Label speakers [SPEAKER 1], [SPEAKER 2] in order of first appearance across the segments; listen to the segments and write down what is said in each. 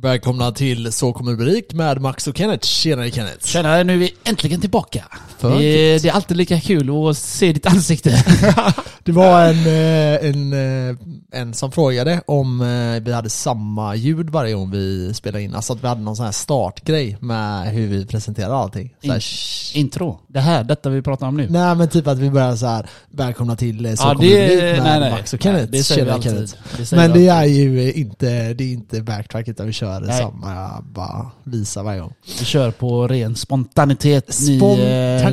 [SPEAKER 1] Välkomna till Så kommer det bli rikt med Max och Kenneth. Tjenare Kenneth!
[SPEAKER 2] Tjena, nu är vi äntligen tillbaka.
[SPEAKER 1] För
[SPEAKER 2] Det, det är alltid lika kul att se ditt ansikte.
[SPEAKER 1] Det var en, eh, en, eh, en som frågade om eh, vi hade samma ljud varje gång vi spelade in. Alltså att vi hade någon sån här startgrej med hur vi presenterar allting. Så här,
[SPEAKER 2] In-
[SPEAKER 1] sh-
[SPEAKER 2] Intro. Det här, detta vi pratar om nu.
[SPEAKER 1] nej men typ att vi börjar så här välkomna till eh, Så
[SPEAKER 2] Ja,
[SPEAKER 1] kommer det bli med Max och Kenneth.
[SPEAKER 2] Nej, det säger vi
[SPEAKER 1] Tjena,
[SPEAKER 2] alltid.
[SPEAKER 1] Kenneth.
[SPEAKER 2] Det säger
[SPEAKER 1] Men
[SPEAKER 2] vi
[SPEAKER 1] det
[SPEAKER 2] alltid.
[SPEAKER 1] är ju eh, inte, det är inte backtrack utan vi kör
[SPEAKER 2] Nej.
[SPEAKER 1] samma, bara visa varje gång.
[SPEAKER 2] Vi kör på ren spontanitet. Ni, eh,
[SPEAKER 1] Spontanitet.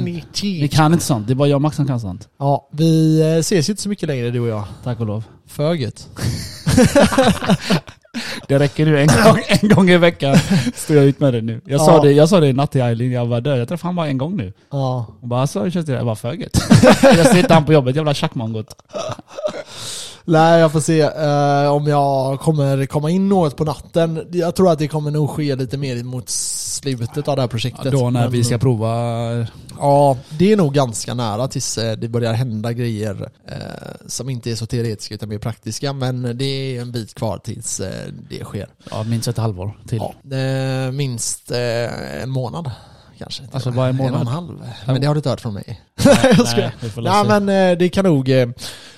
[SPEAKER 2] Ni kan inte sånt. Det är bara jag och Max som kan sånt.
[SPEAKER 1] Ja, vi eh, ses ju inte så mycket längre du och jag.
[SPEAKER 2] Tack och lov.
[SPEAKER 1] För gött.
[SPEAKER 2] Det räcker nu. En gång, en gång i veckan står jag ut med det nu. Jag sa,
[SPEAKER 1] Ja.
[SPEAKER 2] det, jag sa det i natt till Eileen, jag var död. Jag träffade han bara en gång nu.
[SPEAKER 1] Ja.
[SPEAKER 2] Hon bara alltså, hur känns det? Jag bara, för gött. Jag sitter han på jobbet, jävla tjackmongot.
[SPEAKER 1] Nej, jag får se eh, om jag kommer komma in något på natten. Jag tror att det kommer nog ske lite mer mot slutet av det här projektet.
[SPEAKER 2] Då när
[SPEAKER 1] Men,
[SPEAKER 2] vi ska prova...
[SPEAKER 1] Ja, det är nog ganska nära tills eh, det börjar hända grejer eh, som inte är så teoretiska utan mer praktiska. Men det är en bit kvar tills eh, det sker.
[SPEAKER 2] Ja, minst ett halvår till.
[SPEAKER 1] Ja, eh, minst eh, en månad kanske.
[SPEAKER 2] Alltså, bara en månad?
[SPEAKER 1] En och en halv. Men det har du inte hört från mig.
[SPEAKER 2] Nej,
[SPEAKER 1] skojar.
[SPEAKER 2] vi får
[SPEAKER 1] Nej
[SPEAKER 2] läsa.
[SPEAKER 1] men eh, det kan nog, eh,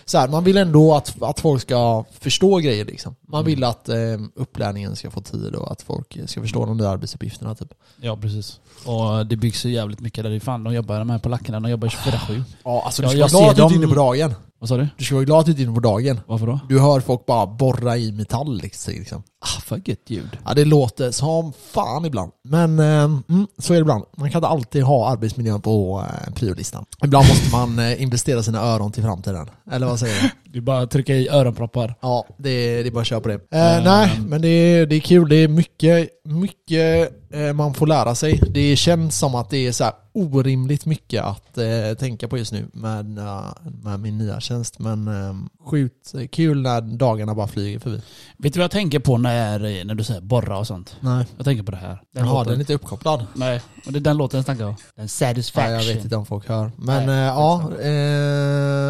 [SPEAKER 1] så här, man vill ändå att, att folk ska förstå grejer liksom. Man vill att eh, upplärningen ska få tid och att folk ska förstå de där arbetsuppgifterna typ.
[SPEAKER 2] Ja precis. Och det byggs ju jävligt mycket där. Det är Fan, de jobbar de här polackerna, de jobbar 24-7.
[SPEAKER 1] Ja alltså
[SPEAKER 2] Ja,
[SPEAKER 1] du ska
[SPEAKER 2] jag
[SPEAKER 1] vara glad
[SPEAKER 2] ser
[SPEAKER 1] att du inte är
[SPEAKER 2] dem-
[SPEAKER 1] inne på dagen.
[SPEAKER 2] Vad sa du?
[SPEAKER 1] Du ska vara glad att du inte är inne på dagen.
[SPEAKER 2] Varför då?
[SPEAKER 1] Du hör folk bara borra i metall liksom.
[SPEAKER 2] Ah, för gött ljud.
[SPEAKER 1] Ja det låter som fan ibland. Men eh, mm, så är det ibland. Man kan inte alltid ha arbetsmiljön på eh, priolistan. Ibland måste man eh, investera sina öron till framtiden. Eller vad säger du?
[SPEAKER 2] Du bara trycker i öronproppar.
[SPEAKER 1] Ja, det, det är bara att köra på det.
[SPEAKER 2] Ehm.
[SPEAKER 1] Eh, nej, men det är, det är kul. Det är mycket, mycket eh, man får lära sig. Det känns som att det är så här orimligt mycket att eh, tänka på just nu med, eh, med min nya tjänst. Men eh, sjukt kul när dagarna bara flyger förbi.
[SPEAKER 2] Vet du vad jag tänker på när, när du säger borra och sånt?
[SPEAKER 1] Nej.
[SPEAKER 2] Jag tänker på det här. Den
[SPEAKER 1] Jaha,
[SPEAKER 2] låten.
[SPEAKER 1] den är inte uppkopplad.
[SPEAKER 2] Nej, och det är den låten jag snackar om. Den
[SPEAKER 1] Ja,
[SPEAKER 2] satisfaction.
[SPEAKER 1] jag vet inte om folk hör. Men
[SPEAKER 2] Nej,
[SPEAKER 1] eh, ja,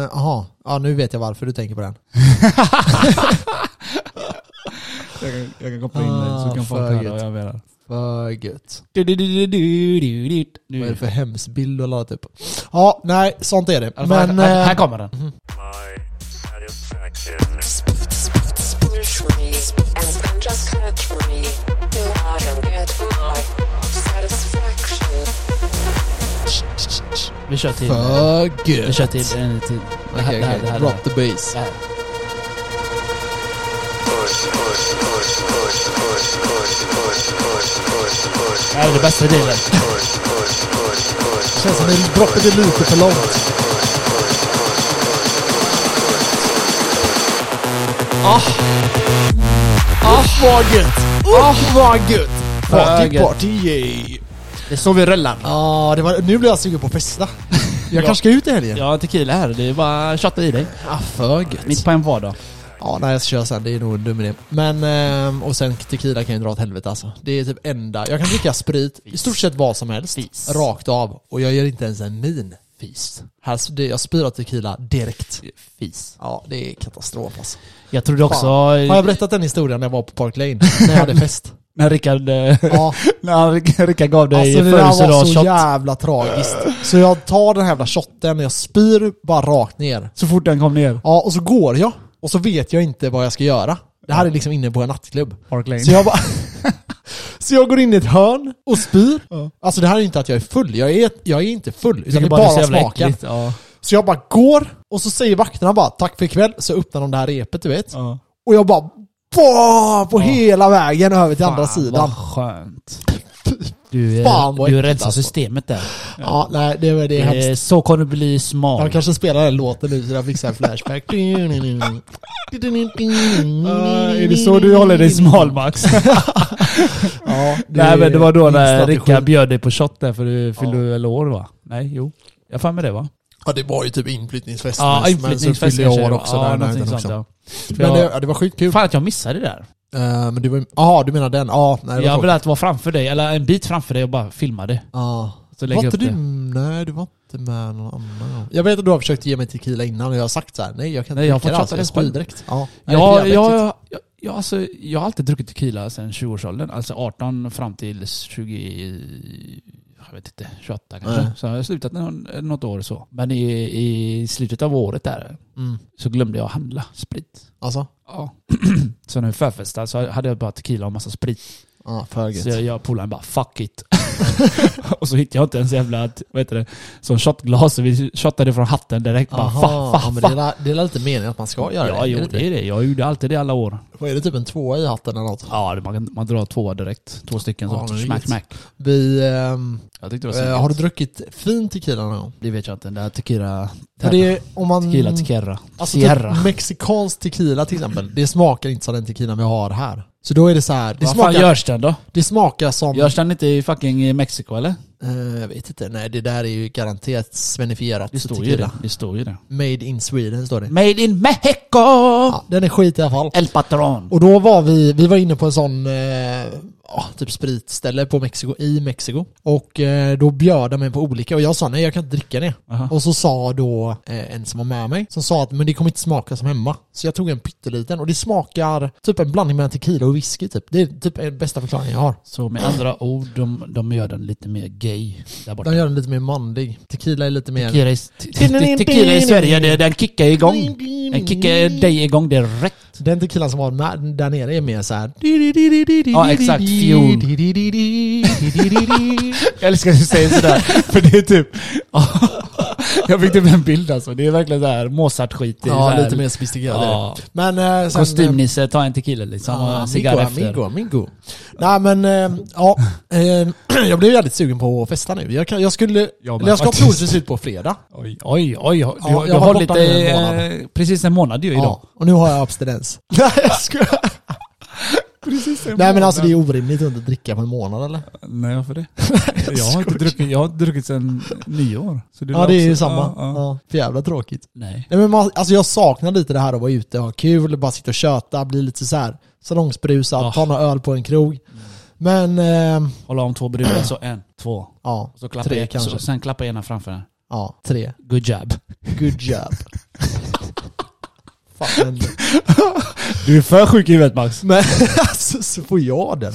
[SPEAKER 1] eh, aha. ja, nu vet jag varför du tänker på den.
[SPEAKER 2] Jag kan, jag kan
[SPEAKER 1] koppla in dig, så kan folk höra vad
[SPEAKER 2] jag menar.
[SPEAKER 1] Vad gött.
[SPEAKER 2] Du, du, du, du, du, du,
[SPEAKER 1] Vad är
[SPEAKER 2] du. Nu.
[SPEAKER 1] det för hemsbild du har laddat upp? Ja, nej, sånt är det.
[SPEAKER 2] Alltså, här,
[SPEAKER 1] Men,
[SPEAKER 2] här,
[SPEAKER 1] eh,
[SPEAKER 2] här kommer den.
[SPEAKER 3] My satisfaction.
[SPEAKER 4] Spiritually and contraceptively, you are a good my satisfaction.
[SPEAKER 2] Vi kör till...
[SPEAKER 1] För
[SPEAKER 2] Vi
[SPEAKER 1] gött.
[SPEAKER 2] kör till... en till. Det här,
[SPEAKER 1] Okej,
[SPEAKER 2] det här, det
[SPEAKER 1] okej.
[SPEAKER 2] här,
[SPEAKER 1] Drop the bass.
[SPEAKER 2] det här.
[SPEAKER 3] Push, push, push, push, push, push, push, push, push, push.
[SPEAKER 2] Det här är det bästa delen.
[SPEAKER 3] Push, push, push, push.
[SPEAKER 1] Känns som det droppade lite för långt. Ah! Ah vad gött! Ah vad gött!
[SPEAKER 2] Vad
[SPEAKER 1] Party
[SPEAKER 2] gött. Ah,
[SPEAKER 1] party yay!
[SPEAKER 2] Det är så vi rullar.
[SPEAKER 1] Ja, det var, nu blir jag sugen på att festa. Jag
[SPEAKER 2] Ja.
[SPEAKER 1] kanske ska ut i helgen?
[SPEAKER 2] Jag har tequila här, det är bara att tjatta i dig.
[SPEAKER 1] Ah, för gött.
[SPEAKER 2] Mitt på en vardag.
[SPEAKER 1] Ja, nej jag ska köra sen. Det är nog en dum idé. Men, ehm, och sen tequila kan ju dra åt helvete alltså. Det är typ enda. Jag kan dricka sprit, i stort sett vad som helst.
[SPEAKER 2] Fis.
[SPEAKER 1] Rakt av. Och jag gör inte ens en min.
[SPEAKER 2] Fis.
[SPEAKER 1] Här, det, jag spyr av tequila direkt.
[SPEAKER 2] Fis.
[SPEAKER 1] Ja, det är katastrof alltså.
[SPEAKER 2] Jag trodde också... eh,
[SPEAKER 1] Har jag berättat den historien när jag var på Park Lane? När jag hade fest?
[SPEAKER 2] När Rickard... eh,
[SPEAKER 1] Ja.
[SPEAKER 2] när han- Rickard gav dig
[SPEAKER 1] Alltså det där var så
[SPEAKER 2] födelsedagsshot.
[SPEAKER 1] jävla tragiskt. Så jag tar den här jävla shotten och jag spyr bara rakt ner.
[SPEAKER 2] Så fort den kom ner.
[SPEAKER 1] Ja, och så går jag. Och så vet jag inte vad jag ska göra. Det här är liksom inne på en nattklubb.
[SPEAKER 2] Park Lane.
[SPEAKER 1] Så jag bara... Så jag går in i ett hörn och spyr. Alltså det här är inte att jag är full. Jag är, jag är inte full. Utan det är bara smaken.
[SPEAKER 2] Ja.
[SPEAKER 1] Så jag bara går och så säger vakterna bara tack för ikväll. Så öppnar de det här repet du vet.
[SPEAKER 2] ja.
[SPEAKER 1] Och jag bara bah, på hela vägen över till andra sidan.
[SPEAKER 2] Vad skönt. Du,
[SPEAKER 1] Fan,
[SPEAKER 2] är
[SPEAKER 1] vad
[SPEAKER 2] du
[SPEAKER 1] äckligt,
[SPEAKER 2] rensar
[SPEAKER 1] alltså.
[SPEAKER 2] systemet där.
[SPEAKER 1] Ja, nej det, är- det är
[SPEAKER 2] Eh,
[SPEAKER 1] hemskt.
[SPEAKER 2] Så kommer du bli
[SPEAKER 1] Jag
[SPEAKER 2] smal.
[SPEAKER 1] kanske spelar den låten nu så jag fick så här flashback. Eh,
[SPEAKER 2] är det så du håller dig smal Max?
[SPEAKER 1] Ja,
[SPEAKER 2] Nej men det var då
[SPEAKER 1] är
[SPEAKER 2] när
[SPEAKER 1] min
[SPEAKER 2] Rickard
[SPEAKER 1] strategi.
[SPEAKER 2] bjöd dig på shot där för du fyllde väl år va? Nej, jo. Jag har för mig det va?
[SPEAKER 1] Ja det var ju typ inflyttningsfest. men-
[SPEAKER 2] Ja,
[SPEAKER 1] men så
[SPEAKER 2] inflyttningsfest
[SPEAKER 1] fyllde jag
[SPEAKER 2] kanske.
[SPEAKER 1] år också.
[SPEAKER 2] Ja,
[SPEAKER 1] där, den här
[SPEAKER 2] någonting
[SPEAKER 1] tiden
[SPEAKER 2] sånt
[SPEAKER 1] också.
[SPEAKER 2] ja. För
[SPEAKER 1] Men det,
[SPEAKER 2] jag-
[SPEAKER 1] ja, det var skitkul.
[SPEAKER 2] Fan att jag missade det där.
[SPEAKER 1] Eh, men det var Jaha, du menar den? Ja, nej det
[SPEAKER 2] Jag
[SPEAKER 1] var
[SPEAKER 2] vill
[SPEAKER 1] tråkigt.
[SPEAKER 2] att vara framför dig, eller en bit framför dig och bara filma det.
[SPEAKER 1] Ja.
[SPEAKER 2] Så lägga
[SPEAKER 1] Var inte
[SPEAKER 2] upp
[SPEAKER 1] du...
[SPEAKER 2] det.
[SPEAKER 1] Nej, du var inte med någon annan gång. Jag vet att du har försökt ge mig tequila innan och jag har sagt så här. nej jag kan inte
[SPEAKER 2] Nej, jag har
[SPEAKER 1] dricka
[SPEAKER 2] fått
[SPEAKER 1] det, alltså,
[SPEAKER 2] fatta det
[SPEAKER 1] spyr
[SPEAKER 2] själv.
[SPEAKER 1] direkt. Ja, Nej, det är
[SPEAKER 2] Ja,
[SPEAKER 1] jävligt
[SPEAKER 2] jag,
[SPEAKER 1] äckligt.
[SPEAKER 2] jag, Ja, alltså, jag har alltid druckit tequila sedan 20-årsåldern. Alltså 18 fram till 20... Jag vet inte, 28 kanske.
[SPEAKER 1] Nej.
[SPEAKER 2] Så har jag slutat någon, något år så. Men i, i slutet av året där
[SPEAKER 1] Mm.
[SPEAKER 2] så glömde jag handla sprit.
[SPEAKER 1] Alltså?
[SPEAKER 2] Ja. så när vi förfestade så hade jag bara tequila och massa sprit.
[SPEAKER 1] Ja, för gött.
[SPEAKER 2] Så jag, jag och polaren bara 'fuck it' Och så hittade jag inte ens jävla, vad heter det, som shotglas. Så vi shottade från hatten direkt. Bara,
[SPEAKER 1] Aha,
[SPEAKER 2] fa,
[SPEAKER 1] ja,
[SPEAKER 2] fa,
[SPEAKER 1] men
[SPEAKER 2] fa.
[SPEAKER 1] det, är la- det är la lite meningen att man ska göra
[SPEAKER 2] Ja,
[SPEAKER 1] det?
[SPEAKER 2] jo
[SPEAKER 1] är
[SPEAKER 2] det är det. Jag gjorde alltid det alla år.
[SPEAKER 1] Vad är det, typ en tvåa i hatten eller något?
[SPEAKER 2] Ja, det- man, man drar två direkt. Två stycken.
[SPEAKER 1] Ja,
[SPEAKER 2] Så.
[SPEAKER 1] det är
[SPEAKER 2] Smack,
[SPEAKER 1] gött.
[SPEAKER 2] smack.
[SPEAKER 1] Vi, ehm,
[SPEAKER 2] Jag tyckte det var
[SPEAKER 1] eh,
[SPEAKER 2] äh,
[SPEAKER 1] har du druckit fin tequila någon gång?
[SPEAKER 2] Det vet jag inte. Det här tequila...
[SPEAKER 1] För det är, om man...
[SPEAKER 2] Tequila, tequila.
[SPEAKER 1] Alltså
[SPEAKER 2] Sierra.
[SPEAKER 1] typ mexikansk tequila till exempel, det smakar inte som den tequila vi har här. Så då är det så här, det,
[SPEAKER 2] Vad fan
[SPEAKER 1] smakar,
[SPEAKER 2] görs den då?
[SPEAKER 1] det smakar som...
[SPEAKER 2] Görs den inte i fucking Mexiko eller?
[SPEAKER 1] Eh, jag vet inte, nej det där är ju garanterat svenifierat
[SPEAKER 2] Det står ju
[SPEAKER 1] tequila.
[SPEAKER 2] det. Det står ju det.
[SPEAKER 1] Made in Sweden står det.
[SPEAKER 2] Made in Mexico!
[SPEAKER 1] Ja, den är skit i alla fall.
[SPEAKER 2] El Patron.
[SPEAKER 1] Och då var vi, vi var inne på en sån, eh, ja, typ spritställe på Mexiko, i Mexiko. Och eh, då bjöd de mig på olika och jag sa nej jag kan inte dricka det.
[SPEAKER 2] Aha.
[SPEAKER 1] Och så sa då eh, en som var med mig, som sa att men det kommer inte smaka som hemma. Så jag tog en pytteliten och det smakar typ en blandning mellan tequila och whisky typ. Det är typ den bästa förklaringen jag har.
[SPEAKER 2] Så med andra ord, de, de gör den lite mer gay där borta.
[SPEAKER 1] Den gör den lite mer manlig. Tequila är lite mer...
[SPEAKER 2] Tequila i, te- te- tequila i Sverige, det, den kickar igång. Den kickar dig igång direkt.
[SPEAKER 1] Den tequilan som var med där nere är mer så här.
[SPEAKER 2] Ja, exakt. Fuel. Jag älskar att du säger sådär, för det är typ... jag fick typ en bild alltså. Det är verkligen såhär Mozart-skit. Det är
[SPEAKER 1] Ja,
[SPEAKER 2] såhär-
[SPEAKER 1] lite mer sofistikerat är
[SPEAKER 2] Ja.
[SPEAKER 1] det. Men eh, sen...
[SPEAKER 2] Kostymnisse, ta en tequila liksom och en cigarr
[SPEAKER 1] amigo,
[SPEAKER 2] efter.
[SPEAKER 1] amigo, amigo. Nej men, eh, ja. Eh, jag blev jävligt sugen på att festa nu. Jag, kan, jag skulle...
[SPEAKER 2] Jag med,
[SPEAKER 1] eller jag ska
[SPEAKER 2] faktiskt.
[SPEAKER 1] troligtvis ut på fredag.
[SPEAKER 2] Oj, oj, oj. Du,
[SPEAKER 1] jag
[SPEAKER 2] du
[SPEAKER 1] var
[SPEAKER 2] har
[SPEAKER 1] borta
[SPEAKER 2] lite...
[SPEAKER 1] nu en
[SPEAKER 2] eh, Precis en månad ju idag.
[SPEAKER 1] Ja, och nu har jag abstinens. Nej jag skojar. Nej men alltså det är orimligt att inte dricka på en månad eller?
[SPEAKER 2] Nej, varför det? jag, har inte druckit, jag har inte druckit sedan nyår. Så
[SPEAKER 1] Ja det är ju
[SPEAKER 2] också-
[SPEAKER 1] samma.
[SPEAKER 2] ja, ja.
[SPEAKER 1] Ja, för jävla tråkigt.
[SPEAKER 2] Nej.
[SPEAKER 1] Nej men man, alltså jag saknar lite det här att vara ute och ha kul, bara sitta och köta, bli lite så här salongsberusad,
[SPEAKER 2] Ah. Mm.
[SPEAKER 1] ta några öl på en krog. Men, eh,
[SPEAKER 2] Hålla om två brudar, så en, två.
[SPEAKER 1] ja,
[SPEAKER 2] Och så klappa
[SPEAKER 1] tre
[SPEAKER 2] ett,
[SPEAKER 1] kanske.
[SPEAKER 2] Så, sen klappa ena framför den.
[SPEAKER 1] Ja, tre.
[SPEAKER 2] Good job.
[SPEAKER 1] Good job. Fan, men,
[SPEAKER 2] Du är för sjuk i huvudet Max.
[SPEAKER 1] men alltså, så får jag den.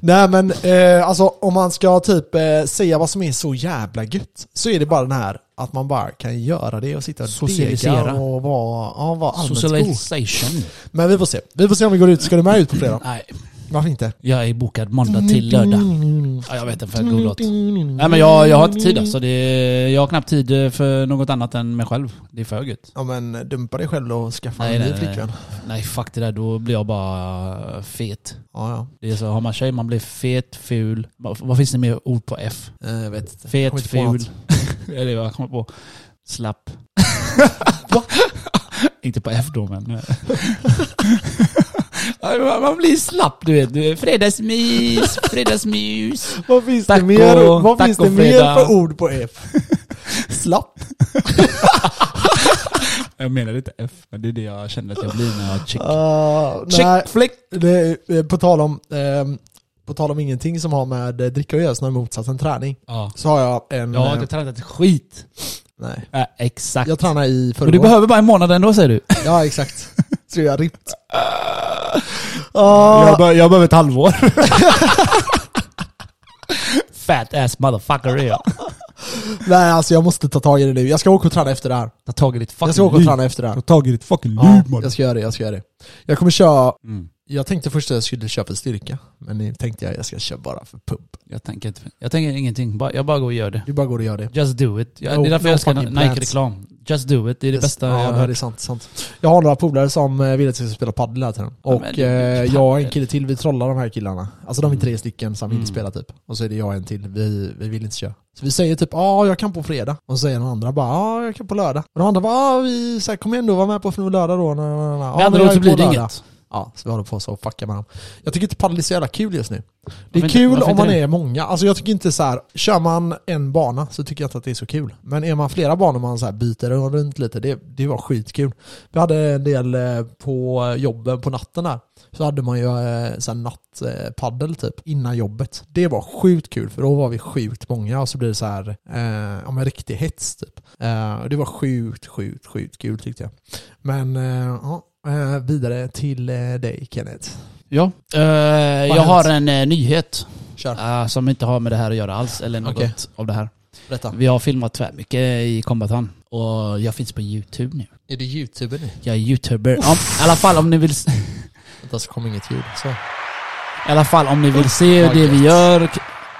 [SPEAKER 1] Nej men eh, alltså om man ska typ eh, säga vad som är så jävla gött så är det bara den här att man bara kan göra det och sitta och
[SPEAKER 2] Socialisera.
[SPEAKER 1] dega och vara, ja, vara allmänt god.
[SPEAKER 2] Socialization.
[SPEAKER 1] Men vi får se. Vi får se om vi går ut. Ska du med ut på fredag?
[SPEAKER 2] Nej,
[SPEAKER 1] Varför inte?
[SPEAKER 2] jag är bokad måndag till lördag. Ja, jag vet inte för god låt. Nej men jag, jag har inte tid alltså. Det är, jag har knappt tid för något annat än mig själv. Det är för gött.
[SPEAKER 1] Ja men dumpa dig själv och skaffa
[SPEAKER 2] Nej,
[SPEAKER 1] en ny
[SPEAKER 2] nej, nej.
[SPEAKER 1] flickvän.
[SPEAKER 2] Nej fuck det där, då blir jag bara fet.
[SPEAKER 1] Ja, ja.
[SPEAKER 2] Det är så, har man tjej, man blir fet, ful. Vad vad finns det mer ord på F?
[SPEAKER 1] Eh, Jag vet inte. Kommer
[SPEAKER 2] Fet,
[SPEAKER 1] inte på något.
[SPEAKER 2] ful. Eller vad jag kommer på. Slapp. Inte på F då men... Ja, man blir slapp du vet. Du är Fredagsmys, fredagsmys.
[SPEAKER 1] Vad finns
[SPEAKER 2] Taco,
[SPEAKER 1] det mer, vad finns det mer
[SPEAKER 2] tacofredag.
[SPEAKER 1] för ord på F? Slapp.
[SPEAKER 2] Jag menar inte F, men det är det jag känner att jag blir när jag har chick.
[SPEAKER 1] Uh, nej,
[SPEAKER 2] chick flick!
[SPEAKER 1] det, eh, på, tal om, ehm, på tal om ingenting som har med eh, dricka och göra snarare motsatsen träning.
[SPEAKER 2] Ja.
[SPEAKER 1] Så har jag en...
[SPEAKER 2] Jag har
[SPEAKER 1] eh,
[SPEAKER 2] inte tränat ett skit.
[SPEAKER 1] nej.
[SPEAKER 2] Ja, exakt.
[SPEAKER 1] Jag tränade i
[SPEAKER 2] men du
[SPEAKER 1] förrgår.
[SPEAKER 2] behöver bara en månad ändå säger du?
[SPEAKER 1] Ja exakt. Tror jag ripped.
[SPEAKER 2] Ah. behöver ett halvår. Fat ass motherfucker är jag.
[SPEAKER 1] Nej alltså jag måste ta tag i det nu. Jag ska åka och träna efter det här.
[SPEAKER 2] Ta tag i ditt fucking
[SPEAKER 1] Jag ska åka och
[SPEAKER 2] liv.
[SPEAKER 1] träna efter det här.
[SPEAKER 2] Ta tag i ditt fucking
[SPEAKER 1] Ja,
[SPEAKER 2] liv man.
[SPEAKER 1] jag ska göra det, jag ska göra det. Jag kommer köra,
[SPEAKER 2] Mm.
[SPEAKER 1] jag tänkte först att jag skulle köpa styrka, men nu tänkte jag att jag ska köra bara för pump.
[SPEAKER 2] Jag tänker, inte, jag tänker ingenting, Bara- jag bara går och gör det.
[SPEAKER 1] Du bara går och gör det.
[SPEAKER 2] Just do it. Jag,
[SPEAKER 1] No-
[SPEAKER 2] det är därför
[SPEAKER 1] Oh, no
[SPEAKER 2] jag älskar
[SPEAKER 1] fucking plans.
[SPEAKER 2] Nike-reklam. Just do it, det är det
[SPEAKER 1] Yes.
[SPEAKER 2] bästa jag
[SPEAKER 1] ja,
[SPEAKER 2] har
[SPEAKER 1] det är
[SPEAKER 2] hört.
[SPEAKER 1] sant, sant. Jag har några polare som eh, vill att jag ska spela padel hela tiden.
[SPEAKER 2] Ja,
[SPEAKER 1] Och
[SPEAKER 2] men det är
[SPEAKER 1] eh,
[SPEAKER 2] ju
[SPEAKER 1] jag och en
[SPEAKER 2] padel.
[SPEAKER 1] kille till, vi trollar de här killarna. Alltså de är tre stycken som vill
[SPEAKER 2] Mm.
[SPEAKER 1] spela typ. Och så är det jag och en till, vi, vi vill inte köra. Så vi säger typ ja, jag kan på fredag. Och så säger de andra bara ja, jag kan på lördag. Och de andra bara ja, vi, så här, kom igen då, var med på lördag då. Ja,
[SPEAKER 2] Med andra
[SPEAKER 1] jag
[SPEAKER 2] ord så
[SPEAKER 1] är
[SPEAKER 2] blir
[SPEAKER 1] på
[SPEAKER 2] det
[SPEAKER 1] lördag.
[SPEAKER 2] inget.
[SPEAKER 1] Ja, så vi håller på så och fuckar med dem. Jag tycker inte padel är så jävla kul just nu. Det
[SPEAKER 2] Varför
[SPEAKER 1] är
[SPEAKER 2] inte-
[SPEAKER 1] kul
[SPEAKER 2] varför
[SPEAKER 1] om
[SPEAKER 2] inte
[SPEAKER 1] man
[SPEAKER 2] det?
[SPEAKER 1] är många. Alltså jag tycker inte så här, kör man en bana så tycker jag inte att det är så kul. Men är man flera banor man så här byter och runt lite, det, det var skitkul. Vi hade en del eh, på jobben på natten här. Så hade man ju eh, så här nattpaddel typ innan jobbet. Det var sjukt kul för då var vi sjukt många och så blir det så här, eh, ja men riktig hets typ. Eh, och det var sjukt, sjukt, sjukt kul tyckte jag. Men eh, ja, eh, vidare till eh, dig Kenneth.
[SPEAKER 2] Ja. Eh, jag
[SPEAKER 1] hänt?
[SPEAKER 2] har en eh, nyhet
[SPEAKER 1] Kör,
[SPEAKER 2] eh, som inte har med det här att göra alls, eller något
[SPEAKER 1] Okej.
[SPEAKER 2] av det här.
[SPEAKER 1] berätta.
[SPEAKER 2] Vi har filmat tvärmycket i Kombatan och jag finns på YouTube nu.
[SPEAKER 1] Är det youtuber nu?
[SPEAKER 2] Jag är youtuber. Om, I alla fall om ni vill, s-
[SPEAKER 1] Vänta så kom inget ljud. Så.
[SPEAKER 2] i alla fall om ni vill se
[SPEAKER 1] vad
[SPEAKER 2] det vi
[SPEAKER 1] gött.
[SPEAKER 2] gör,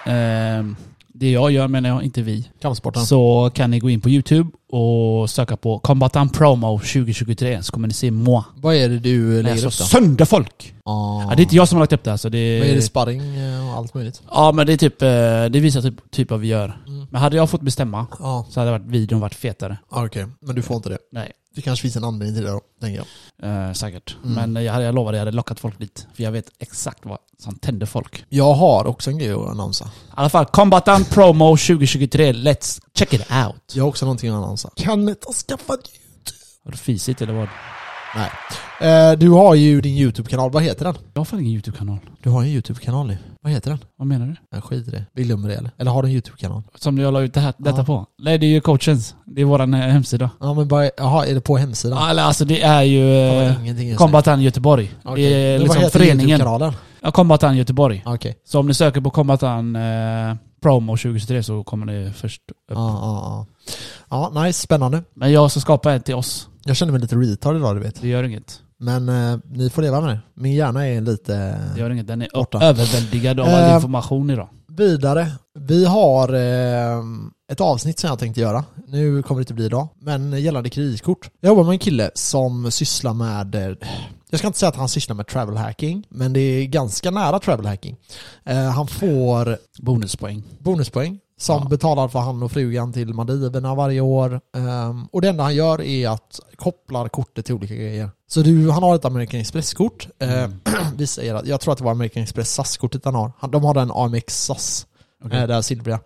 [SPEAKER 2] eh, det jag gör menar jag, inte vi.
[SPEAKER 1] Kampsporten.
[SPEAKER 2] Så kan ni gå in på YouTube och söka på Kombatan Promo 2023 så kommer ni se moi.
[SPEAKER 1] Vad är det du lägger
[SPEAKER 2] Alltså,
[SPEAKER 1] upp då?
[SPEAKER 2] sönder folk!
[SPEAKER 1] Ah.
[SPEAKER 2] Ja, det är inte jag som har lagt upp det här så det...
[SPEAKER 1] Vad är det sparring eh, och allt möjligt?
[SPEAKER 2] Ja men det är typ, eh, det visar typ, typ vad vi gör.
[SPEAKER 1] Mm.
[SPEAKER 2] Men hade jag fått bestämma
[SPEAKER 1] Ja,
[SPEAKER 2] så hade varit, videon varit fetare.
[SPEAKER 1] ah, okej. Men du får inte det.
[SPEAKER 2] Nej.
[SPEAKER 1] Det kanske finns en anledning till det då, tänker jag.
[SPEAKER 2] Eh, säkert.
[SPEAKER 1] Mm.
[SPEAKER 2] Men jag, hade, jag lovade jag hade lockat folk dit. För jag vet exakt vad som tänder folk. I
[SPEAKER 1] Jag har också en grej att annonsa.
[SPEAKER 2] alla fall, Kombatan Promo 2023. Let's check it out.
[SPEAKER 1] Jag har också någonting att annonsa. Kenneth har skaffat
[SPEAKER 2] Har du fisit eller vad?
[SPEAKER 1] Nej. Eh, du har ju din YouTube-kanal. Vad heter den?
[SPEAKER 2] Jag har fan ingen YouTube-kanal.
[SPEAKER 1] Du har en YouTube-kanal nu. Vad heter den?
[SPEAKER 2] Vad menar du?
[SPEAKER 1] Jag skiter i det. Vi glömmer det eller? Eller har du en YouTube-kanal?
[SPEAKER 2] Som jag la ut det här, detta
[SPEAKER 1] Ja.
[SPEAKER 2] på. Nej, det är ju coachens. Det är våran eh, hemsida.
[SPEAKER 1] Ja men bara, jaha, är det på hemsidan?
[SPEAKER 2] Alla, alltså det är ju
[SPEAKER 1] Ah, Jag har
[SPEAKER 2] eh,
[SPEAKER 1] ingenting just nu.
[SPEAKER 2] Kombatan Göteborg.
[SPEAKER 1] Okej.
[SPEAKER 2] Det är
[SPEAKER 1] Men
[SPEAKER 2] liksom
[SPEAKER 1] vad heter
[SPEAKER 2] föreningen.
[SPEAKER 1] YouTube-kanalen?
[SPEAKER 2] Ja, Kombatan Göteborg.
[SPEAKER 1] Ah, Okej.
[SPEAKER 2] Så om ni söker på Kombatan eh, Promo 2023 så kommer det först upp.
[SPEAKER 1] Ja, ja, ja. Ja, nice. Spännande.
[SPEAKER 2] Men jag ska skapa en till oss.
[SPEAKER 1] Jag känner mig lite retard idag, du vet.
[SPEAKER 2] Det gör inget.
[SPEAKER 1] Men eh, ni får leva med det. Min hjärna är lite...
[SPEAKER 2] Det gör inget. Den är
[SPEAKER 1] Borta.
[SPEAKER 2] överväldigad av all
[SPEAKER 1] Eh,
[SPEAKER 2] information idag.
[SPEAKER 1] Vidare. Vi har eh, ett avsnitt som jag tänkte göra. Nu kommer det inte bli idag. Men gällande kreditkort. Jag jobbar med en kille som sysslar med... Eh, jag ska inte säga att han sysslar med travel hacking. Men det är ganska nära travel hacking. Eh, han får
[SPEAKER 2] Bonuspoäng.
[SPEAKER 1] bonuspoäng som
[SPEAKER 2] Ja.
[SPEAKER 1] betalar för han och frugan till Maldiverna varje år. Ehm, och det enda han gör är att kopplar kortet till olika grejer. Så du, han har ett American Express-kort. Ehm,
[SPEAKER 2] Mm.
[SPEAKER 1] vi säger att, jag tror att det var American Express SAS-kortet han har. Han, de har den AMX SAS,
[SPEAKER 2] Okej.
[SPEAKER 1] eh, det här silvriga.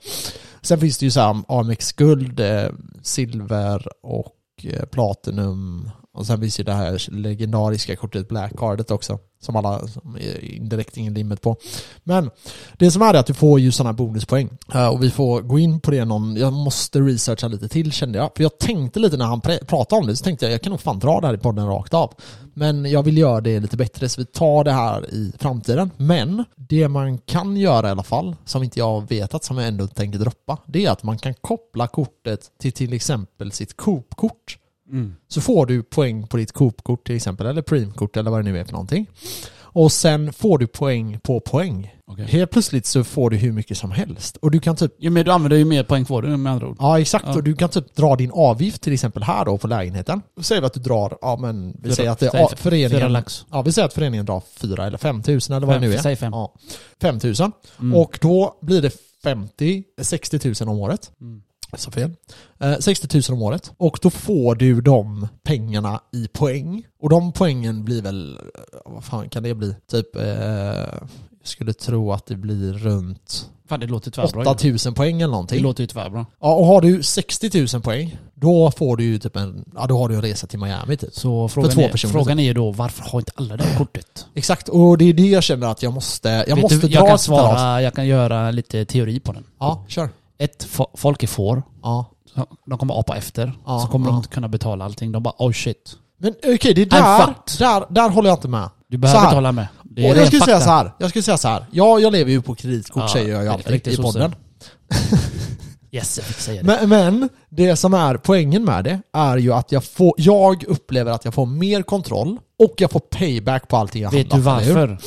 [SPEAKER 1] Sen finns det ju så här AMX-guld, eh, silver och eh, platinum. Och sen finns ju det här legendariska kortet Black Cardet också. Som alla som är indirekt ingen limit på. Men det som är är att du får ju sådana bonuspoäng. Eh, Och vi får gå in på det någon, jag måste researcha lite till kände jag. För jag tänkte lite när han pre- pratade om det, så tänkte jag jag kan nog fan dra det här i podden rakt av. Men jag vill göra det lite bättre så vi tar det här i framtiden. Men det man kan göra i alla fall, som inte jag vetat som jag ändå tänker droppa, det är att man kan koppla kortet till till exempel sitt Coop-kort.
[SPEAKER 2] Mm.
[SPEAKER 1] Så får du poäng på ditt Coop-kort till exempel, eller Preem-kort eller vad det nu är för någonting. Och sen får du poäng på poäng.
[SPEAKER 2] Okej.
[SPEAKER 1] Helt plötsligt så får du hur mycket som helst. Och du kan typ,
[SPEAKER 2] Ju mer du använder ju mer poäng får du med andra ord.
[SPEAKER 1] ja exakt,
[SPEAKER 2] Ja.
[SPEAKER 1] och du kan typ dra din avgift till exempel här då på lägenheten. Då säger vi att du drar, ja men vi
[SPEAKER 2] Fyra-
[SPEAKER 1] säger att det
[SPEAKER 2] säg
[SPEAKER 1] är
[SPEAKER 2] f- fyra
[SPEAKER 1] föreningen.
[SPEAKER 2] lax.
[SPEAKER 1] Ja, vi säger att föreningen drar fyra eller fem tusen eller vad
[SPEAKER 2] Fem-
[SPEAKER 1] det nu är.
[SPEAKER 2] säg fem.
[SPEAKER 1] Ja, fem tusen.
[SPEAKER 2] Mm.
[SPEAKER 1] Och då blir det 50, 60 tusen om året.
[SPEAKER 2] Mm.
[SPEAKER 1] Så fel. Eh, 60 tusen om året. Och då får du de pengarna i poäng. Och de poängen blir väl, eh, vad fan kan det bli? Typ, eh, jag skulle tro att det blir runt
[SPEAKER 2] Fan det låter tvärbra. ju.
[SPEAKER 1] 8000 poäng eller
[SPEAKER 2] Det
[SPEAKER 1] någonting.
[SPEAKER 2] låter ju tvärbra.
[SPEAKER 1] Ja, och har du 60 000 poäng, då får du ju typ en, ja, då har du en resa till Miami typ.
[SPEAKER 2] Så frågan,
[SPEAKER 1] två
[SPEAKER 2] är,
[SPEAKER 1] personer.
[SPEAKER 2] frågan är ju då varför har inte alla det här kortet?
[SPEAKER 1] Exakt, och det är det jag känner att jag måste, jag
[SPEAKER 2] Vet
[SPEAKER 1] måste dra
[SPEAKER 2] du, jag kan
[SPEAKER 1] ett dras.
[SPEAKER 2] svara, jag kan göra lite teori på den.
[SPEAKER 1] Ja, kör.
[SPEAKER 2] Ett, fo- folk är får.
[SPEAKER 1] Ja.
[SPEAKER 2] De kommer apa efter.
[SPEAKER 1] Ja,
[SPEAKER 2] så kommer
[SPEAKER 1] ja.
[SPEAKER 2] de inte kunna betala allting. De bara oh shit.
[SPEAKER 1] Men okej, det är
[SPEAKER 2] I'm
[SPEAKER 1] där,
[SPEAKER 2] fucked.
[SPEAKER 1] där, där håller jag inte med.
[SPEAKER 2] Du
[SPEAKER 1] Så
[SPEAKER 2] behöver
[SPEAKER 1] här.
[SPEAKER 2] inte hålla med. Det
[SPEAKER 1] och
[SPEAKER 2] ren
[SPEAKER 1] jag skulle säga
[SPEAKER 2] fakta.
[SPEAKER 1] så här, jag skulle säga så här. Ja, jag lever ju på kreditkort
[SPEAKER 2] Ja,
[SPEAKER 1] säger jag ju
[SPEAKER 2] det är
[SPEAKER 1] alltid
[SPEAKER 2] riktigt
[SPEAKER 1] i
[SPEAKER 2] så
[SPEAKER 1] podden.
[SPEAKER 2] Yes, jag fick säga det.
[SPEAKER 1] Men, men det som är poängen med det är ju att jag, får, jag upplever att jag får mer kontroll och jag får payback på allting jag
[SPEAKER 2] Vet
[SPEAKER 1] handlar
[SPEAKER 2] du
[SPEAKER 1] för, eller hur?
[SPEAKER 2] varför?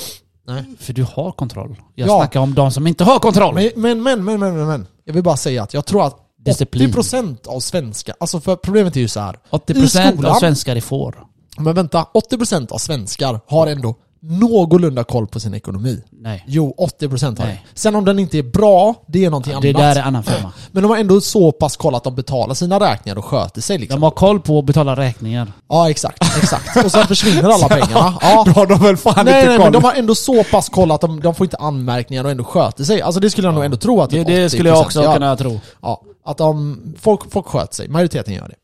[SPEAKER 1] Nej.
[SPEAKER 2] För du har kontroll. Jag
[SPEAKER 1] Ja.
[SPEAKER 2] snackar om de som inte har kontroll.
[SPEAKER 1] Men, men, men, men, men, men, men. Jag vill bara säga att jag tror att
[SPEAKER 2] Disciplin.
[SPEAKER 1] 80% av svenska, alltså för problemet är ju så här.
[SPEAKER 2] 80%
[SPEAKER 1] i skolan-
[SPEAKER 2] av svenskar är får.
[SPEAKER 1] Men vänta, 80% av svenskar har ändå någorlunda koll på sin ekonomi.
[SPEAKER 2] Nej.
[SPEAKER 1] Jo, 80% har det.
[SPEAKER 2] Nej.
[SPEAKER 1] Sen om den inte är bra, det är någonting
[SPEAKER 2] Det
[SPEAKER 1] annat.
[SPEAKER 2] där är annan femma.
[SPEAKER 1] Men de har ändå så pass koll att de betalar sina räkningar och sköter sig liksom.
[SPEAKER 2] De har koll på att betala räkningar.
[SPEAKER 1] Ja, exakt. exakt. Och sen försvinner alla pengarna. Ja.
[SPEAKER 2] har de väl fan
[SPEAKER 1] Nej, nej, men de har ändå så pass koll att de, de får inte anmärkningar och ändå sköter sig. Alltså det skulle jag nog ändå tro att
[SPEAKER 2] Det,
[SPEAKER 1] typ
[SPEAKER 2] det skulle jag också
[SPEAKER 1] 80% gör.
[SPEAKER 2] kunna tro.
[SPEAKER 1] Ja, att de, folk, folk sköt sig. Majoriteten gör det.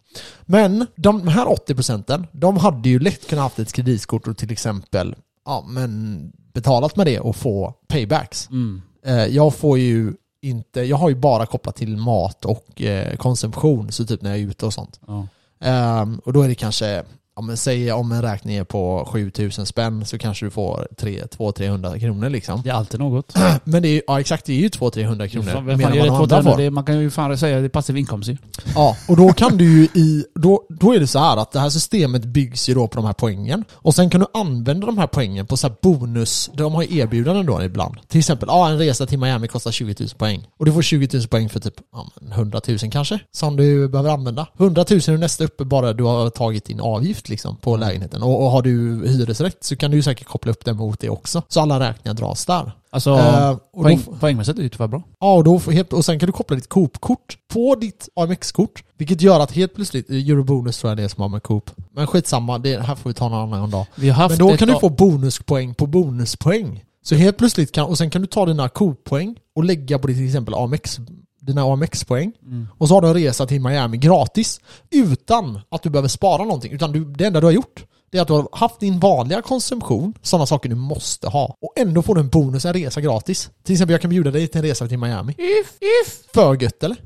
[SPEAKER 1] Men de här 80 procenten, de hade ju lätt kunnat haft ett kreditkort och till exempel ja, men betalat med det och få paybacks.
[SPEAKER 2] Mm,
[SPEAKER 1] Eh, jag får ju inte, jag har ju bara kopplat till mat och eh, konsumtion, så typ när jag är ute och sånt.
[SPEAKER 2] Ja.
[SPEAKER 1] Ehm, och då är det kanske ja, men säg om en räkning är på 7000 spänn så kanske du får 200-300 kronor liksom.
[SPEAKER 3] Det är alltid något.
[SPEAKER 1] Men det är, ju- ja, exakt, det är ju 200-300 kronor.
[SPEAKER 3] Fan,
[SPEAKER 1] mer
[SPEAKER 3] Vem
[SPEAKER 1] än
[SPEAKER 3] fan gör
[SPEAKER 1] vad de
[SPEAKER 3] det
[SPEAKER 1] andra
[SPEAKER 3] 200?
[SPEAKER 1] får.
[SPEAKER 3] Det, man kan ju fan säga att det är passiv inkomst ju.
[SPEAKER 1] Ja, och då kan du ju i... Då, då är det så här att det här systemet byggs ju då på de här poängen. Och sen kan du använda de här poängen på så här bonus... De har ju erbjudanden då ibland. Till exempel, ja en resa till Miami kostar 20 000 poäng. Och du får 20 000 poäng för typ ja, men 100 000 kanske. Som du behöver använda. 100 000 är nästa uppe bara du har tagit din avgift liksom på lägenheten. Och, och har du hyresrätt så kan du ju säkert koppla upp det mot det också. Så alla räkningar dras där.
[SPEAKER 3] Alltså,
[SPEAKER 1] Eh, och
[SPEAKER 3] poäng,
[SPEAKER 1] då-
[SPEAKER 3] poängmässigt är det ju tyvärr bra.
[SPEAKER 1] Ja, och, då får helt, och sen kan du koppla ditt Coop-kort på ditt AMX-kort. Vilket gör att helt plötsligt, eh, Eurobonus tror jag det är som har med Coop. Men skitsamma, det här får vi ta någon annan dag.
[SPEAKER 3] Vi har haft
[SPEAKER 1] Men då
[SPEAKER 3] ett
[SPEAKER 1] kan du
[SPEAKER 3] a-
[SPEAKER 1] få bonuspoäng på bonuspoäng. Så helt plötsligt kan, och sen kan du ta dina Coop-poäng och lägga på till exempel AMX, dina AMX-poäng. Och så har du en resa till Miami gratis. Utan att du behöver spara någonting. Utan du, det enda du har gjort det är att du har haft din vanliga konsumtion, sådana saker du måste ha. Och ändå får du en bonus, en resa gratis. Till exempel, jag kan bjuda dig till en resa till Miami. För gött eller?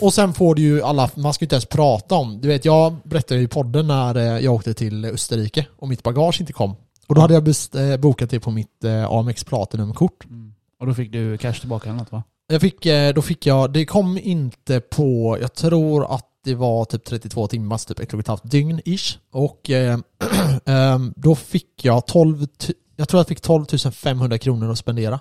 [SPEAKER 1] Och sen får du ju alla, man ska ju inte ens prata om. Du vet, jag berättade ju i podden när eh, jag åkte till Österrike och mitt bagage inte kom. Och då hade jag best, eh, bokat det på mitt eh, AMX Platinum-kort.
[SPEAKER 3] Och då fick du cash tillbaka eller något va?
[SPEAKER 1] Jag fick, eh, då fick jag, det kom inte på, jag tror att det var typ 32 timmar, typ ett och ett halvt dygn ish. Och eh, ehm, då fick jag 12, tu- jag tror jag fick 12 500 kronor att spendera.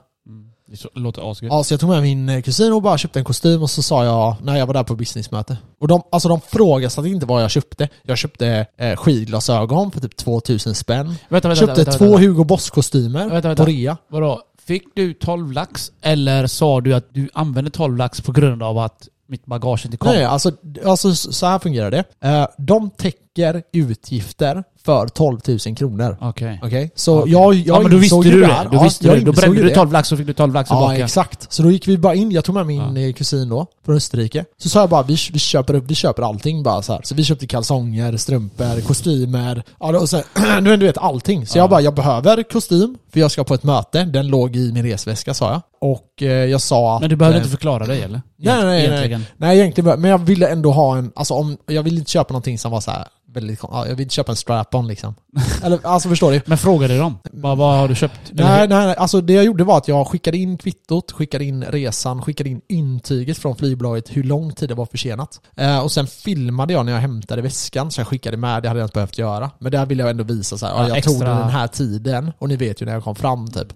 [SPEAKER 3] Det så- låter asgött.
[SPEAKER 1] Ja, så jag tog med min eh, kusin och bara köpte en kostym och så sa jag när jag var där på businessmöte. Och de, alltså de frågade inte vad jag köpte. Jag köpte eh, skidglasögon för typ 2000 spänn.
[SPEAKER 3] Vänta, vänta,
[SPEAKER 1] köpte
[SPEAKER 3] vänta,
[SPEAKER 1] två
[SPEAKER 3] vänta.
[SPEAKER 1] Hugo Boss-kostymer
[SPEAKER 3] Vänta, vänta.
[SPEAKER 1] på rea.
[SPEAKER 3] Vadå? Fick du 12 lax eller sa du att du använde 12 lax på grund av att mitt bagage inte kom?
[SPEAKER 1] Nej, alltså, alltså s- så här fungerar det. Eh, De täcker utgifter för 12 000 kronor.
[SPEAKER 3] Okej.
[SPEAKER 1] Okej? Så
[SPEAKER 3] Okej.
[SPEAKER 1] jag, jag
[SPEAKER 3] Ja men då visste
[SPEAKER 1] insåg
[SPEAKER 3] du
[SPEAKER 1] ju
[SPEAKER 3] det.
[SPEAKER 1] här.
[SPEAKER 3] Då
[SPEAKER 1] Ja,
[SPEAKER 3] visste
[SPEAKER 1] jag
[SPEAKER 3] du. Då
[SPEAKER 1] insåg
[SPEAKER 3] brände
[SPEAKER 1] ju
[SPEAKER 3] du
[SPEAKER 1] det.
[SPEAKER 3] 12 lax och fick du 12 lax
[SPEAKER 1] Ja,
[SPEAKER 3] tillbaka.
[SPEAKER 1] exakt. Så då gick vi bara in, jag tog med min
[SPEAKER 3] Ja.
[SPEAKER 1] eh, kusin då, från Österrike. Så sa jag bara, vi, vi, köper, upp- vi köper allting bara så här. Så vi köpte kalsonger, strumpor, kostymer, ja, då- och så, här, du vet, du vet allting. Så jag bara, jag behöver kostym, för jag ska på ett möte. Den låg i min resväska sa jag. Och eh, jag sa att...
[SPEAKER 3] Men du behövde
[SPEAKER 1] eh,
[SPEAKER 3] inte förklara dig eller?
[SPEAKER 1] Nej, nej, nej,
[SPEAKER 3] Egentligen.
[SPEAKER 1] nej. nej egentligen, bara- men jag ville ändå ha en, alltså om, jag ville inte köpa någonting som var så här väldigt, kon- ja, jag ville inte köpa en strap-on liksom. Eller, alltså förstår du?
[SPEAKER 3] Men frågade du dem? Bara, vad har du köpt? Eller
[SPEAKER 1] Mm. Nej,
[SPEAKER 3] hur?
[SPEAKER 1] nej, nej, alltså det jag gjorde var att jag skickade in kvittot, skickade in resan, skickade in intyget från flygbolaget hur lång tid det var försenat. Eh, och sen filmade jag när jag hämtade väskan, så jag skickade med, det hade jag inte behövt göra. Men där ville jag ändå visa så här, ja,
[SPEAKER 3] Ja,
[SPEAKER 1] jag tog
[SPEAKER 3] extra.
[SPEAKER 1] den den här tiden och ni vet ju när jag kom fram typ.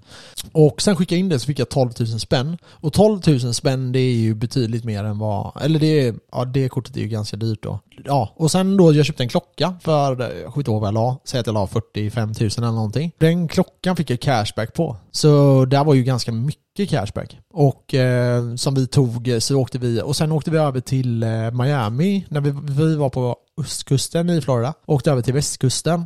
[SPEAKER 1] Och sen skickade jag in det så fick jag 12 000 spänn. Och 12 000 spänn det är ju betydligt mer än vad, eller det, är- ja, det kortet är ju ganska dyrt då. Ja, och sen då jag köpte en klocka för, eh, jag kommer inte ihåg vad jag la, säg att jag la 45 000 eller någonting. Den klockan fick jag cashback på. Så där var ju ganska mycket cashback. Och eh, som vi tog eh, så åkte vi, och sen åkte vi över till eh, Miami när vi, vi var på östkusten i Florida. Åkte över till västkusten.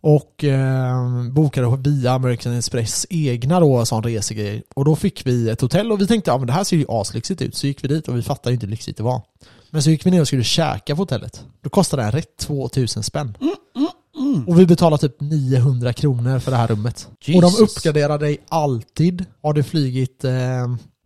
[SPEAKER 1] Och eh, bokade via American Express egna då, sån resegrej. Och då fick vi ett hotell och vi tänkte ja men det här ser ju aslyxigt ut. Så gick vi dit och vi fattade ju inte hur lyxigt det var. Men så gick vi ner och skulle käka på hotellet. Då kostade det här rätt 2000 spänn. Och vi betalade typ 900 kronor för det här rummet. Och
[SPEAKER 3] Jesus.
[SPEAKER 1] de uppgraderar dig alltid. Har du flygit eh,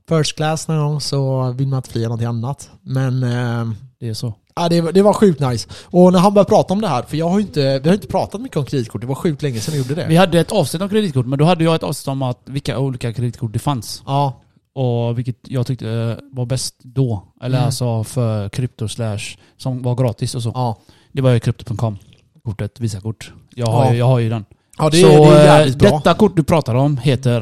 [SPEAKER 1] first class någon gång så vill man inte flyga någonting annat. Men eh,
[SPEAKER 3] Det är så.
[SPEAKER 1] Ja, det, det var sjukt nice. Och när han började prata om det här, för jag har ju inte, vi har inte pratat mycket om kreditkort, det var sjukt länge sedan vi gjorde
[SPEAKER 3] Vi
[SPEAKER 1] det.
[SPEAKER 3] hade ett avsnitt om kreditkort, men då hade jag ett avsnitt om att vilka olika kreditkort det fanns.
[SPEAKER 1] Ja,
[SPEAKER 3] Och vilket jag tyckte eh, var bäst då. Eller
[SPEAKER 1] Mm.
[SPEAKER 3] alltså för krypto slash, som var gratis och så.
[SPEAKER 1] ja.
[SPEAKER 3] Det var ju krypto.com. Kortet, Visakort. Jag har,
[SPEAKER 1] Ja.
[SPEAKER 3] ju, jag har ju den.
[SPEAKER 1] Ja, det,
[SPEAKER 3] så
[SPEAKER 1] är- det är
[SPEAKER 3] eh,
[SPEAKER 1] jävligt bra.
[SPEAKER 3] detta kort du pratar om heter...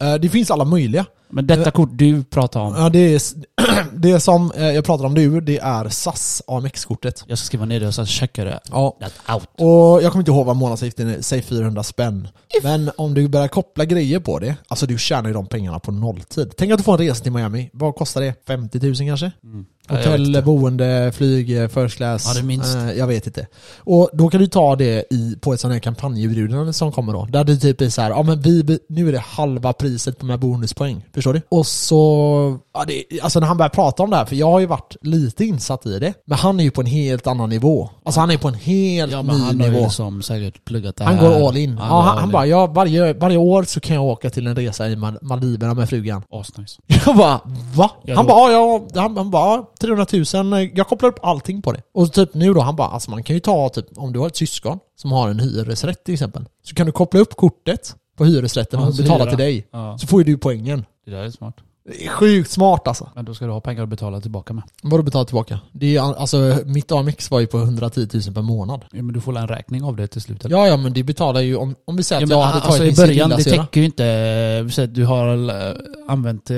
[SPEAKER 1] Eh, Det finns alla möjliga.
[SPEAKER 3] Men
[SPEAKER 1] Eh.
[SPEAKER 3] detta kort du pratar om.
[SPEAKER 1] Ja, det, är, s- det som eh, jag pratar om nu, det är SAS AMX-kortet.
[SPEAKER 3] Jag ska skriva ner det och sen checka det.
[SPEAKER 1] Ja.
[SPEAKER 3] That out.
[SPEAKER 1] Och jag kommer inte ihåg vad månadsavgiften är, säg 400 spänn. Men om du börjar koppla grejer på det, alltså du tjänar ju de pengarna på nolltid. Tänk att du får en resa till Miami, vad kostar det? 50 000 kanske?
[SPEAKER 3] Ja, jag vet
[SPEAKER 1] Hotell,
[SPEAKER 3] inte.
[SPEAKER 1] boende, flyg, eh, first class.
[SPEAKER 3] Ja, det minst.
[SPEAKER 1] Eh, jag vet inte. Och då kan du ta det i, på ett sånt här kampanjerbjudande som kommer då. Där det typ är så här, ja men vi, be- nu är det halva priset på de här bonuspoäng. Förstår du? Och så, ja, det, alltså när han börjar prata om det här, för jag har ju varit lite insatt i det. Men han är ju på en helt annan nivå. Alltså han är på en helt
[SPEAKER 3] Ja men
[SPEAKER 1] ny
[SPEAKER 3] han har ju
[SPEAKER 1] nivå.
[SPEAKER 3] liksom säkert pluggat det
[SPEAKER 1] Han
[SPEAKER 3] här.
[SPEAKER 1] går all in. Han,
[SPEAKER 3] går
[SPEAKER 1] ja, han,
[SPEAKER 3] all
[SPEAKER 1] han
[SPEAKER 3] in.
[SPEAKER 1] bara, ja, varje, varje år så kan jag åka till en resa i Mal- Maldiverna med frugan.
[SPEAKER 3] Asnice.
[SPEAKER 1] Jag bara va?
[SPEAKER 3] Ja,
[SPEAKER 1] Han
[SPEAKER 3] då-
[SPEAKER 1] bara ja, ja. han, han bara ja, 300 000, jag kopplar upp allting på det. Och typ nu då, han bara, alltså man kan ju ta typ, om du har ett syskon som har en hyresrätt till exempel, så kan du koppla upp kortet på hyresrätten
[SPEAKER 2] Ja,
[SPEAKER 1] och
[SPEAKER 2] så
[SPEAKER 1] betala
[SPEAKER 2] hyra.
[SPEAKER 1] till dig.
[SPEAKER 2] Ja.
[SPEAKER 1] Så får ju du poängen.
[SPEAKER 2] Det där är smart.
[SPEAKER 1] Det är sjukt smart alltså.
[SPEAKER 2] Men då ska du ha pengar att betala tillbaka med.
[SPEAKER 1] Vad du betalar tillbaka? Det är, alltså, mitt AMX var ju på 110 000 per månad.
[SPEAKER 2] Ja, men du får väl en räkning av det till slut? eller?
[SPEAKER 1] Ja, ja, men det betalar ju om, om vi säger
[SPEAKER 2] Ja,
[SPEAKER 1] att
[SPEAKER 2] men,
[SPEAKER 1] jag hade tagit
[SPEAKER 2] alltså, I
[SPEAKER 1] min
[SPEAKER 2] början, det
[SPEAKER 1] lillasyra.
[SPEAKER 2] täcker ju inte... eh, Så att du har eh, använt eh,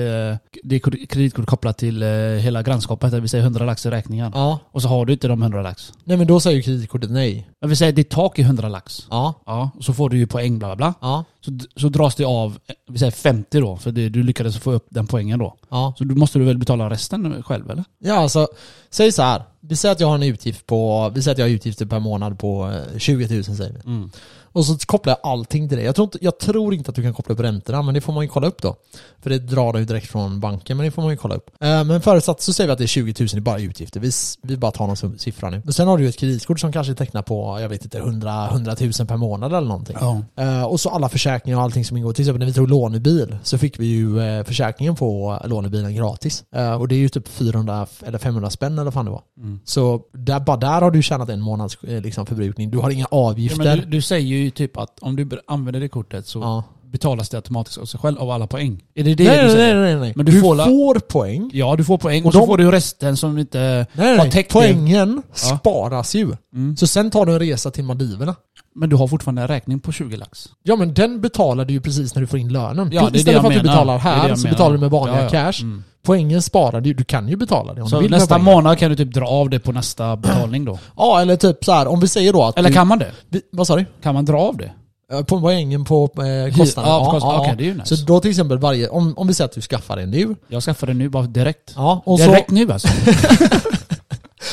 [SPEAKER 2] det är kred- kreditkort kopplat till eh, hela grannskapet. där Vi säger 100 lax i räkningar.
[SPEAKER 1] Ja,
[SPEAKER 2] Och så har du inte de 100 lax.
[SPEAKER 1] nej men då säger ju kreditkortet nej.
[SPEAKER 2] Men vi säger att ditt tak är 100 lax.
[SPEAKER 1] Ja,
[SPEAKER 2] Ja, och så får du ju poäng bla bla bla.
[SPEAKER 1] ja,
[SPEAKER 2] Så, så dras det av, eh, vi säger 50 då, för det, du lyckades få upp den poängen då.
[SPEAKER 1] ja.
[SPEAKER 2] Så då måste du väl betala resten själv eller?
[SPEAKER 1] Ja, alltså, säg så här. Vi säger att jag har en utgift på, vi säger att jag har utgifter per månad på eh, 20 000 säger vi.
[SPEAKER 2] Mm.
[SPEAKER 1] Och så kopplar jag allting till det. Jag tror, inte, jag tror inte att du kan koppla upp räntorna, men det får man ju kolla upp då. För det drar du ju direkt från banken, men det får man ju kolla upp. Eh, Men förutsatt så säger vi att det är 20 000 i bara utgifter. Vi, s- vi bara tar någon sum- siffra nu. Och sen har du ju ett kreditkort som kanske tecknar på, jag vet inte, 100, 100 000 per månad eller någonting.
[SPEAKER 2] Ja.
[SPEAKER 1] Eh, och så alla försäkringar och allting som ingår. Till exempel när vi tog lånebil så fick vi ju eh, försäkringen på lånebilen gratis. Eh, och det är ju typ 400 f- eller 500 spänn eller vad fan det var.
[SPEAKER 2] Mm.
[SPEAKER 1] Så där, bara där har du tjänat en månads eh, liksom, förbrukning. Du har inga avgifter.
[SPEAKER 2] men du, du säger ju typ att om du br- använder det kortet så
[SPEAKER 1] Ja.
[SPEAKER 2] betalas det automatiskt av sig själv av alla poäng. Är det det
[SPEAKER 1] nej,
[SPEAKER 2] du
[SPEAKER 1] nej,
[SPEAKER 2] säger?
[SPEAKER 1] nej, nej, nej.
[SPEAKER 2] Men du får la-
[SPEAKER 1] poäng.
[SPEAKER 2] Ja, du får poäng och,
[SPEAKER 1] Och
[SPEAKER 2] så
[SPEAKER 1] de-
[SPEAKER 2] får du resten som inte
[SPEAKER 1] Nej,
[SPEAKER 2] har
[SPEAKER 1] nej, nej.
[SPEAKER 2] täckt det.
[SPEAKER 1] Poängen
[SPEAKER 2] Ja. Mm.
[SPEAKER 1] sparas ju. Så sen tar du en resa till Maldiverna.
[SPEAKER 2] Men du har fortfarande en räkning på 20 lax.
[SPEAKER 1] Ja men den betalar du ju precis när du får in lönen.
[SPEAKER 2] Ja, det är det
[SPEAKER 1] Istället
[SPEAKER 2] jag
[SPEAKER 1] för att du
[SPEAKER 2] menar.
[SPEAKER 1] betalar
[SPEAKER 2] Det är det
[SPEAKER 1] här
[SPEAKER 2] jag
[SPEAKER 1] så
[SPEAKER 2] menar.
[SPEAKER 1] betalar du med vanliga
[SPEAKER 2] Ja, ja.
[SPEAKER 1] cash.
[SPEAKER 2] Mm.
[SPEAKER 1] Poängen sparar du. Du kan ju betala det om du
[SPEAKER 2] Så
[SPEAKER 1] vill med
[SPEAKER 2] nästa
[SPEAKER 1] poängen.
[SPEAKER 2] månad kan du typ dra av det på nästa betalning då.
[SPEAKER 1] Ja, eller typ så här, om vi säger då att...
[SPEAKER 2] Eller
[SPEAKER 1] du-
[SPEAKER 2] kan man det?
[SPEAKER 1] vi, vad sa du?
[SPEAKER 2] Kan man dra av det?
[SPEAKER 1] Eh, På poängen på eh, kostnaden?
[SPEAKER 2] ja, på kostnaden. Okej, det är ju nice.
[SPEAKER 1] Så då till exempel varje... Om, om vi säger att du skaffar en nu.
[SPEAKER 2] Jag skaffar det nu bara direkt.
[SPEAKER 1] Ja, och så...
[SPEAKER 2] direkt nu alltså.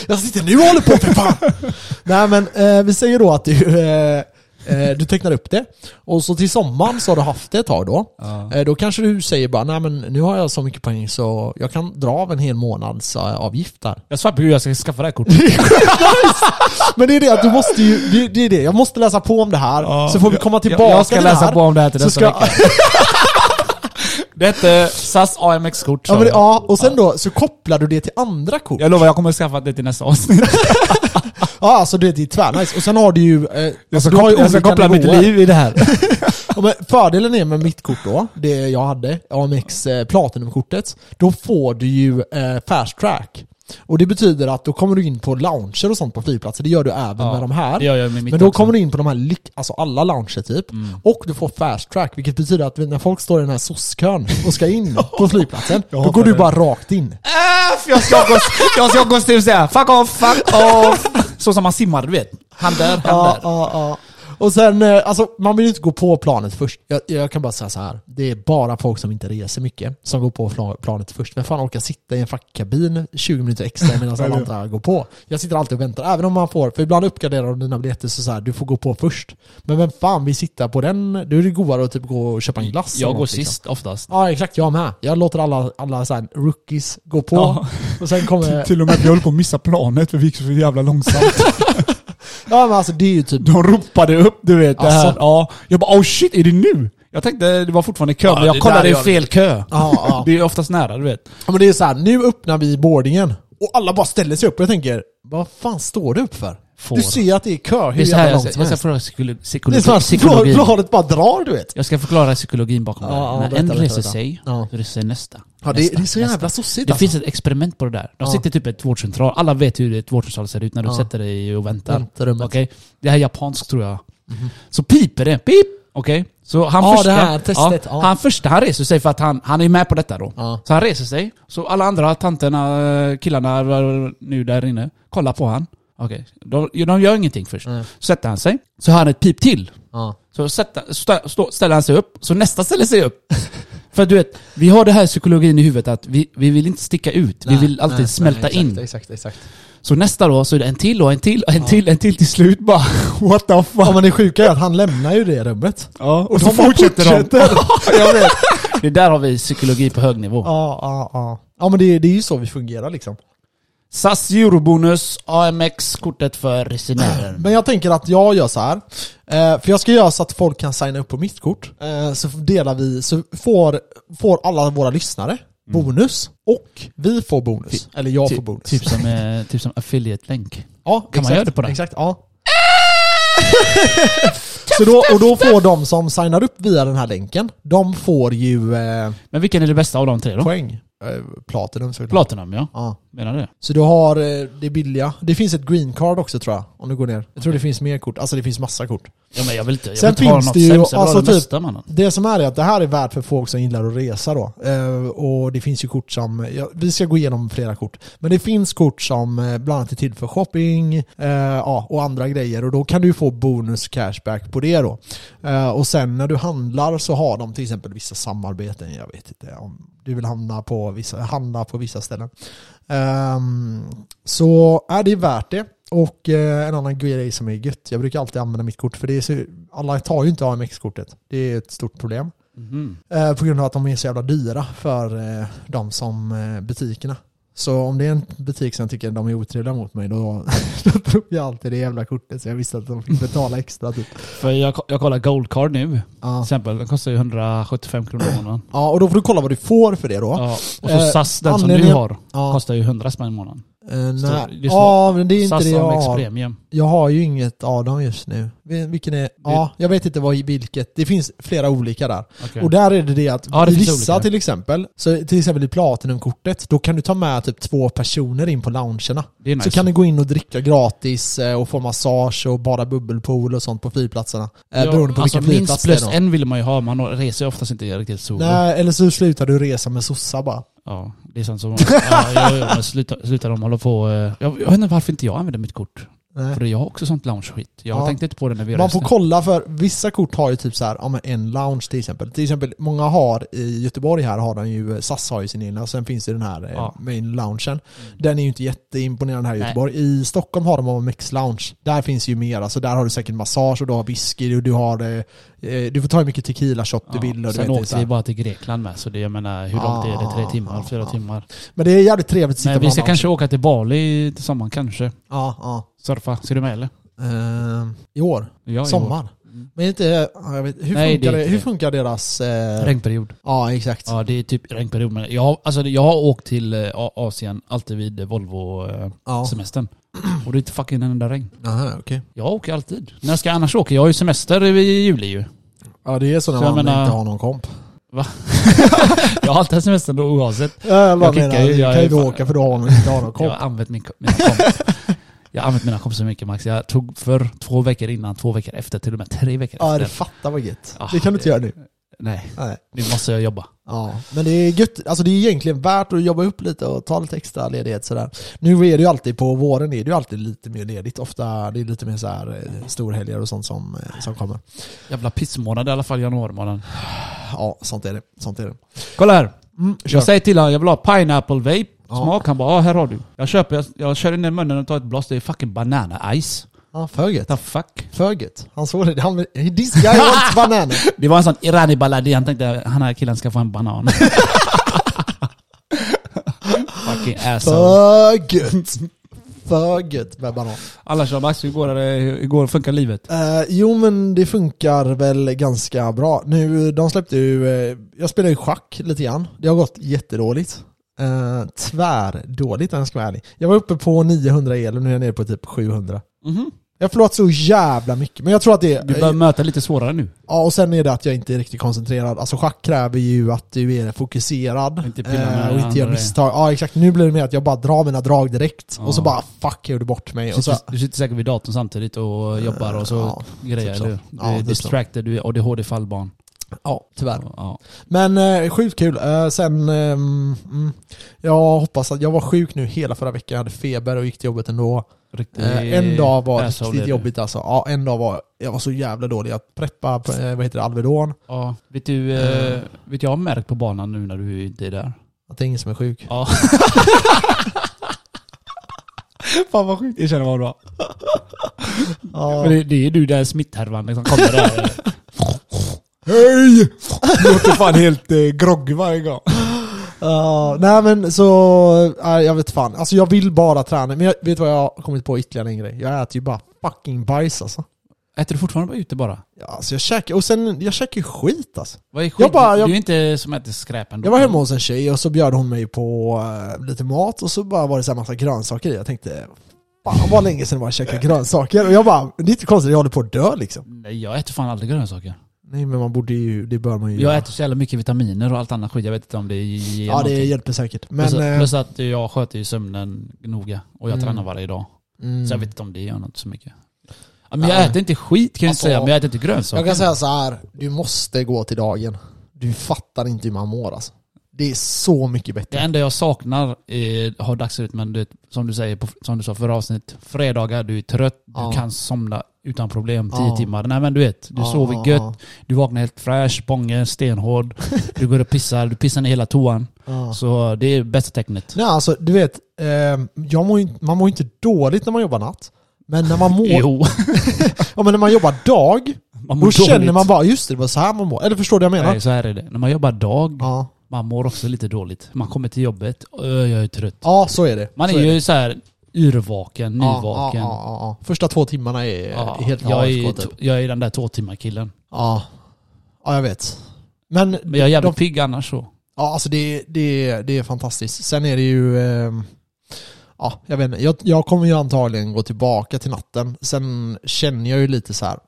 [SPEAKER 1] Jag sitter nu och håller på för fan! Nej men eh, vi säger då att du, eh, eh, du tecknar upp det. Och så till sommaren så har du haft det ett tag då. Eh, då kanske du säger bara nej men nu har jag så mycket poäng så jag kan dra av en hel månads eh, avgift där.
[SPEAKER 2] Jag svär på hur jag ska skaffa det här kortet.
[SPEAKER 1] Men det är det att du måste ju, det, det är det, jag måste läsa på om det här.
[SPEAKER 2] Ja,
[SPEAKER 1] så får vi komma
[SPEAKER 2] jag-
[SPEAKER 1] tillbaka
[SPEAKER 2] Jag ska
[SPEAKER 1] till det
[SPEAKER 2] läsa
[SPEAKER 1] här.
[SPEAKER 2] på om det här till
[SPEAKER 1] Så
[SPEAKER 2] nästa
[SPEAKER 1] ska-
[SPEAKER 2] vecka. Det hette SAS AMX-kort. sa
[SPEAKER 1] Ja, men det,
[SPEAKER 2] jag.
[SPEAKER 1] ja, och sen då så kopplar du det till andra kort. Ja,
[SPEAKER 2] Jag lovar, jag kommer skaffa det till nästa avsnitt.
[SPEAKER 1] alltså det är tvärnice. Och sen har du ju... Eh, alltså, du har ju
[SPEAKER 2] jag ska
[SPEAKER 1] olika
[SPEAKER 2] koppla mitt
[SPEAKER 1] nivåer.
[SPEAKER 2] liv i det här.
[SPEAKER 1] Ja, men fördelen är med mitt kort då, det jag hade, AMX eh, Platinum-kortet, då får du ju eh, fast track. Och det betyder att då kommer du in på lounger och sånt på flygplatser, det gör du även
[SPEAKER 2] Ja,
[SPEAKER 1] med de här.
[SPEAKER 2] det gör jag med mitt
[SPEAKER 1] men då
[SPEAKER 2] också. Mm.
[SPEAKER 1] kommer du in på de här, lik- alltså alla lounger typ. Och du får fast track, vilket betyder att när folk står i den här sosskön och ska in på flygplatsen, då går du bara rakt in.
[SPEAKER 2] Äff, Äh, jag ska gå, jag ska gå och säga fuck off, fuck off. Så som man simmar, du vet. Han där, han
[SPEAKER 1] Ja,
[SPEAKER 2] där.
[SPEAKER 1] ja, ja. Och sen, eh, alltså man vill ju inte gå på planet först. Jag, jag kan bara säga så här. Det är bara folk som inte reser mycket som går på fla- planet först. Vem fan orkar sitta i en fackkabin 20 minuter extra medan alla andra går på? Jag sitter alltid och väntar, även om man får, för ibland uppgraderar de dina biljetter så, så här, du får gå på först. Men vem fan vill sitta på den? Då är det godare att typ gå och köpa en glass. eller
[SPEAKER 2] Jag går
[SPEAKER 1] något, liksom.
[SPEAKER 2] sist oftast.
[SPEAKER 1] Ja exakt, jag med. Jag låter alla, alla så här, rookies gå på.
[SPEAKER 2] Ja.
[SPEAKER 1] Och sen kommer...
[SPEAKER 5] Till och med att vi höll på att missa planet för vi gick så jävla långsamt.
[SPEAKER 1] Ja men alltså det är ju typ...
[SPEAKER 5] De ropade upp du vet det här.
[SPEAKER 1] Alltså.
[SPEAKER 5] Ja. Jag bara oh shit, är det nu?
[SPEAKER 2] Jag tänkte det var fortfarande kö, men
[SPEAKER 1] det
[SPEAKER 2] jag
[SPEAKER 1] där
[SPEAKER 2] kollade i
[SPEAKER 1] gör det.
[SPEAKER 2] fel kö.
[SPEAKER 1] Ja, ja.
[SPEAKER 2] Det är oftast nära, du vet.
[SPEAKER 1] Ja men det är så här, nu öppnar vi boardingen och alla bara ställer sig upp och jag tänker, vad fan står du upp för?
[SPEAKER 2] Får.
[SPEAKER 1] Du ser att det är kö
[SPEAKER 2] Det är
[SPEAKER 1] hur
[SPEAKER 2] så här
[SPEAKER 1] jävla
[SPEAKER 2] jag
[SPEAKER 1] långt
[SPEAKER 2] ska,
[SPEAKER 1] som
[SPEAKER 2] jag ska
[SPEAKER 1] helst.
[SPEAKER 2] förklara psykolo-
[SPEAKER 1] Det är
[SPEAKER 2] psykologi.
[SPEAKER 1] så här,
[SPEAKER 2] psykologin.
[SPEAKER 1] bladet bara drar du vet.
[SPEAKER 2] Jag ska förklara psykologin bakom det
[SPEAKER 1] Ja, ja,
[SPEAKER 2] här. När
[SPEAKER 1] berätta,
[SPEAKER 2] en
[SPEAKER 1] berätta,
[SPEAKER 2] reser
[SPEAKER 1] berätta.
[SPEAKER 2] sig,
[SPEAKER 1] Ja.
[SPEAKER 2] då reser nästa.
[SPEAKER 1] Ja det,
[SPEAKER 2] nästa,
[SPEAKER 1] det är så
[SPEAKER 2] nästa.
[SPEAKER 1] jävla sossigt
[SPEAKER 2] Det
[SPEAKER 1] alltså.
[SPEAKER 2] finns ett experiment på det där. De
[SPEAKER 1] Ja.
[SPEAKER 2] sitter typ i ett vårdcentral. Alla vet hur ett vårdcentral ser ut när du
[SPEAKER 1] Ja.
[SPEAKER 2] sätter dig och väntar.
[SPEAKER 1] Väntrummet.
[SPEAKER 2] Okej? Det här är japanskt tror jag. Så piper det. Pip! Okej? Så han
[SPEAKER 1] Mhm. Ja,
[SPEAKER 2] första...
[SPEAKER 1] det här testet,
[SPEAKER 2] Ja,
[SPEAKER 1] ja.
[SPEAKER 2] Han första, han reser sig för att han, han är med på detta då.
[SPEAKER 1] Ja.
[SPEAKER 2] Så han reser sig. Så alla andra tanterna, eh, killarna eh, nu där inne, kollar på han. Okej. De, de gör ingenting först.
[SPEAKER 1] Nej.
[SPEAKER 2] Sätter han sig. Så har han ett pip till.
[SPEAKER 1] Ja.
[SPEAKER 2] Så sätta, stå, stå, ställer han sig upp, så nästa ställer sig upp. För du vet, vi har det här psykologin i huvudet att vi, vi vill inte sticka ut, vi vill alltid
[SPEAKER 1] Nej, nej,
[SPEAKER 2] smälta
[SPEAKER 1] exakt,
[SPEAKER 2] in.
[SPEAKER 1] Exakt, exakt.
[SPEAKER 2] Så nästa då, så är det en till och en till och en till, en till till slut bara what the fuck.
[SPEAKER 1] Ja men det sjuka är att han lämnar ju det rummet.
[SPEAKER 2] Ja, och
[SPEAKER 1] så fortsätter de.
[SPEAKER 2] jag vet. Det där har vi psykologi på hög nivå.
[SPEAKER 1] Ja, ja, ja. Ja men det, det är ju så vi fungerar liksom.
[SPEAKER 2] SAS Eurobonus, AMX-kortet för resenären.
[SPEAKER 1] Men jag tänker att jag gör så här. Eh, för jag ska göra så att folk kan signa upp på mitt kort. Eh, så delar vi, så får, får alla våra lyssnare
[SPEAKER 3] Mm.
[SPEAKER 1] bonus. Och vi får bonus. Eller jag
[SPEAKER 3] Ty-
[SPEAKER 1] får bonus.
[SPEAKER 3] Typ som, eh, typ som affiliate-länk.
[SPEAKER 1] Ja,
[SPEAKER 3] Kan man göra det på den?
[SPEAKER 1] Exakt, ja. Så då, och då får de som signar upp via den här länken, de får ju eh,
[SPEAKER 3] Men vilken är det bästa av de tre då?
[SPEAKER 1] poäng. Eh, Platinum såklart.
[SPEAKER 3] Platinum ja.
[SPEAKER 1] Ja.
[SPEAKER 3] Menar du det?
[SPEAKER 1] Så du har eh, det billiga. Det finns ett green card också tror jag, om du går ner. Jag tror det finns mer kort. Alltså det finns massa kort.
[SPEAKER 3] Ja men jag vill inte, jag
[SPEAKER 1] Sen
[SPEAKER 3] vill inte ha något
[SPEAKER 1] finns det ju-
[SPEAKER 3] sämst, jag vill
[SPEAKER 1] alltså
[SPEAKER 3] ha det
[SPEAKER 1] typ-
[SPEAKER 3] bästa mannen.
[SPEAKER 1] Det som är är att det här är värt för folk som gillar att resa då. Eh, och det finns ju kort som, ja, vi ska gå igenom flera kort. Men det finns kort som eh, bland annat är till för shopping eh, ja, och andra grejer. Och då kan du ju få bonus cashback på det då. Eh, och sen när du handlar så har de till exempel vissa samarbeten. Jag vet inte om du vill hamna på vissa, handla på vissa ställen. Ehm, så är det är värt det. Och eh, en annan grej som är gött. Jag brukar alltid använda mitt kort för det är så, alla tar ju inte AMX-kortet. Det är ett stort problem.
[SPEAKER 3] Mhm.
[SPEAKER 1] Eh, på grund av att de är så jävla dyra för eh, de som eh, butikerna. Så om det är en butik som tycker de är otrevliga mot mig då, då drog jag alltid det jävla kortet så jag visste att de fick betala extra. Typ.
[SPEAKER 3] För jag, jag kollar Gold Card nu. Till
[SPEAKER 1] Ja.
[SPEAKER 3] exempel, den kostar ju 175 kronor i månaden.
[SPEAKER 1] ja, och då får du kolla vad du får för det då.
[SPEAKER 3] Ja. Och så
[SPEAKER 1] Eh,
[SPEAKER 3] SAS, den som du
[SPEAKER 1] anledningen-
[SPEAKER 3] har,
[SPEAKER 1] Ja.
[SPEAKER 3] kostar ju 100 spänn i månaden.
[SPEAKER 1] Eh,
[SPEAKER 3] Så
[SPEAKER 1] nej.
[SPEAKER 3] det är så-
[SPEAKER 1] Ja, men det är inte
[SPEAKER 3] SAS
[SPEAKER 1] det jag
[SPEAKER 3] AMX
[SPEAKER 1] har.
[SPEAKER 3] Premium.
[SPEAKER 1] Jag har ju inget av dem just nu. Vil- Vilken är? Ja, jag vet inte vad, vilket. Det finns flera olika där.
[SPEAKER 3] Okej.
[SPEAKER 1] Och där är det det att
[SPEAKER 3] Ja, det
[SPEAKER 1] i
[SPEAKER 3] finns
[SPEAKER 1] vissa
[SPEAKER 3] olika.
[SPEAKER 1] till exempel, så till exempel i Platinumkortet, då kan du ta med typ två personer in på loungerna.
[SPEAKER 3] Det är nice.
[SPEAKER 1] Så kan du gå in och dricka gratis eh, och få massage och bada bubbelpool och sånt på fyrplatserna. Ja, Eh, beroende på
[SPEAKER 3] alltså
[SPEAKER 1] vilken
[SPEAKER 3] minst
[SPEAKER 1] flygplats det är.
[SPEAKER 3] plus
[SPEAKER 1] då.
[SPEAKER 3] en vill man ju ha, man reser ju oftast inte riktigt solo.
[SPEAKER 1] Nej, eller så slutar du resa med sossa bara.
[SPEAKER 3] Ja, det är sånt som... Ja, ja, ja, men sluta, sluta de hålla på... eh, Jag, jag vet inte varför inte jag använder mitt kort.
[SPEAKER 1] Nej.
[SPEAKER 3] För jag har också sånt lounge-skit. Jag
[SPEAKER 1] Ja.
[SPEAKER 3] tänkte inte på det när vi
[SPEAKER 1] Man får
[SPEAKER 3] reste.
[SPEAKER 1] kolla för vissa kort har ju typ så här, ja men en lounge till exempel. Till exempel, många har i Göteborg här har den ju, eh, SAS har ju sin egna, sen finns det den här eh,
[SPEAKER 3] Ja.
[SPEAKER 1] main loungen. Den är ju inte jätteimponerande här i
[SPEAKER 3] Nej.
[SPEAKER 1] Göteborg. I Stockholm har de AMX lounge. Där finns ju mer, alltså där har du säkert massage och du har whisky och du har, eh, eh, du får ta hur mycket tequila shot du
[SPEAKER 3] Ja,
[SPEAKER 1] vill och du vet,
[SPEAKER 3] Sen
[SPEAKER 1] det är så
[SPEAKER 3] åkte vi
[SPEAKER 1] här.
[SPEAKER 3] bara till Grekland med, så det, jag menar, hur långt är det? Tre timmar? Fyra
[SPEAKER 1] Ja.
[SPEAKER 3] timmar?
[SPEAKER 1] Men det är jävligt trevligt att sitta
[SPEAKER 3] Men
[SPEAKER 1] på
[SPEAKER 3] vi
[SPEAKER 1] en
[SPEAKER 3] ska
[SPEAKER 1] lounge.
[SPEAKER 3] kanske åka till Bali till sommaren, kanske.
[SPEAKER 1] Ja, ja.
[SPEAKER 3] Surfa. Ska du med eller?
[SPEAKER 1] Ehm, I år?
[SPEAKER 3] Ja, i år. Mm.
[SPEAKER 1] Sommar? Men inte, ja, jag vet, hur,
[SPEAKER 3] Nej, det
[SPEAKER 1] funkar
[SPEAKER 3] är
[SPEAKER 1] det,
[SPEAKER 3] inte
[SPEAKER 1] hur
[SPEAKER 3] det.
[SPEAKER 1] funkar deras... Eh,
[SPEAKER 3] Regnperiod.
[SPEAKER 1] Ja, exakt.
[SPEAKER 3] Ja, det är typ regnperiod. Men jag, har- alltså, jag har åkt till eh, A- Asien, alltid vid
[SPEAKER 1] Ja.
[SPEAKER 3] Volvo-semestern. Och det är inte fucking en enda regn.
[SPEAKER 1] Aha, okej.
[SPEAKER 3] Jag åker alltid. När ska jag annars åka? Jag har ju semester i juli ju.
[SPEAKER 1] Ja det är så när
[SPEAKER 3] Så jag
[SPEAKER 1] man
[SPEAKER 3] menar-
[SPEAKER 1] inte har någon komp.
[SPEAKER 3] Jag har alltid semester då, oavsett.
[SPEAKER 1] Jag
[SPEAKER 3] bara kickar menar, ju,
[SPEAKER 1] du
[SPEAKER 3] du jag
[SPEAKER 1] kan
[SPEAKER 3] kan
[SPEAKER 1] ju
[SPEAKER 3] ju är fan-
[SPEAKER 1] åka för då har man inte har någon
[SPEAKER 3] Jag
[SPEAKER 1] komp.
[SPEAKER 3] har använt min, mina komp. Jag har använt mina kompisar mycket Max. Jag tog för två veckor innan, två veckor efter, till och med tre veckor
[SPEAKER 1] Ja det
[SPEAKER 3] efter.
[SPEAKER 1] fattar vad gött.
[SPEAKER 3] Ah,
[SPEAKER 1] det kan du inte
[SPEAKER 3] det-
[SPEAKER 1] göra nu.
[SPEAKER 3] Nej,
[SPEAKER 1] Nej.
[SPEAKER 3] nu måste jag jobba.
[SPEAKER 1] Ja. Men det är gött, alltså det är egentligen värt att jobba upp lite och ta lite extra ledighet sådär. Nu är det ju alltid, på våren är det ju alltid lite mer ledigt. Ofta det är lite mer såhär eh, storhelger och sånt som, eh, som kommer.
[SPEAKER 3] Jävla pissmånad i alla fall, januarimånaden.
[SPEAKER 1] Ja, sånt är det. Sånt är det.
[SPEAKER 3] Kolla här!
[SPEAKER 1] Mm, kör.
[SPEAKER 3] Jag säger till honom, jag vill ha pineapple vape.
[SPEAKER 1] Ja.
[SPEAKER 3] Smak, han bara ah, här har du. Jag köper, jag, jag kör in den i munnen och tar ett blås. Det är fucking banana ice.
[SPEAKER 1] Ja, för gött.
[SPEAKER 3] The fuck?
[SPEAKER 1] För gött. Han såg det. Han, this guy wants banan.
[SPEAKER 3] Det var en sån Irani Baladi, han tänkte han här killen ska få en banan. fucking asshole.
[SPEAKER 1] För gött. För gött med banan.
[SPEAKER 3] Alla kör Max, hur går, det, hur går funkar livet?
[SPEAKER 1] Eh, jo men det funkar väl ganska bra. Nu, de släppte ju, eh, jag spelar ju schack lite grann. Det har gått jättedåligt. Uh, tvärdåligt om jag ska vara ärlig. Jag var uppe på 900 el och nu är jag nere på typ 700.
[SPEAKER 3] Mhm.
[SPEAKER 1] Jag har förlorat så jävla mycket, men jag tror att det
[SPEAKER 3] Du bör möta lite svårare nu.
[SPEAKER 1] Ja, och sen är det att jag inte är riktigt koncentrerad. Alltså schack kräver ju att du är fokuserad
[SPEAKER 3] Inte pilla med
[SPEAKER 1] eh, och inte
[SPEAKER 3] andra
[SPEAKER 1] gör
[SPEAKER 3] grejer.
[SPEAKER 1] misstag. Ja, exakt. Nu blir det mer att jag bara drar mina drag direkt
[SPEAKER 3] Ja.
[SPEAKER 1] och så bara fuck, jag gjorde bort mig.
[SPEAKER 3] Du
[SPEAKER 1] Och så,
[SPEAKER 3] sitter, du sitter säkert vid datorn samtidigt och jobbar och så
[SPEAKER 1] ja,
[SPEAKER 3] grejer
[SPEAKER 1] typ så.
[SPEAKER 3] du. Du
[SPEAKER 1] Ja,
[SPEAKER 3] är
[SPEAKER 1] typ så.
[SPEAKER 3] distracted, du är ADHD-fallbarn.
[SPEAKER 1] ja, tyvärr.
[SPEAKER 3] Ja.
[SPEAKER 1] Men eh, sjukt kul. Eh, sen, ehm, mm, jag hoppas att jag var sjuk nu hela förra veckan. Jag hade feber och gick till jobbet ändå.
[SPEAKER 3] Riktigt
[SPEAKER 1] Eh, en dag var
[SPEAKER 3] asshole är
[SPEAKER 1] riktigt
[SPEAKER 3] du.
[SPEAKER 1] jobbigt alltså. Ja, en dag var jag var så jävla dålig. Jag preppade, eh, vad heter det, Alvedon.
[SPEAKER 3] Ja. Vet du, eh, vet jag har märkt på banan nu när du inte är där?
[SPEAKER 1] Att det är ingen som är sjuk.
[SPEAKER 3] Ja.
[SPEAKER 2] Fan vad sjukt. Jag känner vad bra.
[SPEAKER 3] Men det, det är du den smitthärvan liksom kommer där.
[SPEAKER 2] Hej! Låter fan helt eh, groggy varje gång.
[SPEAKER 1] Ja, nej men så, nej, jag vet fan. Alltså jag vill bara träna. Men jag vet du vad jag har kommit på ytterligare en grej? Jag äter ju bara fucking bajs alltså.
[SPEAKER 3] Äter du fortfarande ute bara?
[SPEAKER 1] Ja, alltså jag käkar, och sen, jag käkar ju skit alltså.
[SPEAKER 3] Vad är skit?
[SPEAKER 1] Jag bara- jag-
[SPEAKER 3] Du är inte som äter skräp ändå.
[SPEAKER 1] Jag var hemma hos en tjej och så bjöd hon mig på eh, lite mat och så bara var det så här massa grönsaker i. Jag tänkte, fan vad länge sedan det var jag
[SPEAKER 3] Mm.
[SPEAKER 1] käkade grönsaker. Och jag bara, det är inte konstigt, jag håller på att dö liksom.
[SPEAKER 3] Nej, jag äter fan aldrig grönsaker.
[SPEAKER 1] Nej men man borde ju, det bör man ju
[SPEAKER 3] Jag äter så jävla mycket vitaminer och allt annat skit. Jag vet inte om det ger
[SPEAKER 1] Ja det
[SPEAKER 3] någonting.
[SPEAKER 1] hjälper säkert. Men,
[SPEAKER 3] plus,
[SPEAKER 1] eh,
[SPEAKER 3] plus att jag sköter ju sömnen noga och jag
[SPEAKER 1] Mm.
[SPEAKER 3] tränar varje dag.
[SPEAKER 1] mm.
[SPEAKER 3] Så jag vet inte om det gör något så mycket. Ja, men jag
[SPEAKER 1] Nej.
[SPEAKER 3] äter inte skit kan jag inte
[SPEAKER 1] Alltså,
[SPEAKER 3] säga, men jag äter inte grönsaker.
[SPEAKER 1] jag kan säga så här, du måste gå till dagen. Du fattar inte hur man mår alltså. Det är så mycket
[SPEAKER 3] Det
[SPEAKER 1] bättre.
[SPEAKER 3] enda jag saknar är, har dagsut, men du, vet, som du säger, på, som du sa förra avsnittet, fredagar, du är trött,
[SPEAKER 1] Ja.
[SPEAKER 3] du kan somna utan problem tio
[SPEAKER 1] Ja.
[SPEAKER 3] timmar. Nej men du vet, du
[SPEAKER 1] Ja,
[SPEAKER 3] sover
[SPEAKER 1] ja,
[SPEAKER 3] gött,
[SPEAKER 1] ja.
[SPEAKER 3] du vaknar helt fräsch, bången, stenhård, du går och pissar, du pissar ner hela toan.
[SPEAKER 1] Ja.
[SPEAKER 3] Så det är bästa tecknet.
[SPEAKER 1] Nej alltså, du vet, eh, jag mår ju, inte- man mår ju inte dåligt när man jobbar natt. Men när man mår,
[SPEAKER 3] Jo,
[SPEAKER 1] ja, men när man jobbar dag,
[SPEAKER 3] man
[SPEAKER 1] Då
[SPEAKER 3] mår
[SPEAKER 1] känner
[SPEAKER 3] dåligt.
[SPEAKER 1] man bara, just det, det var så här man mår. Eller förstår du vad jag menar?
[SPEAKER 3] Nej, så här är det. När man jobbar dag,
[SPEAKER 1] Ja.
[SPEAKER 3] man mår också lite dåligt. Man kommer till jobbet, "Ö, jag är trött.
[SPEAKER 1] ja, så är det.
[SPEAKER 3] Man
[SPEAKER 1] så
[SPEAKER 3] är
[SPEAKER 1] det.
[SPEAKER 3] ju så här yrvaken,
[SPEAKER 1] Ja,
[SPEAKER 3] nyvaken.
[SPEAKER 1] Ja, ja, ja, ja. Första två timmarna är
[SPEAKER 3] Ja,
[SPEAKER 1] helt
[SPEAKER 3] jag, är,
[SPEAKER 1] AFK, typ.
[SPEAKER 3] t- jag är den där tvåtimmarkillen.
[SPEAKER 1] Ja. ja, jag vet. Men,
[SPEAKER 3] Men jag är jävligt
[SPEAKER 1] de,
[SPEAKER 3] pigg annars så.
[SPEAKER 1] ja, alltså det, det, det är fantastiskt. Sen är det ju... ehm, ja, jag vet inte. Jag, jag kommer ju antagligen gå tillbaka till natten. Sen känner jag ju lite så här.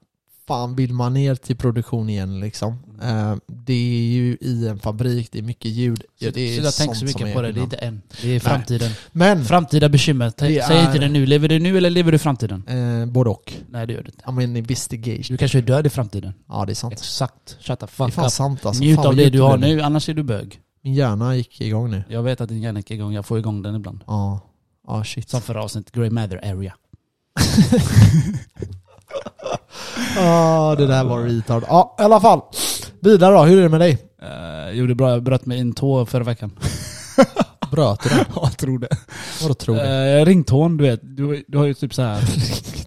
[SPEAKER 1] Fan, vill man ner till produktion igen liksom? Eh, det är ju i en fabrik, det är mycket ljud. Ja, det är
[SPEAKER 3] så jag tänker
[SPEAKER 1] sånt
[SPEAKER 3] så
[SPEAKER 1] som
[SPEAKER 3] mycket
[SPEAKER 1] är
[SPEAKER 3] på det. Det är
[SPEAKER 1] skillnad.
[SPEAKER 3] inte än. Det är framtiden.
[SPEAKER 1] Men,
[SPEAKER 3] Framtida bekymmer. Ta-
[SPEAKER 1] Det
[SPEAKER 3] Säg
[SPEAKER 1] är-
[SPEAKER 3] inte det nu. Lever du nu eller lever du i framtiden?
[SPEAKER 1] eh, både och.
[SPEAKER 3] Nej det gör du inte.
[SPEAKER 1] Ja men investigation.
[SPEAKER 3] Du kanske är död i framtiden.
[SPEAKER 1] Ja det är sant.
[SPEAKER 3] Exakt. Shut
[SPEAKER 1] Det är
[SPEAKER 3] the fuck
[SPEAKER 1] fan
[SPEAKER 3] up.
[SPEAKER 1] sant alltså.
[SPEAKER 3] Njut
[SPEAKER 1] fan,
[SPEAKER 3] av
[SPEAKER 1] vad
[SPEAKER 3] det
[SPEAKER 1] djupt
[SPEAKER 3] du har
[SPEAKER 1] blev.
[SPEAKER 3] nu, annars är du bög.
[SPEAKER 1] Min hjärna gick igång nu.
[SPEAKER 3] Jag vet att din hjärna gick igång. Jag får igång den ibland.
[SPEAKER 1] Ja. Ja shit.
[SPEAKER 3] Som förra avsnittet, Grey Matter Area.
[SPEAKER 1] Ja det där var retard. Ja i alla fall. Vidare då, hur är det med dig?
[SPEAKER 3] Uh, gjorde bra. Jag bröt mig en tå förra veckan.
[SPEAKER 1] Bröt du den?
[SPEAKER 3] jag tror det.
[SPEAKER 1] Vadå tror du?
[SPEAKER 3] Eh, ringtån, du vet. Du, du har ju typ så här.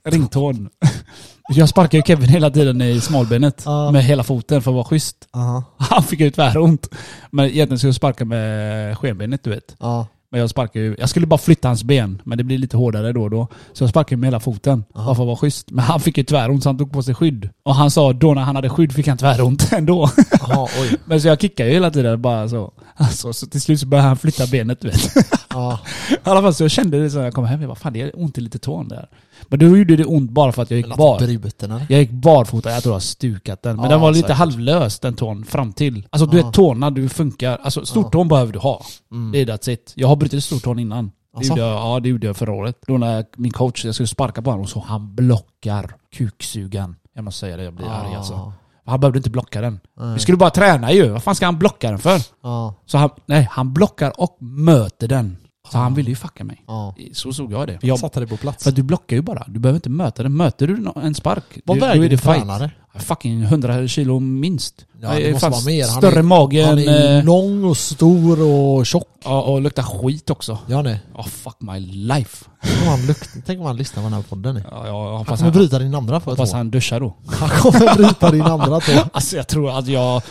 [SPEAKER 3] ringtån. Jag sparkar ju Kevin hela tiden i smalbenet.
[SPEAKER 1] Ja.
[SPEAKER 3] Med hela foten för att vara schysst.
[SPEAKER 1] Aha.
[SPEAKER 3] Han fick ju tväront. Men egentligen skulle jag sparka med skenbenet du vet.
[SPEAKER 1] Ja.
[SPEAKER 3] Men jag sparkar ju, jag skulle bara flytta hans ben, men det blir lite hårdare då och då. Så jag sparkade med hela foten, bara för att vara schysst. Men han fick ju tväront så han tog på sig skydd. Och han sa då när han hade skydd fick han tväront ändå.
[SPEAKER 1] Aha, oj.
[SPEAKER 3] Men så jag kickade ju hela tiden bara så. Alltså, så till slut så började han flytta benet du vet.
[SPEAKER 1] Ja.
[SPEAKER 3] I alla fall så jag kände det så när jag kom hem, jag bara fan det är ont i lite tån där. Men då gjorde det ont bara för att jag gick bar.
[SPEAKER 1] Bruten eller?
[SPEAKER 3] Jag gick barfota, jag tror jag har stukat den. Men
[SPEAKER 1] Ja,
[SPEAKER 3] den var lite
[SPEAKER 1] säkert.
[SPEAKER 3] halvlös den tån fram till. Alltså du vet tårna, du funkar. Alltså stortån behöver du ha. Det är that's it. Jag har brutit stortån innan. Det
[SPEAKER 1] Mm. Asså?
[SPEAKER 3] gjorde jag, ja det gjorde jag förra året. Då när min coach, jag skulle sparka på honom och så han blockar kuksugan. Jag måste säga det, jag blir arg
[SPEAKER 1] Ah.
[SPEAKER 3] alltså. Han behövde inte blocka den. Vi skulle bara träna ju. Vad fan ska han blocka den för?
[SPEAKER 1] Ja.
[SPEAKER 3] Så han, nej, han blockar och möter den. Så
[SPEAKER 1] Ah.
[SPEAKER 3] han ville ju fucka mig.
[SPEAKER 1] Ja.
[SPEAKER 3] Så såg jag det. För
[SPEAKER 1] Jag
[SPEAKER 3] jag,
[SPEAKER 1] satte dig på plats.
[SPEAKER 3] för att du blockar ju bara. Du behöver inte möta den. Möter du nå- en spark,
[SPEAKER 1] Vad
[SPEAKER 3] du,
[SPEAKER 1] väger
[SPEAKER 3] då är det
[SPEAKER 1] din
[SPEAKER 3] fight.
[SPEAKER 1] tränare?
[SPEAKER 3] Fucking 100 kilo minst.
[SPEAKER 1] Ja, det
[SPEAKER 3] Jag är
[SPEAKER 1] måste
[SPEAKER 3] fan
[SPEAKER 1] vara mer. Han är-
[SPEAKER 3] Större mage
[SPEAKER 1] Han
[SPEAKER 3] än...
[SPEAKER 1] är ju
[SPEAKER 3] eh,
[SPEAKER 1] lång och stor och tjock.
[SPEAKER 3] Ja, och luktar skit också.
[SPEAKER 1] Ja nej.
[SPEAKER 3] Oh, fuck my life.
[SPEAKER 1] Tänk om han, lukt- Tänk om han lyssnar på den här podden nu.
[SPEAKER 3] Ja, jag
[SPEAKER 1] Han
[SPEAKER 3] hoppas
[SPEAKER 1] kommer
[SPEAKER 3] han,
[SPEAKER 1] bryta din andra för
[SPEAKER 3] hoppas
[SPEAKER 1] tå.
[SPEAKER 3] han duschar då.
[SPEAKER 1] Han kommer bryta din andra tå.
[SPEAKER 3] Alltså jag tror att jag...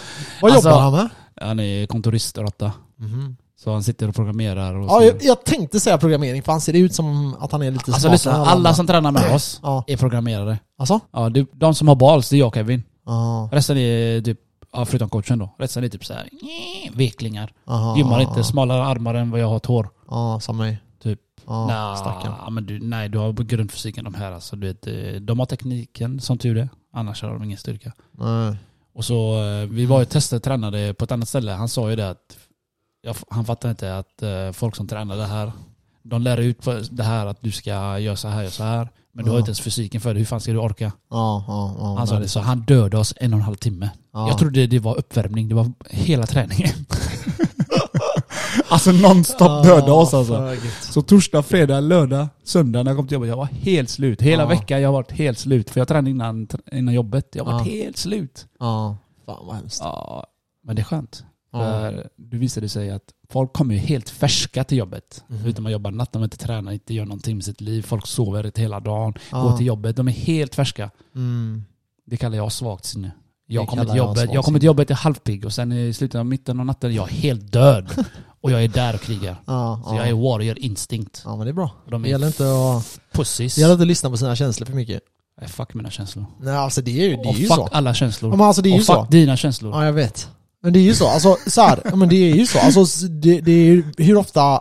[SPEAKER 1] Vad
[SPEAKER 3] Alltså-
[SPEAKER 1] jobbar han med?
[SPEAKER 3] Han är kontoristråtta. Så han sitter och programmerar och...
[SPEAKER 1] Mhm. Ja,
[SPEAKER 3] så.
[SPEAKER 1] jag, jag tänkte säga programmering för han ser ut som att han är lite
[SPEAKER 3] alltså
[SPEAKER 1] smartare
[SPEAKER 3] lyssna,
[SPEAKER 1] än
[SPEAKER 3] alla som tränar med oss
[SPEAKER 1] Ja.
[SPEAKER 3] är programmerare.
[SPEAKER 1] Alltså?
[SPEAKER 3] Ja, det, de som har balls, det är jag och Kevin.
[SPEAKER 1] Ja.
[SPEAKER 3] Resten är typ... Ja, förutom coachen då. Resten är typ så här, eh, Veklingar.
[SPEAKER 1] Aha,
[SPEAKER 3] Gymmar inte, smalare armar än vad jag har tår.
[SPEAKER 1] Ja, som mig.
[SPEAKER 3] Typ.
[SPEAKER 1] Ja,
[SPEAKER 3] Nja,
[SPEAKER 1] stackarn.
[SPEAKER 3] ah, men du, nej, du har grundfysiken de här. Alltså, du vet, eh, de har tekniken som tur är. Annars har de ingen styrka.
[SPEAKER 1] Nej.
[SPEAKER 3] Och så, eh, vi var ju testade tränade på ett annat ställe. Han sa ju det att jag, f- han fattar inte att eh, folk som tränar det här, de lär ut på det här att du ska göra så här, göra så här. Men du har
[SPEAKER 1] Ja.
[SPEAKER 3] ju inte ens fysiken för det. Hur fan ska du orka?
[SPEAKER 1] Ja, ja, ja.
[SPEAKER 3] Han sa
[SPEAKER 1] Ah, nej. Ah.
[SPEAKER 3] det, så han dödade oss en och en halv timme.
[SPEAKER 1] Ja.
[SPEAKER 3] Jag trodde det var uppvärmning. Det var hela träningen. alltså nonstop dödade oss alltså.
[SPEAKER 1] Ja, för gött.
[SPEAKER 3] Så torsdag, fredag, lördag, söndag när jag kom till jobbet, jag var helt slut. Hela
[SPEAKER 1] Ja.
[SPEAKER 3] veckan jag har varit helt slut. För jag tränade innan, innan jobbet. Jag har varit
[SPEAKER 1] Ja.
[SPEAKER 3] helt slut.
[SPEAKER 1] Ja. Fan vad hemskt.
[SPEAKER 3] Ja, men det är skönt.
[SPEAKER 1] Ja.
[SPEAKER 3] För det visade sig att folk kommer ju helt färska till jobbet.
[SPEAKER 1] Mhm.
[SPEAKER 3] Utan man jobbar natt, de inte tränar, inte gör någonting med sitt liv. Folk sover inte hela dagen,
[SPEAKER 1] Ja.
[SPEAKER 3] går till jobbet. De är helt färska.
[SPEAKER 1] Mm.
[SPEAKER 3] Det kallar jag svagt sinne.
[SPEAKER 1] Det
[SPEAKER 3] Jag kommer
[SPEAKER 1] kallar
[SPEAKER 3] till
[SPEAKER 1] jag
[SPEAKER 3] jobbet,
[SPEAKER 1] svagt
[SPEAKER 3] jag kommer
[SPEAKER 1] sinne.
[SPEAKER 3] till jobbet, jag är halvpigg och sen i slutet av mitten av natten, jag är helt död. och jag är där och krigar.
[SPEAKER 1] Ja,
[SPEAKER 3] Så
[SPEAKER 1] ja.
[SPEAKER 3] jag är Mm. warrior instinct.
[SPEAKER 1] ja, men det är bra.
[SPEAKER 3] Och de
[SPEAKER 1] Det
[SPEAKER 3] är
[SPEAKER 1] gäller inte att,
[SPEAKER 3] pussis.
[SPEAKER 1] det gäller inte att lyssna på sina känslor för mycket.
[SPEAKER 3] Nej, Eh, fuck mina känslor.
[SPEAKER 1] Nej, alltså det är ju, det är
[SPEAKER 3] och
[SPEAKER 1] ju
[SPEAKER 3] Oh, fuck
[SPEAKER 1] så.
[SPEAKER 3] alla
[SPEAKER 1] Ja,
[SPEAKER 3] känslor.
[SPEAKER 1] men alltså det är ju
[SPEAKER 3] och fuck
[SPEAKER 1] så.
[SPEAKER 3] dina känslor.
[SPEAKER 1] Ja, jag vet. Men det är ju så. Alltså, så här, ja, men det är ju så. Alltså, s- det, det är ju hur ofta...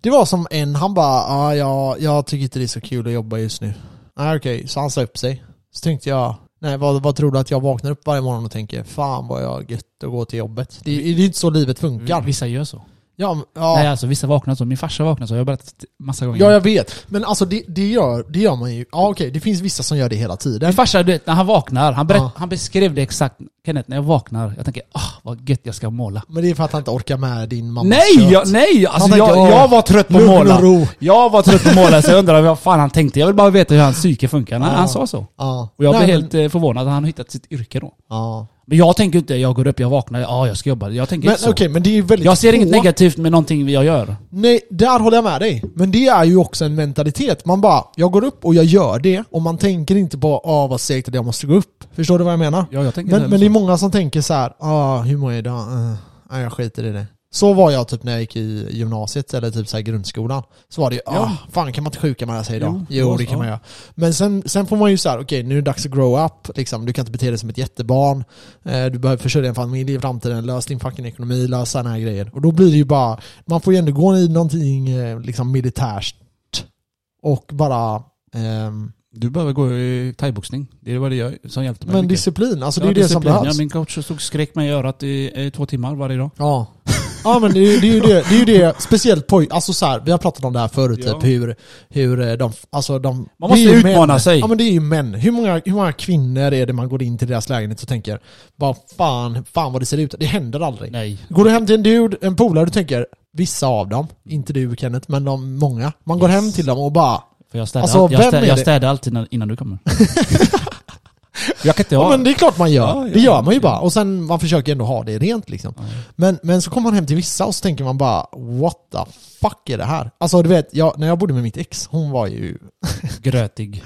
[SPEAKER 1] Det var som en, han bara ah, jag, jag tycker inte det är så kul att jobba just nu. Nej okej, så han sa upp sig. Så tänkte jag, nej vad, vad tror du att jag vaknar upp varje morgon och tänker fan vad jag gött att gå till jobbet. Det, det är ju inte så livet funkar.
[SPEAKER 3] Vissa gör så.
[SPEAKER 1] Ja, men- ja.
[SPEAKER 3] Mm. Nej alltså vissa vaknar så. Min farsa vaknar så. Jag har berättat massa gånger.
[SPEAKER 1] Ja, jag vet. Men alltså det, det, gör, det gör man ju. Ja, okej, det finns vissa som gör det hela tiden.
[SPEAKER 3] Min farsa, du vet, när han vaknar, han, berätt,
[SPEAKER 1] Ja.
[SPEAKER 3] han beskrev det exakt. Kenneth, när jag vaknar, jag tänker ah, vad gött jag ska måla.
[SPEAKER 1] Men det är för att han inte orkar med din mammas
[SPEAKER 3] Nej,
[SPEAKER 1] kött.
[SPEAKER 3] jag, nej! Alltså,
[SPEAKER 1] tänker,
[SPEAKER 3] jag,
[SPEAKER 1] "Åh,
[SPEAKER 3] jag var trött på
[SPEAKER 1] lugn och
[SPEAKER 3] måla.
[SPEAKER 1] ro."
[SPEAKER 3] Jag var trött på måla, så jag undrar vad fan han tänkte. Jag vill bara veta hur hans psyke funkar. Han, han sa så.
[SPEAKER 1] Ja.
[SPEAKER 3] Och jag
[SPEAKER 1] Nej,
[SPEAKER 3] blev
[SPEAKER 1] men-
[SPEAKER 3] helt eh, förvånad att han har hittat sitt yrke då.
[SPEAKER 1] Ja.
[SPEAKER 3] Men jag tänker inte, jag går upp, jag vaknar, ja jag ska jobba. Jag tänker
[SPEAKER 1] Men
[SPEAKER 3] inte så.
[SPEAKER 1] okej, men det är ju väldigt
[SPEAKER 3] Jag ser inget
[SPEAKER 1] få-
[SPEAKER 3] negativt med någonting jag gör.
[SPEAKER 1] Nej, där håller jag med dig. Men det är ju också en mentalitet. Man bara, jag går upp och jag gör det. Och man tänker inte på, ah vad segt att jag måste gå upp. Förstår du vad jag menar?
[SPEAKER 3] Ja, jag tänker
[SPEAKER 1] men
[SPEAKER 3] det
[SPEAKER 1] men det är
[SPEAKER 3] så.
[SPEAKER 1] många som tänker så här, ah hur mår jag idag? Eh, nej, jag skiter i det. Så var jag typ när jag gick i gymnasiet eller typ så här grundskolan. Så var det ju, ah,
[SPEAKER 3] Ja.
[SPEAKER 1] fan kan man inte sjukanmäla sig idag?
[SPEAKER 3] Jo,
[SPEAKER 1] Jo,
[SPEAKER 3] ja,
[SPEAKER 1] det kan
[SPEAKER 3] ja.
[SPEAKER 1] man göra. Men sen, sen får man ju så här, okej nu är det dags att grow up. Liksom. Du kan inte bete dig som ett jättebarn. Eh, du behöver försörja en familj i framtiden. Lös din fucking ekonomi, lös sådana här grejer. Och då blir det ju bara, man får ju ändå gå i någonting eh, liksom militärt. Och bara... ehm,
[SPEAKER 3] Du behöver gå i thaiboxning. Det var det jag, som hjälpte mig
[SPEAKER 1] men
[SPEAKER 3] mycket.
[SPEAKER 1] disciplin, alltså det
[SPEAKER 3] Ja,
[SPEAKER 1] är ju det som
[SPEAKER 3] disciplin.
[SPEAKER 1] behövs.
[SPEAKER 3] Ja, min coach stod och skrek mig i örat i, i två timmar varje dag.
[SPEAKER 1] Ja. Ja men det är ju det, är ju det, det, är ju det speciellt poj... Alltså så här, vi har pratat om det här förut,
[SPEAKER 3] Ja.
[SPEAKER 1] typ hur, hur eh, de... Alltså de...
[SPEAKER 3] Man måste
[SPEAKER 1] det är ju
[SPEAKER 3] utmana
[SPEAKER 1] män.
[SPEAKER 3] sig.
[SPEAKER 1] Ja men det är ju män. Hur många, hur många kvinnor är det man går in till deras lägenhet och tänker bara fan, fan vad det ser ut. Det händer aldrig.
[SPEAKER 3] Nej.
[SPEAKER 1] Går du hem till en dude, en polare, du tänker vissa av dem, inte du Kenneth, men de många. Man går hem till dem och bara
[SPEAKER 3] För jag städar,
[SPEAKER 1] Alltså,
[SPEAKER 3] allt- jag
[SPEAKER 1] vem
[SPEAKER 3] städar,
[SPEAKER 1] är
[SPEAKER 3] jag
[SPEAKER 1] det?
[SPEAKER 3] städar alltid innan, innan du kommer. jag kan inte
[SPEAKER 1] Ja,
[SPEAKER 3] ha...
[SPEAKER 1] men det är klart man gör.
[SPEAKER 3] Ja, ja,
[SPEAKER 1] det gör man ju
[SPEAKER 3] ja.
[SPEAKER 1] bara. Och sen man försöker ändå ha det rent liksom. Men, men så kommer man hem till vissa och så tänker man bara what the fuck är det här? Alltså du vet, jag, när jag bodde med mitt ex, hon var ju,
[SPEAKER 3] Grötig.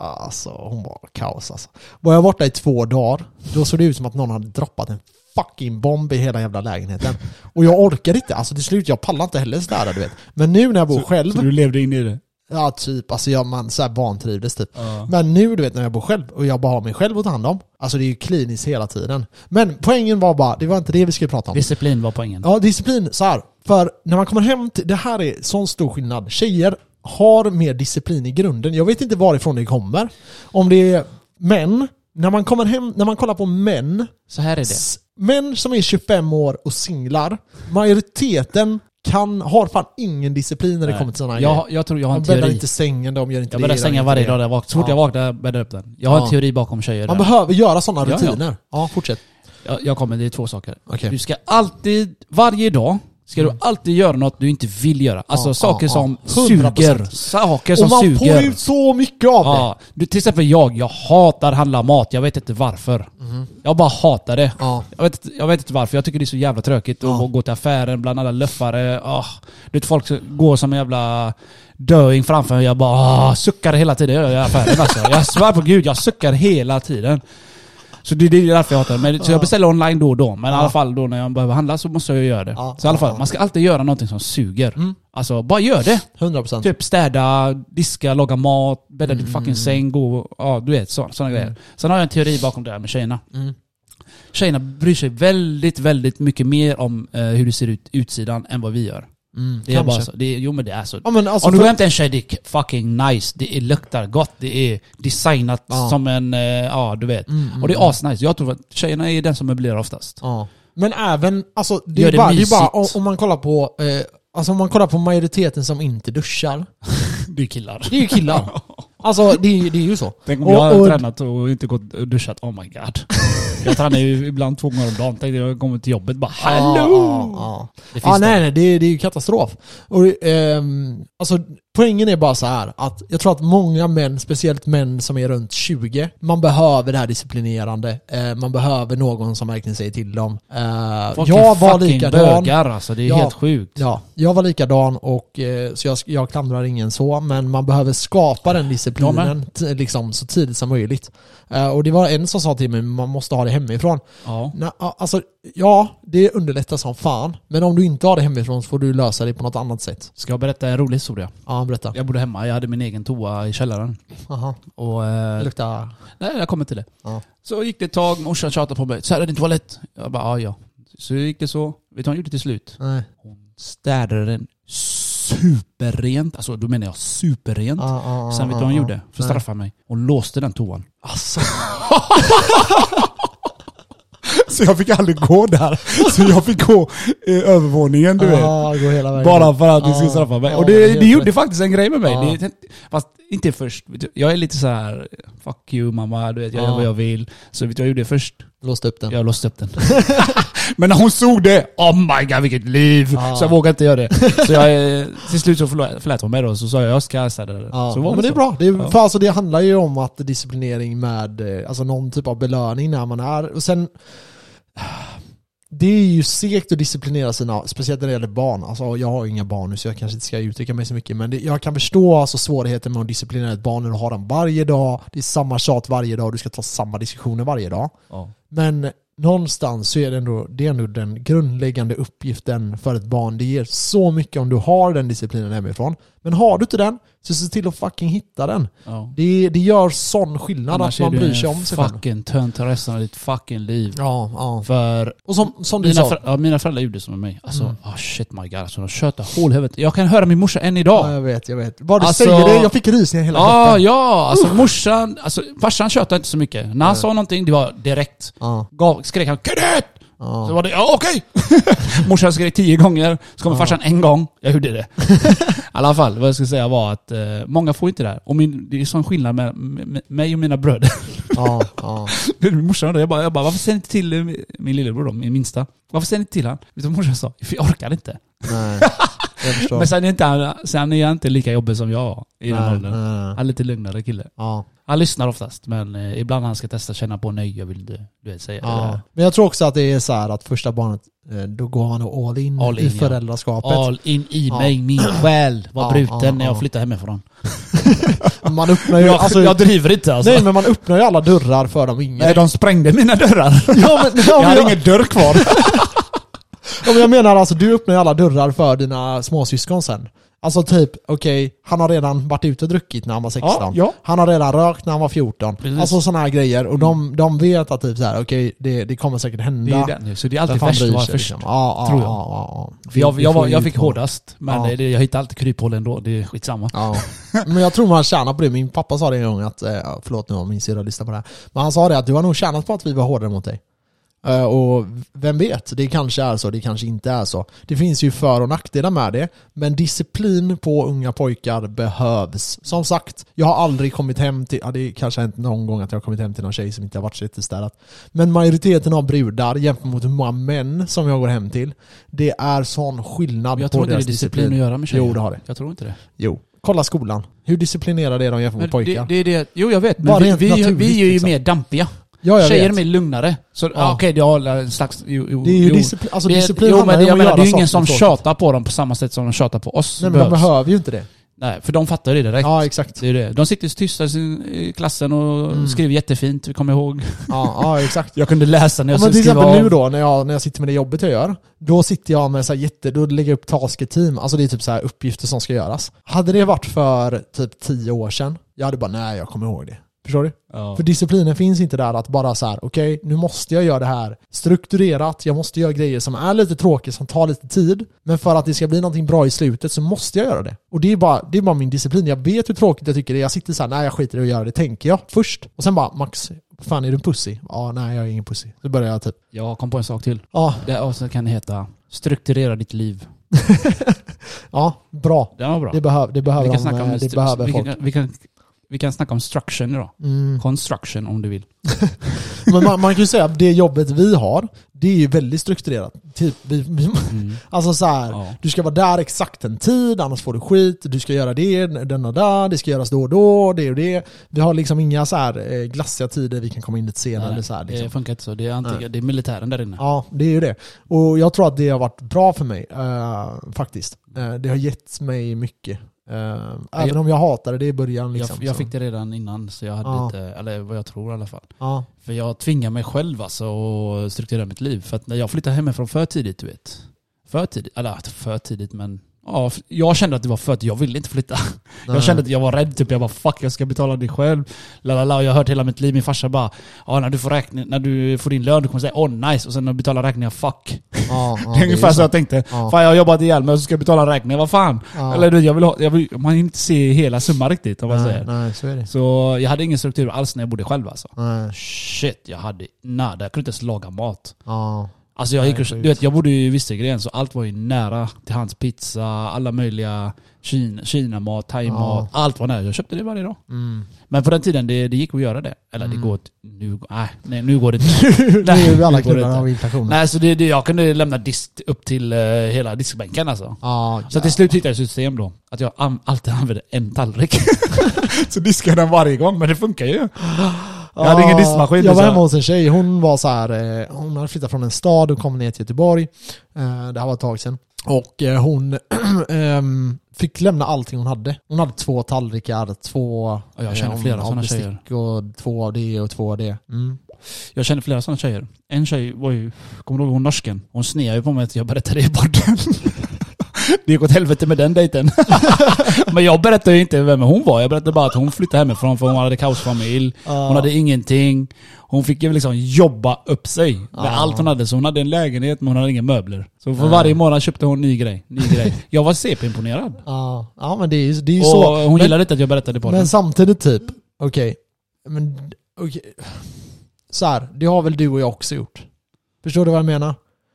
[SPEAKER 1] alltså hon var kaos alltså. Var jag borta i två dagar, då såg det ut som att någon hade droppat en fucking bomb i hela jävla lägenheten. Och jag orkar inte, alltså till slut, jag pallar inte heller sådär du vet. Men nu när jag bor själv,
[SPEAKER 3] du levde in i det?
[SPEAKER 1] ja typ, alltså jag, man så här vantrivdes typ. Men nu du vet när jag bor själv och jag bara har mig själv att ta hand om. Alltså det är ju kliniskt hela tiden. Men poängen var bara, det var inte det vi skulle prata om.
[SPEAKER 3] Disciplin var poängen.
[SPEAKER 1] Ja, disciplin. Så här. För när man kommer hem till... Det här är sån stor skillnad. Tjejer har mer disciplin i grunden. Jag vet inte varifrån det kommer. Om det är män. När man kommer hem, när man kollar på män.
[SPEAKER 3] Så här är det.
[SPEAKER 1] s- Män som är 25 år och singlar. Majoriteten kan, har fan ingen disciplin när det kommer till sådana
[SPEAKER 3] Jag, jag tror jag har
[SPEAKER 1] De
[SPEAKER 3] en
[SPEAKER 1] bäddar
[SPEAKER 3] teori.
[SPEAKER 1] inte sängen, de gör inte
[SPEAKER 3] Jag
[SPEAKER 1] det.
[SPEAKER 3] bäddar
[SPEAKER 1] de gör
[SPEAKER 3] sängen
[SPEAKER 1] inte
[SPEAKER 3] varje
[SPEAKER 1] det.
[SPEAKER 3] dag. där jag vaknar. Så fort
[SPEAKER 1] Ja.
[SPEAKER 3] jag vaknar bäddar jag upp den. Jag har
[SPEAKER 1] Ja.
[SPEAKER 3] en teori bakom tjejer.
[SPEAKER 1] Man
[SPEAKER 3] där.
[SPEAKER 1] behöver göra sådana
[SPEAKER 3] Ja, ja.
[SPEAKER 1] rutiner. Ja, fortsätt.
[SPEAKER 3] Jag, jag kommer, det är två saker.
[SPEAKER 1] Okej. Mm.
[SPEAKER 3] Du ska alltid, varje dag, ska du alltid göra något du inte vill göra. Alltså
[SPEAKER 1] Ja,
[SPEAKER 3] saker
[SPEAKER 1] ja, ja.
[SPEAKER 3] som
[SPEAKER 1] 100%.
[SPEAKER 3] suger. Saker som
[SPEAKER 1] Och man
[SPEAKER 3] suger.
[SPEAKER 1] får ut så mycket av det.
[SPEAKER 3] Ja, du, till exempel jag, jag hatar handla mat. Jag vet inte varför. Jag bara hatar det.
[SPEAKER 1] Mhm. Ja.
[SPEAKER 3] Jag, vet, inte- jag vet inte varför. Jag tycker det är så jävla tråkigt
[SPEAKER 1] Ja.
[SPEAKER 3] att gå till affären bland alla löffare. Ah, du vet, folk går som en jävla döing framför mig. Jag bara ah, suckar hela tiden jag gör i affären. Alltså. Jag svär på gud, jag suckar hela tiden. Så det, det är därför jag hatar det. Men, så jag beställer online då och då. Men i alla fall då när jag behöver handla så måste jag göra det.
[SPEAKER 1] Ja.
[SPEAKER 3] Så i alla fall,
[SPEAKER 1] Ja. Mm.
[SPEAKER 3] man ska alltid göra någonting som suger. Alltså, bara gör det.
[SPEAKER 1] 100%.
[SPEAKER 3] Typ städa, diska, laga mat, bädda din
[SPEAKER 1] Mm.
[SPEAKER 3] fucking säng, gå, ja du vet sådana grejer. Sen har jag en teori bakom det här med tjejerna.
[SPEAKER 1] Mm.
[SPEAKER 3] Tjejerna bryr sig väldigt, väldigt mycket mer om eh, hur det ser ut utsidan än vad vi gör.
[SPEAKER 1] Mm,
[SPEAKER 3] Det är
[SPEAKER 1] kanske.
[SPEAKER 3] bara så, det är, jo men det är så.
[SPEAKER 1] Ja, men alltså,
[SPEAKER 3] om du
[SPEAKER 1] för-
[SPEAKER 3] går hem till en tjej, det är fucking nice, det är, luktar gott, det är designat
[SPEAKER 1] Ja.
[SPEAKER 3] som en, eh, ja du vet.
[SPEAKER 1] Mm, mm,
[SPEAKER 3] Och det är asnice. Jag tror att tjejerna är den som möblerar oftast.
[SPEAKER 1] Ja. Men även, alltså det
[SPEAKER 3] Gör
[SPEAKER 1] är
[SPEAKER 3] det
[SPEAKER 1] bara, det är bara om,
[SPEAKER 3] mysigt.
[SPEAKER 1] om man kollar på eh, Alltså om man kollar på majoriteten som inte duschar,
[SPEAKER 3] Du killar.
[SPEAKER 1] det är ju killar. Alltså det är, ju- det är ju så.
[SPEAKER 3] Tänk om
[SPEAKER 1] Och-
[SPEAKER 3] jag hade
[SPEAKER 1] och-
[SPEAKER 3] tränat och inte gått och duschat. Oh my god. Jag tränar ju ibland två gånger om dagen. Tänkte jag kommer till jobbet bara hallå!
[SPEAKER 1] Ja, ja, ja.
[SPEAKER 3] Det finns
[SPEAKER 1] Ja,
[SPEAKER 3] det.
[SPEAKER 1] nej, nej, det, är- det är ju katastrof. Och, ehm, alltså, poängen är bara så här att jag tror att många män, speciellt män som är runt 20, man behöver det här disciplinerande. Eh, man behöver någon som verkligen säger till dem. Eh,
[SPEAKER 3] Fucking
[SPEAKER 1] jag var
[SPEAKER 3] fucking
[SPEAKER 1] likadan.
[SPEAKER 3] Bögar, alltså. Det är
[SPEAKER 1] Ja.
[SPEAKER 3] helt sjukt.
[SPEAKER 1] Ja, jag var likadan och eh, så jag, jag klandrar ingen så, men man behöver skapa den
[SPEAKER 3] Ja,
[SPEAKER 1] disciplinen t- liksom, så tidigt som möjligt. Eh, och det var en som sa till mig, man måste ha det hemifrån.
[SPEAKER 3] Ja.
[SPEAKER 1] Nej, ja, alltså, ja, det underlättar som fan. Men om du inte har det hemifrån så får du lösa det på något annat sätt.
[SPEAKER 3] Ska jag berätta en rolig historia?
[SPEAKER 1] Ja, berätta.
[SPEAKER 3] Jag bodde hemma, jag hade min egen toa i källaren.
[SPEAKER 1] Aha.
[SPEAKER 3] Och, eh,
[SPEAKER 1] Det luktar...
[SPEAKER 3] nej, jag kommer till det.
[SPEAKER 1] Ja.
[SPEAKER 3] Så gick det ett tag, morsan tjatade på mig. Så här är din toalett. Jag bara, ja ja. Så gick det så. Vet du vad hon gjorde till slut?
[SPEAKER 1] Nej.
[SPEAKER 3] Städade den superrent. Alltså då menar jag superrent.
[SPEAKER 1] Ja, ja, ja,
[SPEAKER 3] Sen vet du
[SPEAKER 1] ja,
[SPEAKER 3] vad hon
[SPEAKER 1] ja.
[SPEAKER 3] gjorde? För
[SPEAKER 1] Nej.
[SPEAKER 3] att straffa mig. Hon låste den toan.
[SPEAKER 1] Alltså,
[SPEAKER 2] Så jag fick aldrig gå där. Så jag fick gå eh, övervåningen du vet.
[SPEAKER 1] ah, gå hela vägen.
[SPEAKER 3] Bara för att du
[SPEAKER 1] Ja.
[SPEAKER 3] skulle straffa mig.
[SPEAKER 1] Ja,
[SPEAKER 3] Och
[SPEAKER 1] det är
[SPEAKER 3] ah, det, det
[SPEAKER 1] helt
[SPEAKER 3] gjorde
[SPEAKER 1] rätt.
[SPEAKER 3] faktiskt en grej med mig.
[SPEAKER 1] Ja.
[SPEAKER 3] Det, fast inte först. Vet du, Jag är lite så här, fuck you mamma, du vet jag gör
[SPEAKER 1] Ja.
[SPEAKER 3] vad jag vill. Så vet du vad jag gjorde först?
[SPEAKER 1] Låsta upp den.
[SPEAKER 3] Jag låste upp den. Men när hon såg det, oh my god vilket liv!
[SPEAKER 1] Ja.
[SPEAKER 3] Så jag vågade inte göra det. Så jag, eh, till slut så förlå- förlät hon mig då, så sa jag jag ska städa det.
[SPEAKER 1] Ja,
[SPEAKER 3] Så var
[SPEAKER 1] men det är
[SPEAKER 3] så.
[SPEAKER 1] bra. Det, är,
[SPEAKER 3] Ja.
[SPEAKER 1] för alltså, det handlar ju om att disciplinering med eh, alltså, någon typ av belöning när man är... Och sen... Det är ju segt att disciplinera sina, speciellt när det gäller barn. Alltså, jag har ju inga barn nu så jag kanske inte ska uttrycka mig så mycket. Men det, jag kan förstå alltså, svårigheten med att disciplinera ett barn när du har dem varje dag. Det är samma tjat varje dag och du ska ta samma diskussioner varje dag.
[SPEAKER 3] Ja.
[SPEAKER 1] Men någonstans så är det ändå, det är ändå den grundläggande uppgiften för ett barn. Det ger så mycket om du har den disciplinen hemifrån. Men har du inte den, så se till att fucking hitta den.
[SPEAKER 3] Ja.
[SPEAKER 1] Det, det gör sån skillnad
[SPEAKER 3] Annars
[SPEAKER 1] att
[SPEAKER 3] är
[SPEAKER 1] man
[SPEAKER 3] du
[SPEAKER 1] bryr sig
[SPEAKER 3] en
[SPEAKER 1] om sig själv.
[SPEAKER 3] fucking tönt resten av ditt fucking liv.
[SPEAKER 1] Ja, ja.
[SPEAKER 3] För
[SPEAKER 1] Och som, som du
[SPEAKER 3] Mina,
[SPEAKER 1] sa. Mm.
[SPEAKER 3] för, ja, mina föräldrar gjorde som med mig. Alltså, ah shit my god. Alltså, de tjötar hål i huvudet. Jag kan höra min morsa än idag.
[SPEAKER 1] Ja, jag vet, jag vet. Vad du
[SPEAKER 3] Alltså-
[SPEAKER 1] säger det, jag fick rysningar hela
[SPEAKER 3] Ja,
[SPEAKER 1] kroppen.
[SPEAKER 3] ja. Alltså morsan, alltså farsan tjötade inte så mycket. När han sa någonting, det var direkt.
[SPEAKER 1] Ja,
[SPEAKER 3] Gav, skrek han 'Knut!'
[SPEAKER 1] ja.
[SPEAKER 3] Så var det 'Ja, okej!' morsan skrek tio gånger, så kommer farsan en gång. Jag gjorde det. I alla fall, vad jag skulle säga var att eh, många får inte det här. Och min, det är sån skillnad med, med, med mig och mina bröder.
[SPEAKER 1] ja, ja.
[SPEAKER 3] Min morsa undrade, jag bara, jag bara varför säger ni inte till eh, min lillebror då, min minsta? Varför säger ni inte till han? Vet du vad morsan sa? För jag orkar inte.
[SPEAKER 1] Nej. Jag förstår.
[SPEAKER 3] Men sen är, inte han, sen är han inte lika jobbig som jag var i den
[SPEAKER 1] Nej,
[SPEAKER 3] åldern.
[SPEAKER 1] nej, nej.
[SPEAKER 3] Han är lite lugnare kille.
[SPEAKER 1] Ja.
[SPEAKER 3] Han lyssnar oftast, men eh, ibland när han ska testa känna på nej, jag vill inte du vet, säga det
[SPEAKER 1] Ja.
[SPEAKER 3] där.
[SPEAKER 1] Men jag tror också att det är så här att första barnet, eh, då går man nog all in,
[SPEAKER 3] All in,
[SPEAKER 1] i
[SPEAKER 3] ja.
[SPEAKER 1] föräldraskapet.
[SPEAKER 3] All in i
[SPEAKER 1] Ja.
[SPEAKER 3] mig, min själ var
[SPEAKER 1] Ja,
[SPEAKER 3] bruten
[SPEAKER 1] ja,
[SPEAKER 3] när jag
[SPEAKER 1] ja.
[SPEAKER 3] flyttade hemifrån.
[SPEAKER 1] Man öppnar ju...
[SPEAKER 3] Jag,
[SPEAKER 1] alltså,
[SPEAKER 3] jag driver inte alltså.
[SPEAKER 1] Nej men man öppnar ju alla dörrar för de yngre.
[SPEAKER 3] Nej, de sprängde mina dörrar.
[SPEAKER 1] Ja, men, ja,
[SPEAKER 2] Jag
[SPEAKER 1] men
[SPEAKER 2] hade
[SPEAKER 1] jag,
[SPEAKER 2] ingen dörr kvar.
[SPEAKER 1] ja, men jag menar alltså, du öppnar ju alla dörrar för dina småsyskon sen. Alltså typ, okej, han har redan varit ute och druckit när han var 16.
[SPEAKER 2] Ja, ja.
[SPEAKER 1] Han har redan rökt när han var 14.
[SPEAKER 3] Precis.
[SPEAKER 1] Alltså sådana här grejer. Och de, de vet att typ så här, okej, det, det kommer säkert hända.
[SPEAKER 3] Det är det nu, så det är
[SPEAKER 1] Vem
[SPEAKER 3] alltid
[SPEAKER 1] fan
[SPEAKER 3] värst att
[SPEAKER 1] bryr
[SPEAKER 3] vara
[SPEAKER 1] sig,
[SPEAKER 3] först.
[SPEAKER 1] liksom? Ja, ja,
[SPEAKER 3] tror jag.
[SPEAKER 1] ja, ja, ja.
[SPEAKER 3] För jag,
[SPEAKER 1] Vi-
[SPEAKER 3] jag,
[SPEAKER 1] vi
[SPEAKER 3] var,
[SPEAKER 1] får ju
[SPEAKER 3] jag fick
[SPEAKER 1] utmana.
[SPEAKER 3] hårdast, men
[SPEAKER 1] Ja.
[SPEAKER 3] eh, det, jag hittade alltid kryphål ändå. Det är skitsamma.
[SPEAKER 1] Ja. Men jag tror man tjänar på det. Min pappa sa det en gång att, eh, förlåt nu om min syrra lyssnar på det här. Men han sa det att du har nog tjänat på att vi var hårdare mot dig. Eh, Och vem vet, det kanske är så, det kanske inte är så. Det finns ju för och nackdelar med det. Men disciplin på unga pojkar behövs. Som sagt, jag har aldrig kommit hem till, ja det kanske har hänt någon gång att jag har kommit hem till någon tjej som inte har varit så jättestädat. Men majoriteten av brudar jämfört mot hur många män som jag går hem till. Det är sån skillnad
[SPEAKER 3] Jag
[SPEAKER 1] på
[SPEAKER 3] tror inte det
[SPEAKER 1] deras
[SPEAKER 3] är disciplin att göra med tjejer.
[SPEAKER 1] Jo det har det.
[SPEAKER 3] Jag tror inte det.
[SPEAKER 1] Jo. Kolla skolan. Hur disciplinerade är de jämfört med
[SPEAKER 3] Men det,
[SPEAKER 1] pojkar?
[SPEAKER 3] det är det. Jo, jag vet.
[SPEAKER 1] Bara
[SPEAKER 3] Men vi,
[SPEAKER 1] rent
[SPEAKER 3] vi,
[SPEAKER 1] naturligt,
[SPEAKER 3] vi är ju
[SPEAKER 1] liksom.
[SPEAKER 3] mer dampiga.
[SPEAKER 1] ja, jag
[SPEAKER 3] Tjejer
[SPEAKER 1] vet.
[SPEAKER 3] är mer lugnare. Så ja. okej, det har en slags... Jo, jo,
[SPEAKER 1] det är ju
[SPEAKER 3] jo.
[SPEAKER 1] disciplin, alltså
[SPEAKER 3] Det-
[SPEAKER 1] disciplin
[SPEAKER 3] jo,
[SPEAKER 1] handlar
[SPEAKER 3] men
[SPEAKER 1] ju
[SPEAKER 3] jag
[SPEAKER 1] om att
[SPEAKER 3] menar,
[SPEAKER 1] göra
[SPEAKER 3] det är ju ingen
[SPEAKER 1] saker
[SPEAKER 3] som
[SPEAKER 1] tråkigt.
[SPEAKER 3] tjätar på dem på samma sätt som de tjatar på oss.
[SPEAKER 1] Nej men de
[SPEAKER 3] Behövs.
[SPEAKER 1] behöver ju inte det.
[SPEAKER 3] Nej, för de fattar ju det direkt.
[SPEAKER 1] Ja exakt.
[SPEAKER 3] Det är det. De sitter tysta i sin- i klassen och
[SPEAKER 1] Mm.
[SPEAKER 3] skriver jättefint, vi kommer ihåg.
[SPEAKER 1] Ja, ja exakt.
[SPEAKER 3] Jag kunde läsa när
[SPEAKER 1] Ja,
[SPEAKER 3] jag
[SPEAKER 1] men till
[SPEAKER 3] skulle skriva
[SPEAKER 1] exempel nu då
[SPEAKER 3] av.
[SPEAKER 1] när jag, när jag sitter med det jobbet jag gör. Då sitter jag med så här jätte, då lägger jag upp tasketeam. Alltså det är typ så här uppgifter som ska göras. Hade det varit för typ tio år sedan, jag hade bara nej jag kommer ihåg det. Förstår du?
[SPEAKER 3] Ja.
[SPEAKER 1] För disciplinen finns inte där att bara så här, okej, nu måste jag göra det här strukturerat, jag måste göra grejer som är lite tråkiga, som tar lite tid, men för att det ska bli någonting bra i slutet så måste jag göra det. Och det är bara, det är bara min disciplin, jag vet hur tråkigt jag tycker det är, jag sitter så här, nej jag skiter i att göra det, tänker jag först. Och sen bara, Max, vad fan är du en pussy? Ja, nej jag är ingen pussy. Så börjar jag typ,
[SPEAKER 3] Jag kom på en sak till.
[SPEAKER 1] ja,
[SPEAKER 3] Det här avsnittet kan heta Strukturera ditt liv.
[SPEAKER 1] ja, bra.
[SPEAKER 3] Den var bra.
[SPEAKER 1] Det, behöv, det behöver,
[SPEAKER 3] vi kan
[SPEAKER 1] de,
[SPEAKER 3] snacka om
[SPEAKER 1] eh, det
[SPEAKER 3] stru-
[SPEAKER 1] behöver
[SPEAKER 3] vi,
[SPEAKER 1] folk.
[SPEAKER 3] kan, vi, kan, vi kan snacka om struction idag.
[SPEAKER 1] Mm.
[SPEAKER 3] Construction om du vill.
[SPEAKER 1] Men man, man kan ju säga att det jobbet vi har, det är ju väldigt strukturerat. Typ, vi, vi, Alltså så här,
[SPEAKER 3] Mm. Ja.
[SPEAKER 1] du ska vara där exakt en tid, annars får du skit. Du ska göra det, den och där, det ska göras då och då, det och det. Vi har liksom inga så här eh, glassiga tider, vi kan komma in lite senare. eller så här, liksom.
[SPEAKER 3] Eh, Det funkar inte så. Det är, antingen, det är militären där inne.
[SPEAKER 1] Ja, det är ju det. Och jag tror att det har varit bra för mig, eh, faktiskt. Eh, det har gett mig mycket. Eh, Eh, även om jag hatade det i början. Liksom,
[SPEAKER 3] jag, jag
[SPEAKER 1] så.
[SPEAKER 3] fick det redan innan, så jag hade
[SPEAKER 1] Ja.
[SPEAKER 3] inte, eller vad jag tror i alla fall.
[SPEAKER 1] Ja.
[SPEAKER 3] För jag tvingar mig själv alltså att strukturera mitt liv. För att när jag flyttade hemifrån för tidigt, du vet. För tidigt, eller inte för tidigt men Ja, f- jag kände att det var för tidigt. jag ville inte flytta. Jag
[SPEAKER 1] Eh,
[SPEAKER 3] kände att jag var rädd, typ. jag bara fuck jag ska betala det själv. Lalala, och jag har hört hela mitt liv, min farsa bara ja, när, du får räkning, när du får din lön du kommer säga åh oh, nice och sen när du betalar räkningar fuck.
[SPEAKER 1] Ja, ja,
[SPEAKER 3] det är ungefär så
[SPEAKER 1] sant.
[SPEAKER 3] jag tänkte.
[SPEAKER 1] Ja.
[SPEAKER 3] Fan jag har jobbat ihjäl mig och så ska jag betala räkningar, vad fan?
[SPEAKER 1] Ja.
[SPEAKER 3] Eller du, jag vill ha, jag vill, man hinner inte se hela summan riktigt om man
[SPEAKER 1] nej,
[SPEAKER 3] säger.
[SPEAKER 1] nej, så är det.
[SPEAKER 3] Så jag hade ingen struktur alls när jag bodde själv alltså.
[SPEAKER 1] Nej.
[SPEAKER 3] Shit, jag hade nada. Jag kunde inte ens laga mat.
[SPEAKER 1] Ja.
[SPEAKER 3] Alltså jag, gick och,
[SPEAKER 1] sjukt.
[SPEAKER 3] du vet, jag bodde ju i Vistegren så allt var ju nära till hans pizza, alla möjliga Kina- Kina-mat, thai-mat. Allt var nära. Jag köpte det varje dag.
[SPEAKER 1] Mm.
[SPEAKER 3] Men på den tiden, det, det gick att göra det. Eller
[SPEAKER 2] Mm.
[SPEAKER 3] det går... ett- Nu, nej, nej, nu går det inte.
[SPEAKER 1] Det är ju
[SPEAKER 3] nu
[SPEAKER 1] alla
[SPEAKER 3] går det
[SPEAKER 1] klubbar
[SPEAKER 3] inte.
[SPEAKER 1] av inflationen.
[SPEAKER 3] Nej, så det, det, jag kunde lämna disk upp till eh, hela diskbänken alltså.
[SPEAKER 1] Ja,
[SPEAKER 3] Så till slut hittade jag ett system då. Att jag an- alltid använde en tallrik.
[SPEAKER 2] Så diskar den varje gång, men det funkar ju.
[SPEAKER 1] Jag
[SPEAKER 3] hade ingen diskmaskin, liksom.
[SPEAKER 1] Jag var
[SPEAKER 3] så-
[SPEAKER 1] hemma hos en tjej. Hon var så här, eh, hon hade flyttat från en stad och kom ner till Göteborg. Eh, Det här var ett tag sedan. Och eh, hon ehm, fick lämna allting hon hade. Hon hade två tallrikar, två...
[SPEAKER 3] Ja, jag
[SPEAKER 1] eh,
[SPEAKER 3] känner flera
[SPEAKER 1] om-
[SPEAKER 3] såna
[SPEAKER 1] om bestick Och två av det och två av det. Mm.
[SPEAKER 3] Jag känner flera sådana tjejer. En tjej var ju, kommer du ihåg hon norsken? Hon snear ju på mig att jag berättade i podden. Det gick åt helvete med den dejten. Men jag berättade ju inte vem hon var. Jag berättade bara att hon flyttade hemifrån för hon hade kaosfamilj. Hon hade ingenting. Hon fick ju liksom jobba upp sig med allt hon hade. Så hon hade en lägenhet men hon hade inga möbler. Så för varje månad köpte hon ny grej. Ny grej. Jag var CP-imponerad.
[SPEAKER 1] Ja, ja, men det är ju, det är ju
[SPEAKER 3] Och
[SPEAKER 1] så.
[SPEAKER 3] hon
[SPEAKER 1] men,
[SPEAKER 3] gillade inte att jag berättade i podden.
[SPEAKER 1] men samtidigt typ, okej. Men okej. Så här, det har väl du och jag också gjort. Förstår du vad jag menar?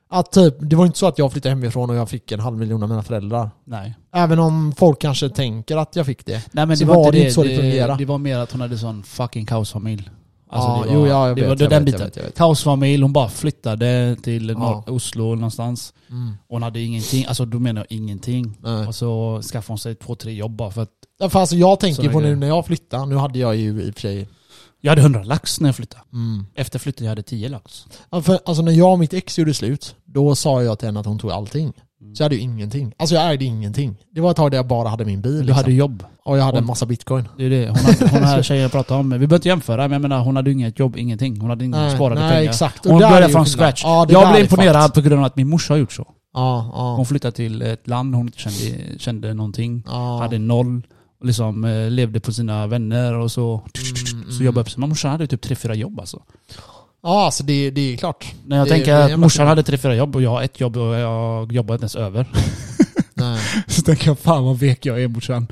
[SPEAKER 1] Att typ, det var inte så att jag flyttade hemifrån och jag fick en halv miljon av mina föräldrar.
[SPEAKER 3] Nej.
[SPEAKER 1] Även om folk kanske tänker att jag fick det.
[SPEAKER 3] Nej men
[SPEAKER 1] Så
[SPEAKER 3] det var,
[SPEAKER 1] var
[SPEAKER 3] inte
[SPEAKER 1] det
[SPEAKER 3] det,
[SPEAKER 1] inte så det
[SPEAKER 3] det,
[SPEAKER 1] fungerade.
[SPEAKER 3] det var mer att hon hade sån fucking kaosfamilj. Alltså,
[SPEAKER 1] Ja,
[SPEAKER 3] det var,
[SPEAKER 1] jo, ja, jag
[SPEAKER 3] det
[SPEAKER 1] vet,
[SPEAKER 3] var
[SPEAKER 1] jag
[SPEAKER 3] den
[SPEAKER 1] vet, jag
[SPEAKER 3] biten.
[SPEAKER 1] vet, jag vet.
[SPEAKER 3] Kaosfamilj, hon bara flyttade till norr,
[SPEAKER 1] Ja. Mm.
[SPEAKER 3] Oslo någonstans. Hon hade ingenting, alltså då menar jag ingenting.
[SPEAKER 1] Nej.
[SPEAKER 3] Och så skaffade hon sig två, tre jobb bara för att
[SPEAKER 1] Ja, för alltså jag tänker
[SPEAKER 3] Sådana
[SPEAKER 1] på nu
[SPEAKER 3] grejer.
[SPEAKER 1] när jag flyttade, nu hade jag ju i och för sig...
[SPEAKER 3] jag hade 100 lax när jag flyttade.
[SPEAKER 1] Mm.
[SPEAKER 3] Efter flytten jag hade 10 lax.
[SPEAKER 1] Ja, för, alltså när jag och mitt ex gjorde slut, då sa jag till henne att hon tog allting.
[SPEAKER 3] Mm.
[SPEAKER 1] Så jag hade ju ingenting. Alltså jag ägde ingenting. Det var ett tag där jag bara hade min bil.
[SPEAKER 3] Du
[SPEAKER 1] Liksom.
[SPEAKER 3] hade jobb.
[SPEAKER 1] Och jag hade en massa bitcoin.
[SPEAKER 3] Det är det. Hon, hade, hon här tjejen jag pratade om. Vi behöver inte jämföra men jag menar hon hade inget jobb, ingenting. Hon hade inga
[SPEAKER 1] Nej,
[SPEAKER 3] Mm. sparade
[SPEAKER 1] nej,
[SPEAKER 3] pengar.
[SPEAKER 1] exakt. Och
[SPEAKER 3] Hon
[SPEAKER 1] där är
[SPEAKER 3] började
[SPEAKER 1] ju
[SPEAKER 3] från
[SPEAKER 1] skillnad.
[SPEAKER 3] scratch.
[SPEAKER 1] Ja, det där
[SPEAKER 3] jag
[SPEAKER 1] är
[SPEAKER 3] blev imponerad
[SPEAKER 1] fakt.
[SPEAKER 3] på grund av att min morsa har gjort så.
[SPEAKER 1] Ja, ja.
[SPEAKER 3] Hon flyttade till ett land hon inte kände, kände någonting.
[SPEAKER 1] Ja.
[SPEAKER 3] Hade noll. Och liksom eh, levde på sina vänner och så. Så jobbade upp sig. Men morsan hade typ tre fyra jobb alltså.
[SPEAKER 1] Ja, alltså det, det är klart.
[SPEAKER 3] När jag
[SPEAKER 1] Det-
[SPEAKER 3] tänker
[SPEAKER 1] det är
[SPEAKER 3] att
[SPEAKER 1] jävla
[SPEAKER 3] morsan
[SPEAKER 1] kul.
[SPEAKER 3] hade tre fyra jobb och jag har ett jobb och jag jobbar inte ens över.
[SPEAKER 1] Nej.
[SPEAKER 3] Så tänker jag fan vad vek jag är morsan.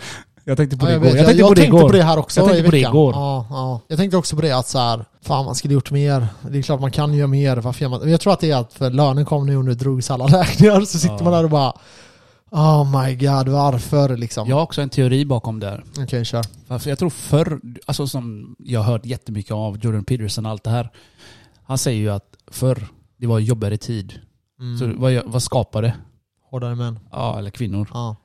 [SPEAKER 3] Jag tänkte på
[SPEAKER 1] Ja,
[SPEAKER 3] det
[SPEAKER 1] jag
[SPEAKER 3] igår.
[SPEAKER 1] vet, jag, jag tänkte, på, det här också
[SPEAKER 3] Jag tänkte
[SPEAKER 1] i
[SPEAKER 3] på det
[SPEAKER 1] veckan.
[SPEAKER 3] igår.
[SPEAKER 1] Ja, ja. Jag tänkte också på det att så här, fan man skulle gjort mer. Det är klart man kan göra mer. Varför gör man? Men Jag tror att det är att för lönen kom nu och nu drogs alla räkningar. Så sitter
[SPEAKER 3] Ja.
[SPEAKER 1] man där och bara Oh my god, varför liksom?
[SPEAKER 3] Jag har också en teori bakom det här.
[SPEAKER 1] Okej, kör.
[SPEAKER 3] Alltså jag tror förr, alltså som jag har hört jättemycket av Jordan Peterson och allt det här. Han säger ju att förr, det var jobbigare tid.
[SPEAKER 1] Mm.
[SPEAKER 3] Så vad, vad skapade?
[SPEAKER 1] Hårdare män.
[SPEAKER 3] Ja, eller kvinnor.
[SPEAKER 1] Ja.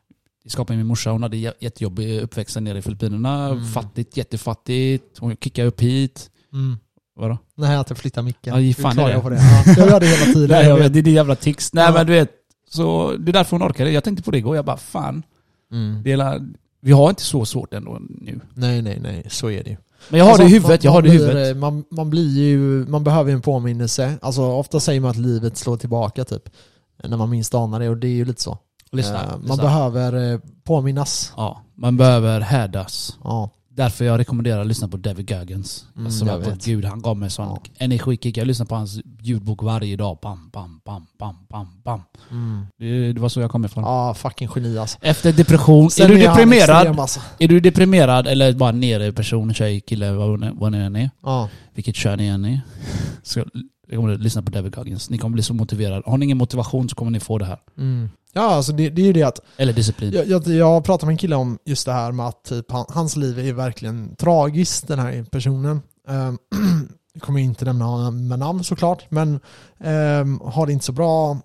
[SPEAKER 3] Det skapade min morsa. Hon hade jä- jättejobbig uppväxt nere i Filippinerna.
[SPEAKER 1] Mm.
[SPEAKER 3] Fattigt, jättefattigt. Hon kickade upp hit.
[SPEAKER 1] Mm.
[SPEAKER 3] Vadå?
[SPEAKER 1] Nej, att jag flyttar micken.
[SPEAKER 3] Ja, ge
[SPEAKER 1] Nu
[SPEAKER 3] fan i
[SPEAKER 1] klagar
[SPEAKER 3] det.
[SPEAKER 1] jag på det. Ja, jag gör det hela tiden.
[SPEAKER 3] Nej, jag vet, det är din jävla tics. Nej
[SPEAKER 1] Ja.
[SPEAKER 3] men du vet. Så det är därför hon orkade. Jag tänkte på det igår. Jag bara fan.
[SPEAKER 1] Mm.
[SPEAKER 3] Det är hela, vi har inte så svårt ändå nu.
[SPEAKER 1] Nej, nej, nej. Så är det ju.
[SPEAKER 3] Men jag har
[SPEAKER 1] Alltså,
[SPEAKER 3] det i huvudet. Jag
[SPEAKER 1] man-
[SPEAKER 3] har det i
[SPEAKER 1] man blir,
[SPEAKER 3] huvudet.
[SPEAKER 1] eh, Man, man blir ju, man behöver ju en påminnelse. Alltså ofta säger man att livet slår tillbaka typ. När man minst anar det och det är ju lite så.
[SPEAKER 3] Lyssna.
[SPEAKER 1] Eh, man
[SPEAKER 3] lyssna.
[SPEAKER 1] behöver eh, påminnas.
[SPEAKER 3] ja, man behöver härdas.
[SPEAKER 1] Ja.
[SPEAKER 3] Därför jag rekommenderar att lyssna på David Goggins.
[SPEAKER 1] Mm,
[SPEAKER 3] alltså,
[SPEAKER 1] jag
[SPEAKER 3] jag på
[SPEAKER 1] vet.
[SPEAKER 3] Gud, han gav mig sån
[SPEAKER 1] Ja.
[SPEAKER 3] energikick. Jag lyssnar på hans ljudbok varje dag. Bam, bam, bam, bam, bam, bam.
[SPEAKER 1] Mm.
[SPEAKER 3] Det, det var så jag kom ifrån.
[SPEAKER 1] Ja, fucking geni alltså.
[SPEAKER 3] Efter depression.
[SPEAKER 1] Sen
[SPEAKER 3] är du
[SPEAKER 1] han
[SPEAKER 3] deprimerad?
[SPEAKER 1] extrem, alltså.
[SPEAKER 3] Är du deprimerad eller bara nere person, tjej, kille, vad hon- vad ni än är?
[SPEAKER 1] Ja.
[SPEAKER 3] Vilket kön ni än är? Så jag rekommenderar att lyssna på David Goggins. Ni kommer bli så motiverade. Har ni ingen motivation så kommer ni få det här.
[SPEAKER 1] Mm. Ja, alltså det, det är ju det att
[SPEAKER 3] Eller disciplin.
[SPEAKER 1] jag, jag, jag pratade med en kille om just det här med att typ, han, hans liv är ju verkligen tragiskt, den här personen. Ehm, jag kommer ju inte nämna honom med namn såklart, men ehm, har det inte så bra,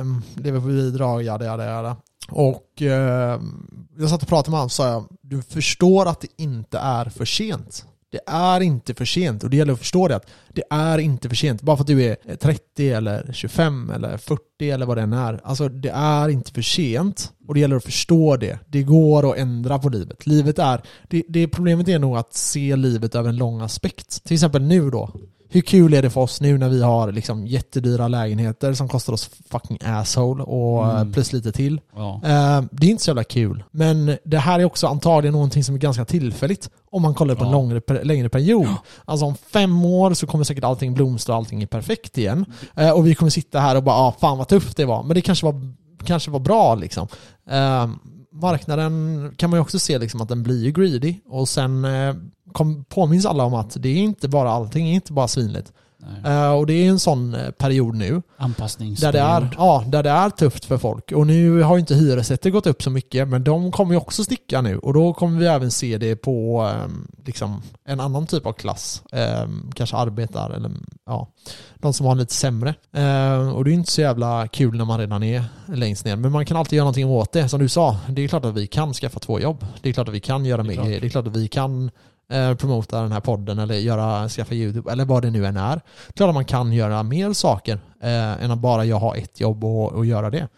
[SPEAKER 1] um, lever på bidrag, jada jada jada. Och ehm, jag satt och pratade med honom och sa jag, du förstår att det inte är för sent. Det är inte för sent och det gäller att förstå det att det är inte för sent. Bara för att du är 30 eller 25 eller 40 eller vad det än är. Alltså det är inte för sent och det gäller att förstå det. Det går att ändra på livet. Livet är, det, det problemet är nog att se livet över en lång aspekt. Till exempel nu då. Hur kul är det för oss nu när vi har liksom jättedyra lägenheter som kostar oss fucking asshole och eh,
[SPEAKER 3] Mm.
[SPEAKER 1] plus lite till.
[SPEAKER 3] Ja.
[SPEAKER 1] Eh, Det är inte så jävla kul. Men det här är också antagligen någonting som är ganska tillfälligt. Om man kollar på en
[SPEAKER 3] Ja.
[SPEAKER 1] långre, per- längre period. Alltså om fem år så kommer säkert allting blomstra och allting är perfekt igen. Eh, Och vi kommer sitta här och bara, ah, fan vad tufft det var. Men det kanske var, kanske var bra liksom. Eh, Marknaden kan man ju också se liksom att den blir ju greedy. Och sen eh, kom, påminns alla om att det är inte bara allting, är inte bara svinligt.
[SPEAKER 3] Nej.
[SPEAKER 1] Eh, Och det är en sån eh, period nu. Där
[SPEAKER 3] Anpassningsperiod.
[SPEAKER 1] det, är, ja, där det är tufft för folk. Och nu har ju inte hyresrätter gått upp så mycket, men de kommer ju också sticka nu. Och då kommer vi även se det på ehm, liksom, en annan typ av klass. Ehm, kanske arbetar eller ja, de som har lite sämre. Ehm, och det är ju inte så jävla kul när man redan är längst ner. Men man kan alltid göra någonting åt det. Som du sa, det är klart att vi kan skaffa två jobb. Det är klart att vi kan göra mer
[SPEAKER 3] klart.
[SPEAKER 1] grejer. Det är klart att vi kan eh, promota den här podden eller göra, skaffa YouTube eller vad det nu än är. Klart att man kan göra mer saker eh, än att bara jag har ett jobb och, och göra det.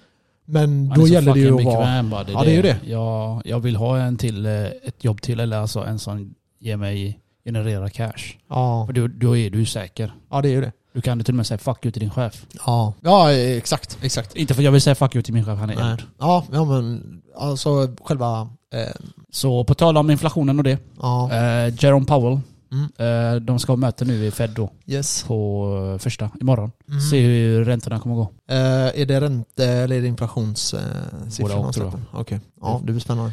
[SPEAKER 1] Men
[SPEAKER 3] Man är
[SPEAKER 1] då
[SPEAKER 3] så
[SPEAKER 1] gäller det ju att
[SPEAKER 3] fucking
[SPEAKER 1] vara...
[SPEAKER 3] bekväm bara, det,
[SPEAKER 1] Ja, det är ju det.
[SPEAKER 3] Jag, jag vill ha en till, eh, ett jobb till eller alltså en som ger mig, genererar cash.
[SPEAKER 1] Ja,
[SPEAKER 3] Och då, då är du säker.
[SPEAKER 1] ja, det är ju det.
[SPEAKER 3] Du kan till och med säga fuck you till din chef.
[SPEAKER 1] Ja, ja eh, exakt. exakt.
[SPEAKER 3] Inte för att jag vill säga fuck you till min chef, han är
[SPEAKER 1] Nej.
[SPEAKER 3] eld.
[SPEAKER 1] Ja, ja, men alltså själva... Eh,
[SPEAKER 3] Så på tal om inflationen och det.
[SPEAKER 1] ja,
[SPEAKER 3] Eh, Jerome Powell.
[SPEAKER 1] Mm.
[SPEAKER 3] Eh, de ska ha möte nu i Fed då.
[SPEAKER 1] yes.
[SPEAKER 3] På eh, första, imorgon.
[SPEAKER 1] Mm.
[SPEAKER 3] Se hur räntorna kommer gå.
[SPEAKER 1] Eh, är det ränte eller är det inflationssiffror?
[SPEAKER 3] Båda och, tror jag.
[SPEAKER 1] Okej, ja det blir spännande.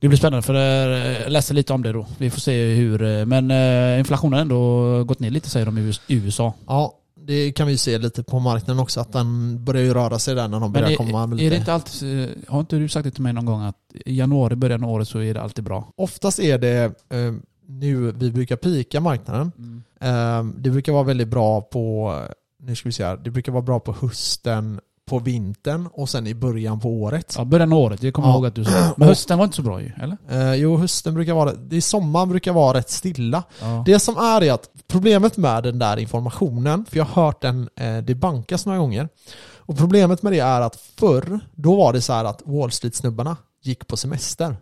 [SPEAKER 3] Det blir spännande för eh, jag läste lite om det då. Vi får se hur... eh, Men eh, inflationen har ändå gått ner lite säger de i US- i USA.
[SPEAKER 1] Ja, det kan vi ju se lite på marknaden också att den börjar ju röra sig där när de
[SPEAKER 3] Men
[SPEAKER 1] börjar
[SPEAKER 3] är,
[SPEAKER 1] komma med lite.
[SPEAKER 3] är det inte alltid... eh, Har inte du sagt det till mig någon gång att i januari, början av året så är det alltid bra?
[SPEAKER 1] Oftast är det eh, nu vi brukar pika marknaden. Eh, det brukar vara väldigt bra på, nu ska vi se här, det brukar vara bra på hösten, på vintern och sen i början på året.
[SPEAKER 3] Ja, början av året. Jag kommer
[SPEAKER 1] Ja.
[SPEAKER 3] ihåg att du sa. Men hösten var inte så bra ju, eller?
[SPEAKER 1] Eh, jo, hösten brukar vara, det är sommaren brukar vara rätt stilla.
[SPEAKER 3] Ja.
[SPEAKER 1] Det som är är att problemet med den där informationen, för jag har hört den eh, det bankas några gånger. Och problemet med det är att förr, då var det så här att Wall Street-snubbarna gick på semester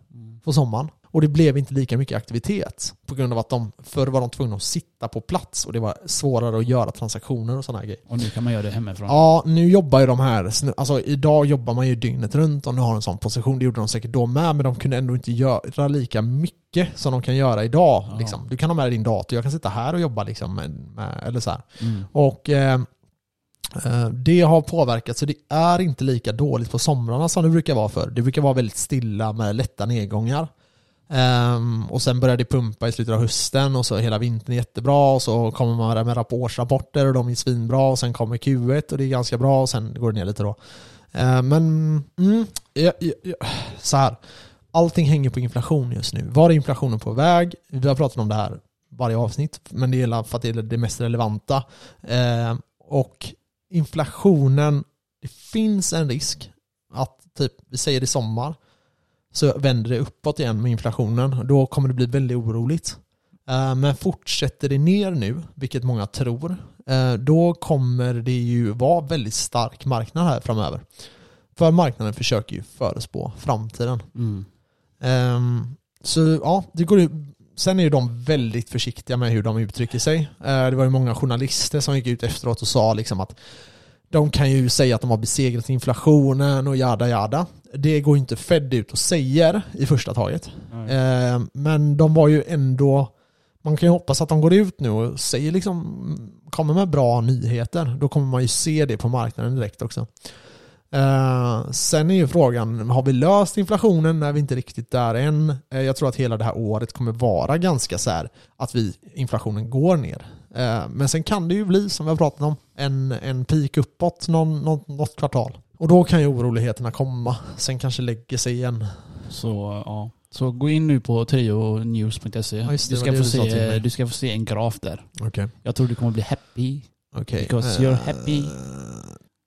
[SPEAKER 1] på sommaren. Och det blev inte lika mycket aktivitet på grund av att de förr var de tvungna att sitta på plats och det var svårare att göra transaktioner och sådana grejer.
[SPEAKER 3] Och nu kan man göra det hemifrån.
[SPEAKER 1] Ja, nu jobbar ju de här, snu- alltså idag jobbar man ju dygnet runt om du har en sån position. Det gjorde de säkert då med, men de kunde ändå inte göra lika mycket som de kan göra idag.
[SPEAKER 3] Ja.
[SPEAKER 1] Liksom. Du kan ha med dig din dator, jag kan sitta här och jobba liksom, med, med, eller så här.
[SPEAKER 3] Mm.
[SPEAKER 1] Och eh, eh, det har påverkat, så det är inte lika dåligt på somrarna som det brukar vara för. Det brukar vara väldigt stilla med lätta nedgångar. Ehm, och sen börjar det pumpa i slutet av hösten och så hela vintern är jättebra och så kommer man där med rapp- årsrapporter och de är svinbra och sen kommer Q1 och det är ganska bra och sen går det ner lite då. Ehm, men mm, jag, jag, jag, så här, allting hänger på inflation just nu. Var är inflationen på väg? Vi har pratat om det här varje avsnitt, men det gäller för att det är det mest relevanta. Ehm, och inflationen, det finns en risk att typ, vi säger i sommar, så vänder det uppåt igen med inflationen. Då kommer det bli väldigt oroligt. Eh, Men fortsätter det ner nu, vilket många tror, eh, då kommer det ju vara väldigt stark marknad här framöver. För marknaden försöker ju förespå framtiden.
[SPEAKER 3] Mm.
[SPEAKER 1] Ehm, så ja, det går ju, sen är ju de väldigt försiktiga med hur de uttrycker sig. Eh, det var ju många journalister som gick ut efteråt och sa liksom att de kan ju säga att de har besegrat inflationen och jada jada. Det går ju inte Fed ut och säger i första taget.
[SPEAKER 3] Nej.
[SPEAKER 1] Ehm, men de var ju ändå man kan ju hoppas att de går ut nu och säger liksom, kommer med bra nyheter. Då kommer man ju se det på marknaden direkt också. Eh, sen är ju frågan, har vi löst inflationen? när vi inte riktigt där än. Eh, jag tror att hela det här året kommer vara ganska så här att vi, inflationen går ner. Eh, men sen kan det ju bli, som vi har pratat om, en, en peak uppåt någon, någon, något kvartal. Och då kan ju oroligheterna komma. Sen kanske lägger sig igen.
[SPEAKER 3] Så ja. Så gå in nu på trionews.se.
[SPEAKER 1] Ja, just det,
[SPEAKER 3] du,
[SPEAKER 1] det
[SPEAKER 3] ska
[SPEAKER 1] var det
[SPEAKER 3] få
[SPEAKER 1] du sa till mig.
[SPEAKER 3] se, du ska få se en graf där.
[SPEAKER 1] Okej.
[SPEAKER 3] Jag tror du kommer bli happy.
[SPEAKER 1] Okej.
[SPEAKER 3] Because you're happy.
[SPEAKER 1] Eh,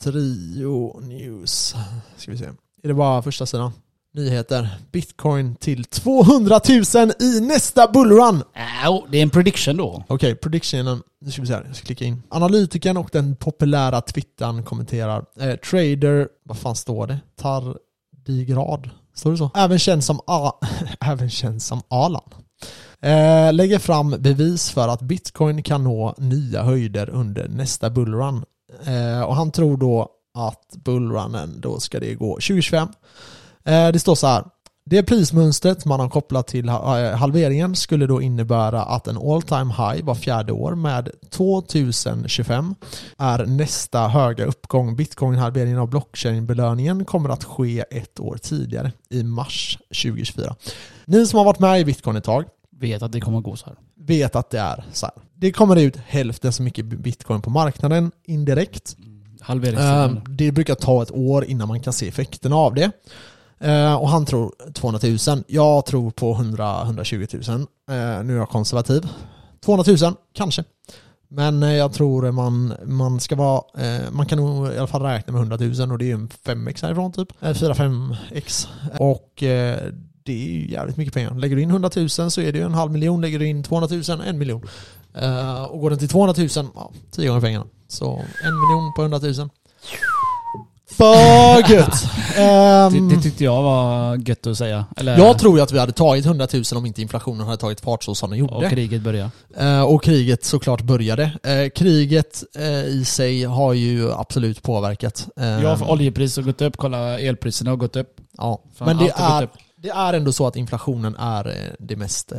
[SPEAKER 1] Trio News. Ska vi se. Är det bara första sidan? nyheter. Bitcoin till 200 000 i nästa bullrun.
[SPEAKER 3] Äh, det är en prediction då.
[SPEAKER 1] Okej, predictionen. Nu ska vi se här. Jag ska klicka in. Analytikern och den populära twittan kommenterar. Eh, trader, vad fan står det? Tardigrad. Står det så? Även känd som, A- även känd som Alan. Eh, lägger fram bevis för att bitcoin kan nå nya höjder under nästa bullrun. Eh, och han tror då att bullrunnen, då ska det gå 2025. Eh, det står så här. Det prismönstret man har kopplat till eh, halveringen skulle då innebära att en all time high var fjärde år med 2025 är nästa höga uppgång. Bitcoin-halveringen av blockchain-belöningen kommer att ske ett år tidigare i mars 2024. Ni som har varit med i bitcoin ett tag
[SPEAKER 3] Vet att det kommer gå så här.
[SPEAKER 1] vet att det är så här. Det kommer ut hälften så mycket bitcoin på marknaden indirekt.
[SPEAKER 3] Halveringstiden.
[SPEAKER 1] Eh, det brukar ta ett år innan man kan se effekterna av det. Eh, och han tror 200 000. Jag tror på 100, 120 000. Eh, nu är jag konservativ. 200 000, kanske. Men eh, jag tror man, man ska vara, eh, man kan nog i alla fall räkna med 100 000 och det är ju en 5x härifrån typ. Eh, 4-5x. Och eh, det är ju jävligt mycket pengar. Lägger du in 100 000 så är det ju en halv miljon. Lägger du in 200 000, en miljon. Eh, och går den till 200 000, ja, tio gånger pengarna. Så en miljon på 100 000. För gött! Ehm,
[SPEAKER 3] det, det tyckte jag var gött att säga. Eller,
[SPEAKER 1] jag tror ju att vi hade tagit 100 000 om inte inflationen hade tagit fart så som den gjorde.
[SPEAKER 3] Och kriget började.
[SPEAKER 1] Eh, och kriget såklart började. Eh, kriget eh, i sig har ju absolut påverkat. Eh,
[SPEAKER 3] Ja, för oljepris har gått upp. Kolla, elpriserna har gått upp.
[SPEAKER 1] ja.
[SPEAKER 3] Fan,
[SPEAKER 1] Men det
[SPEAKER 3] allt har
[SPEAKER 1] är,
[SPEAKER 3] gått upp.
[SPEAKER 1] det är ändå så att inflationen är eh, det mest eh,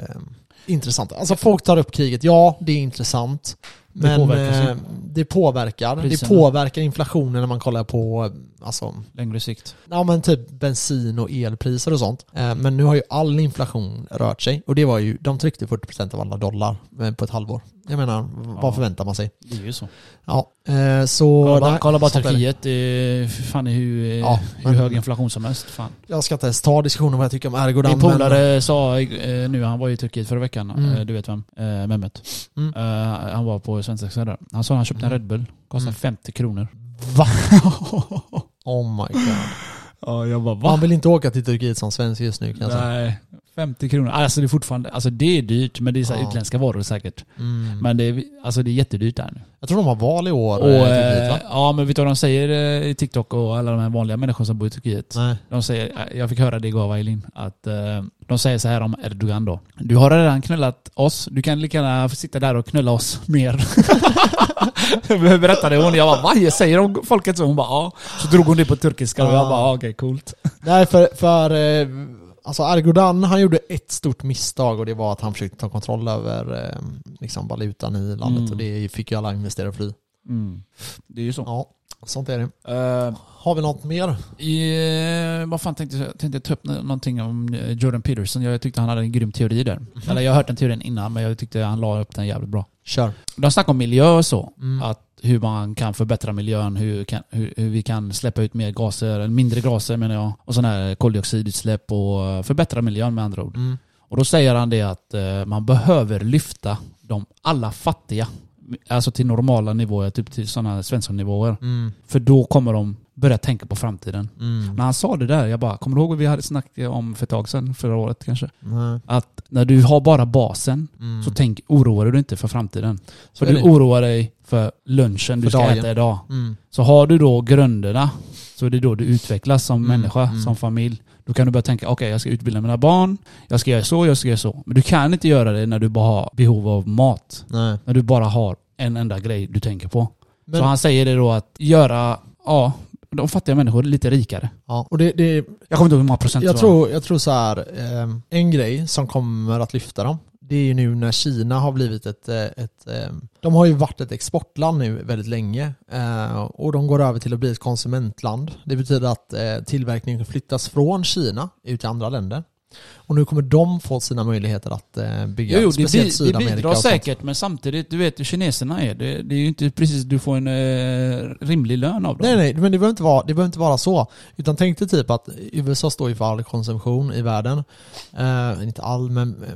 [SPEAKER 1] intressanta. Alltså folk tar upp kriget, ja det är intressant.
[SPEAKER 3] Det
[SPEAKER 1] Men
[SPEAKER 3] påverkar
[SPEAKER 1] det,
[SPEAKER 3] sig.
[SPEAKER 1] eh, det påverkar. Det
[SPEAKER 3] Priserna.
[SPEAKER 1] påverkar inflationen när man kollar på eh, alltså,
[SPEAKER 3] Längre sikt.
[SPEAKER 1] ja, men typ bensin och elpriser och sånt. Eh, Men nu har ju all inflation rört sig. Och det var ju, de tryckte 40% av alla dollar eh, på ett halvår. Jag menar, vad
[SPEAKER 3] Ja.
[SPEAKER 1] förväntar man sig?
[SPEAKER 3] Det är ju så.
[SPEAKER 1] Ja, eh, så...
[SPEAKER 3] Kolla, bara-
[SPEAKER 1] nej,
[SPEAKER 3] kolla bara
[SPEAKER 1] sånt är det.
[SPEAKER 3] Turkiet. Det är, för fan är hur, eh,
[SPEAKER 1] Ja,
[SPEAKER 3] hur
[SPEAKER 1] men-
[SPEAKER 3] hög inflation som helst. Fan.
[SPEAKER 1] Jag ska inte ens ta diskussionen om vad jag tycker om Erdogan.
[SPEAKER 3] Min
[SPEAKER 1] men-
[SPEAKER 3] polare sa eh, nu, han var i Turkiet förra veckan,
[SPEAKER 1] Mm.
[SPEAKER 3] eh, du vet vem? Eh, Mehmet.
[SPEAKER 1] Mm.
[SPEAKER 3] Eh, han var på svensexa där. Han sa att han köpte
[SPEAKER 1] Mm.
[SPEAKER 3] en Red Bull, kostade
[SPEAKER 1] Mm.
[SPEAKER 3] 50 kronor.
[SPEAKER 1] Va? Oh my god.
[SPEAKER 3] Ja, jag bara
[SPEAKER 1] Man vill inte åka till Turkiet som svensk just nu kan jag säga.
[SPEAKER 3] Nej, 50 kronor. Alltså det är fortfarande, alltså det är dyrt men det är så här
[SPEAKER 1] Ja.
[SPEAKER 3] utländska varor säkert.
[SPEAKER 1] Mm.
[SPEAKER 3] Men det är, alltså det är jättedyrt där nu.
[SPEAKER 1] Jag tror de har val i år.
[SPEAKER 3] Och,
[SPEAKER 1] eh, Turkiet, va?
[SPEAKER 3] eh, ja men vet du vad de säger eh, i TikTok och alla de här vanliga människorna som bor i Turkiet?
[SPEAKER 1] Nej.
[SPEAKER 3] De säger, eh, jag fick höra det igår av Aylin, att eh, de säger så här om Erdogan då. Du har redan knullat oss, du kan lika gärna få sitta där och knulla oss mer. Jag Berättade hon, jag bara vad säger de folket så? Hon bara ja. Så drog hon det på turkiska och jag bara "Ja, okej coolt.
[SPEAKER 1] Nej, för, för eh, alltså Erdogan, han gjorde ett stort misstag och det var att han försökte ta kontroll över eh, liksom valutan i landet
[SPEAKER 3] Mm.
[SPEAKER 1] och det fick ju alla investerare fly.
[SPEAKER 3] Det är ju så.
[SPEAKER 1] Ja, sånt är det.
[SPEAKER 3] Eh,
[SPEAKER 1] Har vi något mer?
[SPEAKER 3] Eh, vad fan tänkte jag? Tänkte jag ta upp nå- någonting om eh, Jordan Peterson. Jag tyckte han hade en grym teori där. Eller jag har hört den teorin innan men jag tyckte han la upp den jävligt bra.
[SPEAKER 1] Kör.
[SPEAKER 3] De snackar om miljö och så.
[SPEAKER 1] Mm.
[SPEAKER 3] Att hur man kan förbättra miljön, hur, kan, hur, hur vi kan släppa ut mer gaser, eller mindre gaser menar jag. Och sådana här koldioxidutsläpp och eh, förbättra miljön med andra ord.
[SPEAKER 1] Mm.
[SPEAKER 3] Och då säger han det att eh, man behöver lyfta de alla fattiga. Alltså till normala nivåer, typ till sådana svenssonnivåer.
[SPEAKER 1] Mm.
[SPEAKER 3] För då kommer de börja tänka på framtiden.
[SPEAKER 1] Mm.
[SPEAKER 3] När han sa det där, jag bara, kommer du ihåg vad vi hade snackat om för ett tag sedan, förra året kanske?
[SPEAKER 1] Nej.
[SPEAKER 3] Att när du har bara basen,
[SPEAKER 1] Mm.
[SPEAKER 3] så tänk, oroar du dig inte för framtiden.
[SPEAKER 1] Så
[SPEAKER 3] För
[SPEAKER 1] är
[SPEAKER 3] du
[SPEAKER 1] det.
[SPEAKER 3] oroar dig för lunchen du
[SPEAKER 1] För
[SPEAKER 3] ska
[SPEAKER 1] dagen.
[SPEAKER 3] äta idag.
[SPEAKER 1] Mm.
[SPEAKER 3] Så har du då grunderna, så är det då du utvecklas som
[SPEAKER 1] Mm,
[SPEAKER 3] människa,
[SPEAKER 1] mm.
[SPEAKER 3] som familj. Då kan du börja tänka, okej jag ska utbilda mina barn, jag ska göra så, jag ska göra så. Men du kan inte göra det när du bara har behov av mat.
[SPEAKER 1] Nej.
[SPEAKER 3] När du bara har en enda grej du tänker på.
[SPEAKER 1] Men,
[SPEAKER 3] Så han säger det då att göra, ja, de fattiga människor lite rikare.
[SPEAKER 1] ja, och det, det,
[SPEAKER 3] Jag kommer inte ihåg hur många procent
[SPEAKER 1] jag,
[SPEAKER 3] det var.
[SPEAKER 1] tror, jag tror så här, eh, en grej som kommer att lyfta dem, det är ju nu när Kina har blivit ett, eh, ett eh, de har ju varit ett exportland nu väldigt länge eh, och de går över till att bli ett konsumentland. Det betyder att eh, tillverkningen flyttas från Kina ut till andra länder. Och nu kommer de få sina möjligheter att eh, bygga,
[SPEAKER 3] Jo, jo, det,
[SPEAKER 1] speciellt
[SPEAKER 3] bi- det
[SPEAKER 1] Sydamerika.
[SPEAKER 3] bidrar
[SPEAKER 1] och sånt.
[SPEAKER 3] säkert, men samtidigt, du vet hur kineserna är. Det, det är ju inte precis du får en eh, rimlig lön av dem.
[SPEAKER 1] Nej, nej, men det behöver, inte vara, det behöver inte vara så. Utan tänk dig typ att USA står ju för all konsumtion i världen. Eh, inte all, men eh,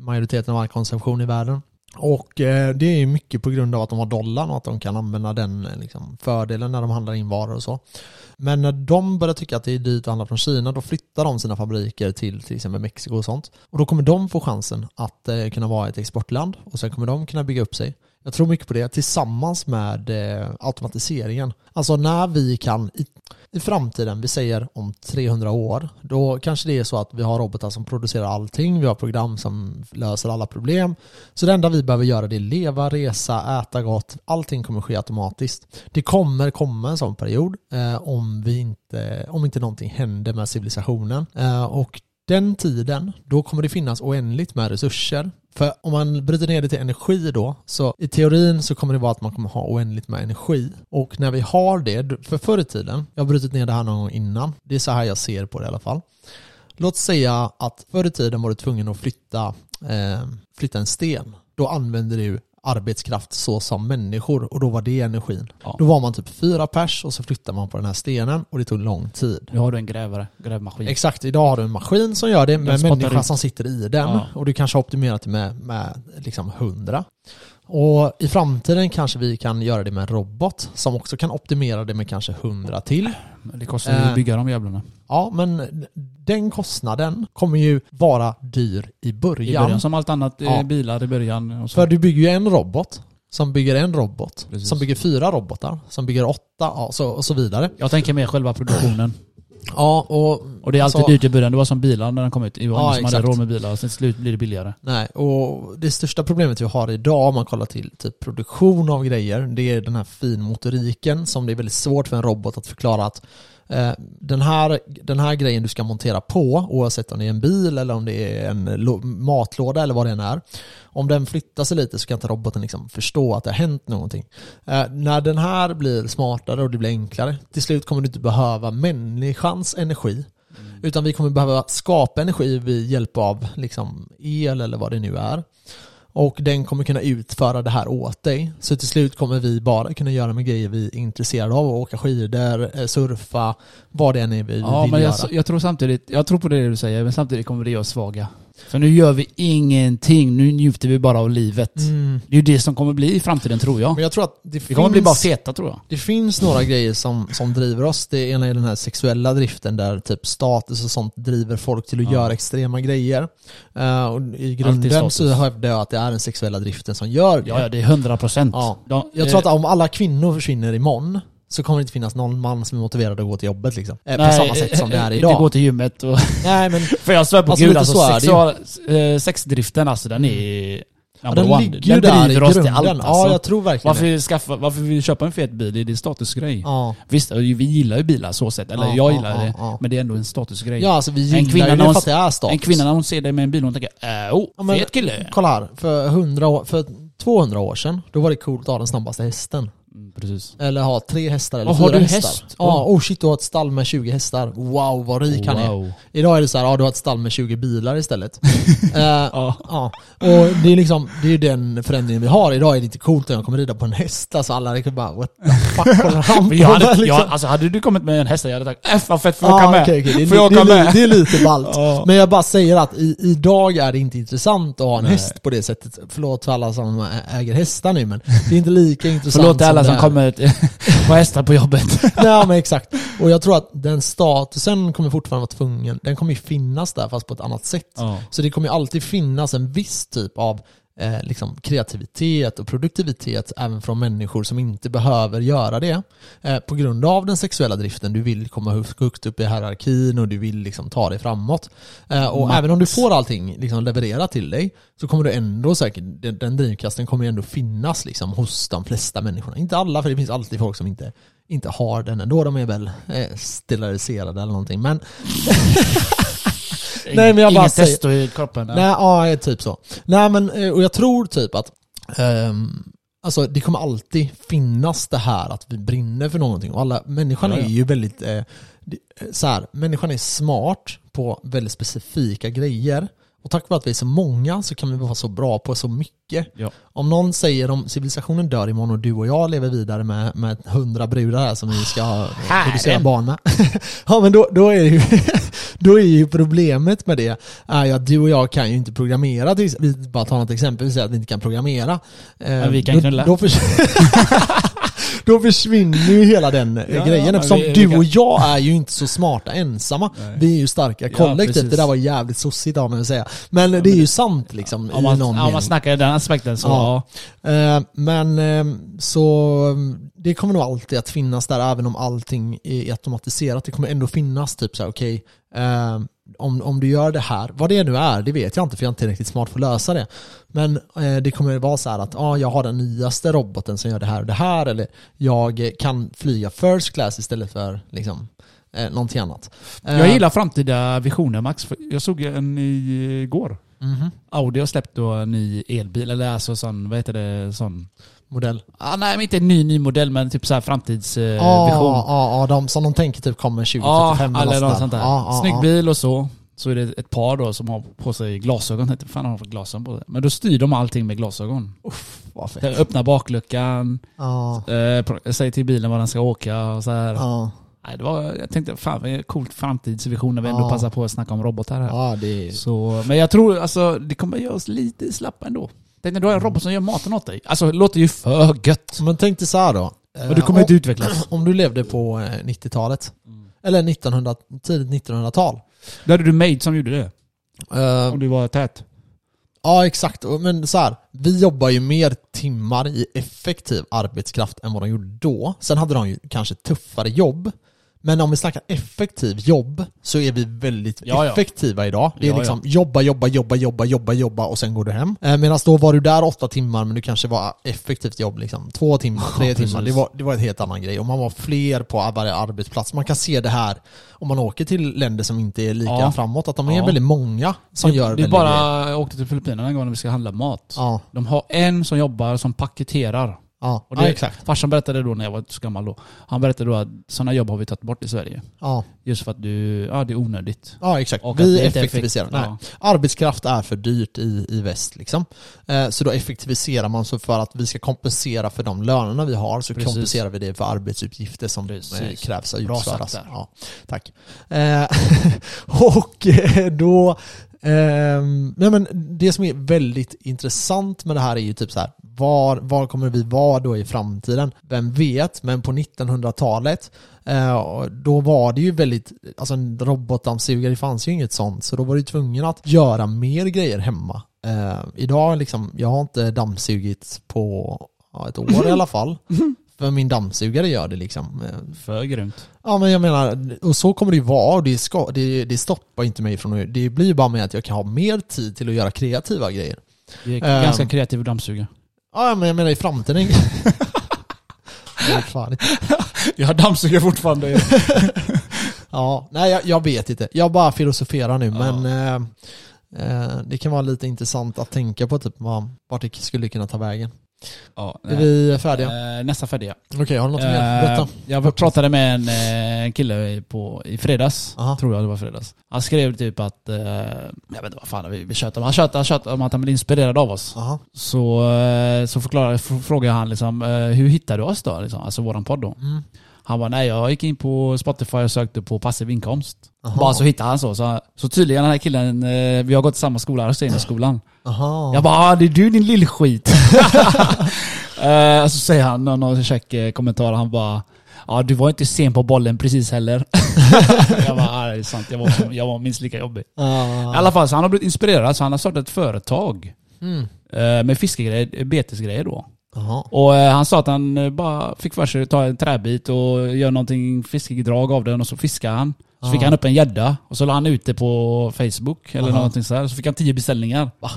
[SPEAKER 1] majoriteten av all konsumtion i världen. Och eh, det är ju mycket på grund av att de har dollarn och att de kan använda den eh, liksom, fördelen när de handlar in varor och så. Men när de börjar tycka att det är dyrt att handla från Kina då flyttar de sina fabriker till till exempel Mexiko och sånt. Och då kommer de få chansen att eh, kunna vara ett exportland och sen kommer de kunna bygga upp sig. Jag tror mycket på det tillsammans med eh, automatiseringen. Alltså när vi kan i, i framtiden, vi säger om 300 år, då kanske det är så att vi har robotar som producerar allting, vi har program som löser alla problem. Så det enda vi behöver göra det är leva, resa, äta gott. Allting kommer ske automatiskt. Det kommer komma en sån period eh, om, vi inte, om inte någonting händer med civilisationen. Eh, och den tiden, då kommer det finnas oändligt med resurser. För om man bryter ner det till energi då, så i teorin så kommer det vara att man kommer ha oändligt med energi. Och när vi har det, för förr i tiden, jag har brutit ner det här någon gång innan, det är så här jag ser på det i alla fall. Låt säga att förr i tiden var du tvungen att flytta, eh, flytta en sten. Då använde du arbetskraft så som människor och då var det energin.
[SPEAKER 3] Ja.
[SPEAKER 1] Då var man typ fyra pers och så flyttade man på den här stenen och det tog lång tid.
[SPEAKER 3] Nu har du en grävare, grävmaskin.
[SPEAKER 1] Exakt, idag har du en maskin som gör det med
[SPEAKER 3] spottar
[SPEAKER 1] människa
[SPEAKER 3] ut.
[SPEAKER 1] som sitter i den
[SPEAKER 3] Ja.
[SPEAKER 1] och du kanske har optimerat det med, med liksom 100. Och i framtiden kanske vi kan göra det med en robot som också kan optimera det med kanske 100 till.
[SPEAKER 3] det kostar ju
[SPEAKER 1] Eh.
[SPEAKER 3] att bygga de jävlarna.
[SPEAKER 1] Ja, men den kostnaden kommer ju vara dyr i
[SPEAKER 3] I
[SPEAKER 1] början.
[SPEAKER 3] början, som allt annat, eh,
[SPEAKER 1] Ja.
[SPEAKER 3] bilar i början. Och så.
[SPEAKER 1] För du bygger ju en robot som bygger en robot,
[SPEAKER 3] Precis.
[SPEAKER 1] som bygger fyra robotar, som bygger åtta ja, så, och så vidare.
[SPEAKER 3] Jag tänker mer själva produktionen.
[SPEAKER 1] Ja, och
[SPEAKER 3] Och det är alltid
[SPEAKER 1] Alltså-
[SPEAKER 3] dyrt i början. Det var som bilar när de kom ut. Det var
[SPEAKER 1] Ja,
[SPEAKER 3] ingen som hade
[SPEAKER 1] exakt.
[SPEAKER 3] råd med bilar. Och sen till slut blir det billigare.
[SPEAKER 1] Nej, och det största problemet vi har idag om man kollar till typ produktion av grejer, det är den här finmotoriken som det är väldigt svårt för en robot att förklara att eh, den, här, den här grejen du ska montera på, oavsett om det är en bil eller om det är en lo- matlåda eller vad det än är, om den flyttar sig lite så kan inte roboten liksom förstå att det har hänt någonting. Eh, när den här blir smartare och det blir enklare, till slut kommer du inte behöva människans energi utan vi kommer behöva skapa energi vid hjälp av liksom, el eller vad det nu är. Och den kommer kunna utföra det här åt dig. Så till slut kommer vi bara kunna göra med grejer vi är intresserade av. Åka skidor, eh, surfa, vad det än är vi
[SPEAKER 3] Ja,
[SPEAKER 1] vill
[SPEAKER 3] men
[SPEAKER 1] göra.
[SPEAKER 3] jag, jag tror samtidigt, jag tror på det du säger, men samtidigt kommer det göra oss svaga. För nu gör vi ingenting, nu njuter vi bara av livet.
[SPEAKER 1] Mm.
[SPEAKER 3] Det är ju det som kommer bli i framtiden tror jag.
[SPEAKER 1] Men jag tror att det
[SPEAKER 3] Vi
[SPEAKER 1] finns...
[SPEAKER 3] kommer bli bara feta tror jag.
[SPEAKER 1] Det finns några grejer som, som driver oss. Det ena är den här sexuella driften där typ status och sånt driver folk till att
[SPEAKER 3] Ja.
[SPEAKER 1] göra extrema grejer. Eh, och I grunden
[SPEAKER 3] status.
[SPEAKER 1] så hävdar jag att det är den sexuella driften som gör det.
[SPEAKER 3] Ja, ja det är 100 procent. eh,
[SPEAKER 1] Ja. Jag tror att om alla kvinnor försvinner imorgon så kommer det inte finnas någon man som är motiverad att gå till jobbet liksom. Eh, på samma sätt som det är idag.
[SPEAKER 3] Det går till gymmet och...
[SPEAKER 1] Nej men
[SPEAKER 3] För jag svär på
[SPEAKER 1] Alltså,
[SPEAKER 3] gud
[SPEAKER 1] lite
[SPEAKER 3] alltså,
[SPEAKER 1] så är det ju.
[SPEAKER 3] sexual, eh, sexdriften alltså den är...
[SPEAKER 1] ja,
[SPEAKER 3] number
[SPEAKER 1] den
[SPEAKER 3] one.
[SPEAKER 1] ligger ju där i
[SPEAKER 3] driver oss till
[SPEAKER 1] grunden.
[SPEAKER 3] allt alltså.
[SPEAKER 1] Ja jag tror verkligen det.
[SPEAKER 3] varför, skaffa, varför vill vi köpa en fet bil? Det är en statusgrej.
[SPEAKER 1] Ja.
[SPEAKER 3] Visst, vi gillar ju bilar så sett, eller
[SPEAKER 1] Ja,
[SPEAKER 3] jag
[SPEAKER 1] ja,
[SPEAKER 3] gillar
[SPEAKER 1] ja,
[SPEAKER 3] det,
[SPEAKER 1] ja.
[SPEAKER 3] men det är ändå en statusgrej.
[SPEAKER 1] ja alltså vi
[SPEAKER 3] En
[SPEAKER 1] gillar
[SPEAKER 3] kvinna
[SPEAKER 1] ju
[SPEAKER 3] när
[SPEAKER 1] det
[SPEAKER 3] hon-
[SPEAKER 1] för att det är status.
[SPEAKER 3] En kvinna när hon ser dig med en bil, hon tänker äh, oh,
[SPEAKER 1] Ja, men-
[SPEAKER 3] fet kille.
[SPEAKER 1] Kolla här, för, 100 år, för 200 år sedan då var det coolt att ha den snabbaste hästen.
[SPEAKER 3] Precis.
[SPEAKER 1] Eller ha tre hästar eller
[SPEAKER 3] Ja, har
[SPEAKER 1] fyra
[SPEAKER 3] du
[SPEAKER 1] hästar.
[SPEAKER 3] häst?
[SPEAKER 1] Ja, oh shit du har ett stall med 20 hästar. Wow vad rik han är.
[SPEAKER 3] Wow.
[SPEAKER 1] Idag är det så här, ja du har ett stall med 20 bilar istället. Eh, ja. Och det är liksom, det är ju den förändringen vi har. Idag är det inte coolt att jag kommer rida på en häst. Alltså alla liksom bara what the fuck håller han på
[SPEAKER 3] Men jag hade,
[SPEAKER 1] med, liksom?
[SPEAKER 3] jag, alltså, hade du kommit med en häst, jag hade sagt F vad fett, får jag
[SPEAKER 1] Ja,
[SPEAKER 3] åka med?
[SPEAKER 1] okej, okej. Det är
[SPEAKER 3] får jag
[SPEAKER 1] li-
[SPEAKER 3] åka
[SPEAKER 1] det är li-
[SPEAKER 3] med?
[SPEAKER 1] Det är lite ballt.
[SPEAKER 3] Ja.
[SPEAKER 1] Men jag bara säger att i, idag är det inte intressant att ha en häst på det sättet. Förlåt för alla som ä- äger hästar nu men det är inte lika intressant
[SPEAKER 3] Förlåt till alla
[SPEAKER 1] det
[SPEAKER 3] som
[SPEAKER 1] är.
[SPEAKER 3] kommer till- på hästar på jobbet.
[SPEAKER 1] Nej men exakt. Och jag tror att den statusen kommer fortfarande vara tvungen, den kommer ju finnas där fast på ett annat sätt.
[SPEAKER 3] Ja.
[SPEAKER 1] Så det kommer ju alltid finnas en viss typ av eh, liksom kreativitet och produktivitet även från människor som inte behöver göra det. Eh, på grund av den sexuella driften, du vill komma högt- högt upp i hierarkin och du vill liksom ta dig framåt. Eh, och
[SPEAKER 3] Makt.
[SPEAKER 1] även om du får allting liksom levererat till dig så kommer du ändå säkert, den, den drivkraften kommer ju ändå finnas liksom hos de flesta människorna. Inte alla, för det finns alltid folk som inte inte har den ändå, de är väl eh, steriliserade eller någonting. Men Nej, men jag bara
[SPEAKER 3] Inget
[SPEAKER 1] säger-
[SPEAKER 3] testo i kroppen.
[SPEAKER 1] Nej, ja, eh, typ så. Nej, men, eh, och jag tror typ att ehm, alltså, det kommer alltid finnas det här att vi brinner för någonting. Och alla, människan
[SPEAKER 3] Ja, ja.
[SPEAKER 1] är ju väldigt, eh, det- eh, så här, människan är smart på väldigt specifika grejer. Och tack vare att vi är så många så kan vi vara så bra på så mycket.
[SPEAKER 3] Ja.
[SPEAKER 1] Om någon säger om civilisationen dör imorgon och du och jag lever vidare med, med 100 brudar här som vi ska ha- producera barn med. ja men då, då, är ju, då är ju problemet med det är ju att du och jag kan ju inte programmera. till ex- Vi bara tar något exempel, vi säger att vi inte kan programmera. Men
[SPEAKER 3] vi kan
[SPEAKER 1] då,
[SPEAKER 3] knulla.
[SPEAKER 1] Då, förs- då försvinner ju hela den eh,
[SPEAKER 3] Ja,
[SPEAKER 1] grejen
[SPEAKER 3] ja,
[SPEAKER 1] eftersom
[SPEAKER 3] vi- vi
[SPEAKER 1] du
[SPEAKER 3] kan-
[SPEAKER 1] och jag är ju inte så smarta ensamma. Vi är ju starka
[SPEAKER 3] Ja,
[SPEAKER 1] kollektivt.
[SPEAKER 3] precis.
[SPEAKER 1] det där var jävligt sossigt av mig att säga. Men det är ju sant liksom
[SPEAKER 3] Om
[SPEAKER 1] i
[SPEAKER 3] man,
[SPEAKER 1] någon
[SPEAKER 3] om man
[SPEAKER 1] mening.
[SPEAKER 3] snackar i den aspekten så...
[SPEAKER 1] Ja.
[SPEAKER 3] Ja.
[SPEAKER 1] Eh, Men ehm, så ehm, det kommer nog alltid att finnas där även om allting är automatiserat. Det kommer ändå finnas typ så här, okej, ehm, om, om du gör det här, vad det nu är, det vet jag inte för jag är inte riktigt smart för att lösa det. Men eh, det kommer vara så här att ah, jag har den nyaste roboten som gör det här och det här eller jag eh, kan flyga first class istället för liksom, eh, någonting annat. Eh,
[SPEAKER 3] Jag gillar framtida visioner Max. För Jag såg en eh, igår.
[SPEAKER 1] mhm,
[SPEAKER 3] Audi har släppt då en ny elbil, eller alltså sån, vad heter det, sån...
[SPEAKER 1] modell.
[SPEAKER 3] Ah, nej, men inte en ny, ny modell, men typ så här framtidsvision. Eh,
[SPEAKER 1] Ja,
[SPEAKER 3] vision.
[SPEAKER 1] ja, ja, ah, de som de tänker typ kommer 2035
[SPEAKER 3] Ja,
[SPEAKER 1] något
[SPEAKER 3] eller något
[SPEAKER 1] där. Ah,
[SPEAKER 3] sånt där.
[SPEAKER 1] Ja, ja,
[SPEAKER 3] Snygg
[SPEAKER 1] ja.
[SPEAKER 3] bil och så. Så är det ett par då som har på sig glasögon. Jag vet inte fan har de för glasögon på sig? Men då styr de allting med glasögon.
[SPEAKER 1] Vad fett.
[SPEAKER 3] Den öppnar bakluckan,
[SPEAKER 1] Ja.
[SPEAKER 3] eh, pro- säger till bilen var den ska åka och så här.
[SPEAKER 1] Ja,
[SPEAKER 3] Nej, det var, jag tänkte fan vad coolt framtidsvision när vi ändå
[SPEAKER 1] Ja.
[SPEAKER 3] passar på att snacka om robotar här.
[SPEAKER 1] ja det är...
[SPEAKER 3] Så, men jag tror alltså det kommer göra oss lite slappa ändå. Tänk när du har en robot som gör maten åt dig. Alltså det låter ju för gött.
[SPEAKER 1] Men tänk dig så här då.
[SPEAKER 3] Men du kommer Mm.
[SPEAKER 1] Eh,
[SPEAKER 3] inte utvecklas.
[SPEAKER 1] om, om du levde på eh, 90-talet. Eller 1900, tidigt 1900-tal.
[SPEAKER 3] Då hade du maid som gjorde det.
[SPEAKER 1] Eh,
[SPEAKER 3] Om du var tät.
[SPEAKER 1] ja exakt, Och- men så här. Vi jobbar ju mer timmar i effektiv arbetskraft än vad de gjorde då. Sen hade de ju kanske tuffare jobb. Men om vi snackar effektiv jobb så är vi väldigt
[SPEAKER 3] Ja, ja.
[SPEAKER 1] effektiva idag. Det är
[SPEAKER 3] Ja, ja.
[SPEAKER 1] liksom jobba, jobba, jobba, jobba, jobba, jobba och sen går du hem. Eh, Medan då var du där åtta timmar men du kanske var effektivt jobb liksom. Två timmar, tre
[SPEAKER 3] precis.
[SPEAKER 1] timmar. Det var, det var en helt annan grej. Och man var fler på varje arbetsplats. Man kan se det här om man åker till länder som inte är lika
[SPEAKER 3] Ja.
[SPEAKER 1] framåt. Att de är
[SPEAKER 3] Ja.
[SPEAKER 1] väldigt många som
[SPEAKER 3] det,
[SPEAKER 1] gör
[SPEAKER 3] det är
[SPEAKER 1] väldigt grejer.
[SPEAKER 3] bara, jag åkte till Filippinerna en gång när vi ska handla mat.
[SPEAKER 1] Ja,
[SPEAKER 3] De har en som jobbar som paketerar.
[SPEAKER 1] ja,
[SPEAKER 3] Och det,
[SPEAKER 1] ja exakt.
[SPEAKER 3] Farsan berättade då när jag var så gammal då. Han berättade då att sådana jobb har vi tagit bort i Sverige.
[SPEAKER 1] Ja,
[SPEAKER 3] Just för att du, ja det är onödigt.
[SPEAKER 1] ja exakt.
[SPEAKER 3] Och att
[SPEAKER 1] Vi
[SPEAKER 3] det inte är effekt-
[SPEAKER 1] effektiviserar. Nej.
[SPEAKER 3] ja.
[SPEAKER 1] Arbetskraft är för dyrt i, i väst liksom. Eh, så då effektiviserar man så för att vi ska kompensera för de lönerna vi har så
[SPEAKER 3] Precis.
[SPEAKER 1] kompenserar vi det för arbetsuppgifter som eh,
[SPEAKER 3] Precis.
[SPEAKER 1] krävs att
[SPEAKER 3] Bra
[SPEAKER 1] utföras.
[SPEAKER 3] sagt där.
[SPEAKER 1] Ja, tack. Eh, och eh, då, ehm, nej men det som är väldigt intressant med det här är ju typ så här, var, var kommer vi vara då i framtiden? Vem vet, men på 1900-talet eh, och då var det ju väldigt, alltså en robotdammsugare, det fanns ju inget sånt, så då var du tvungen att göra mer grejer hemma. Eh, idag liksom, jag har inte dammsugit på ja, ett år i alla fall. För min dammsugare gör det liksom. Eh,
[SPEAKER 3] För grymt.
[SPEAKER 1] Ja men jag menar, och så kommer det ju vara och det, ska, det, det stoppar inte mig från att- Det blir ju bara med att jag kan ha mer tid till att göra kreativa grejer.
[SPEAKER 3] Det är
[SPEAKER 1] Ehm.
[SPEAKER 3] ganska kreativ dammsugare.
[SPEAKER 1] Ja men jag menar i framtiden. Det är fan-
[SPEAKER 3] Jag dammsuger fortfarande.
[SPEAKER 1] ja, nej jag, jag vet inte. Jag bara filosoferar nu men eh, eh, det kan vara lite intressant att tänka på typ vad, vart det skulle kunna ta vägen.
[SPEAKER 3] ja,
[SPEAKER 1] Är vi färdiga?
[SPEAKER 3] Eh, nästan färdiga.
[SPEAKER 1] Okej, har du något mer? Berätta.
[SPEAKER 3] Eh, Jag var- pratade med en, eh, en kille på, i fredags,
[SPEAKER 1] Aha.
[SPEAKER 3] tror jag det var fredags. Han skrev typ att, eh, jag vet inte vad fan vi, vi tjötade om, han tjötade, han tjötade om att han blev inspirerad av oss.
[SPEAKER 1] Aha.
[SPEAKER 3] Så, eh, så förklarade, f- frågade han liksom, eh, hur hittade du oss då? Liksom, alltså våran podd då.
[SPEAKER 1] Mm.
[SPEAKER 3] Han bara, nej jag gick in på Spotify och sökte på passiv inkomst.
[SPEAKER 1] Aha.
[SPEAKER 3] Bara så hittade han så. Så, så tydligen den här killen, eh, vi har gått i samma skola, skolan.
[SPEAKER 1] Aha.
[SPEAKER 3] Jag bara, ah, det är du din lillskit. Eh, så säger han någon, någon käck eh, kommentar, han bara, ja du var inte sen på bollen precis heller. jag bara, ah, det är sant, jag var, jag var minst lika jobbig.
[SPEAKER 1] Ah.
[SPEAKER 3] I alla fall, så han har blivit inspirerad, så han har startat ett företag
[SPEAKER 1] Mm.
[SPEAKER 3] eh, med fiskegrejer, eh, betesgrejer då.
[SPEAKER 1] Aha.
[SPEAKER 3] Och eh, han sa att han eh, bara fick för sig att ta en träbit och göra någonting fiskedrag av den och så fiskade han. Så fick han upp en gädda och så la han ut det på Facebook eller någonting sådär. Så fick han tio beställningar. Va?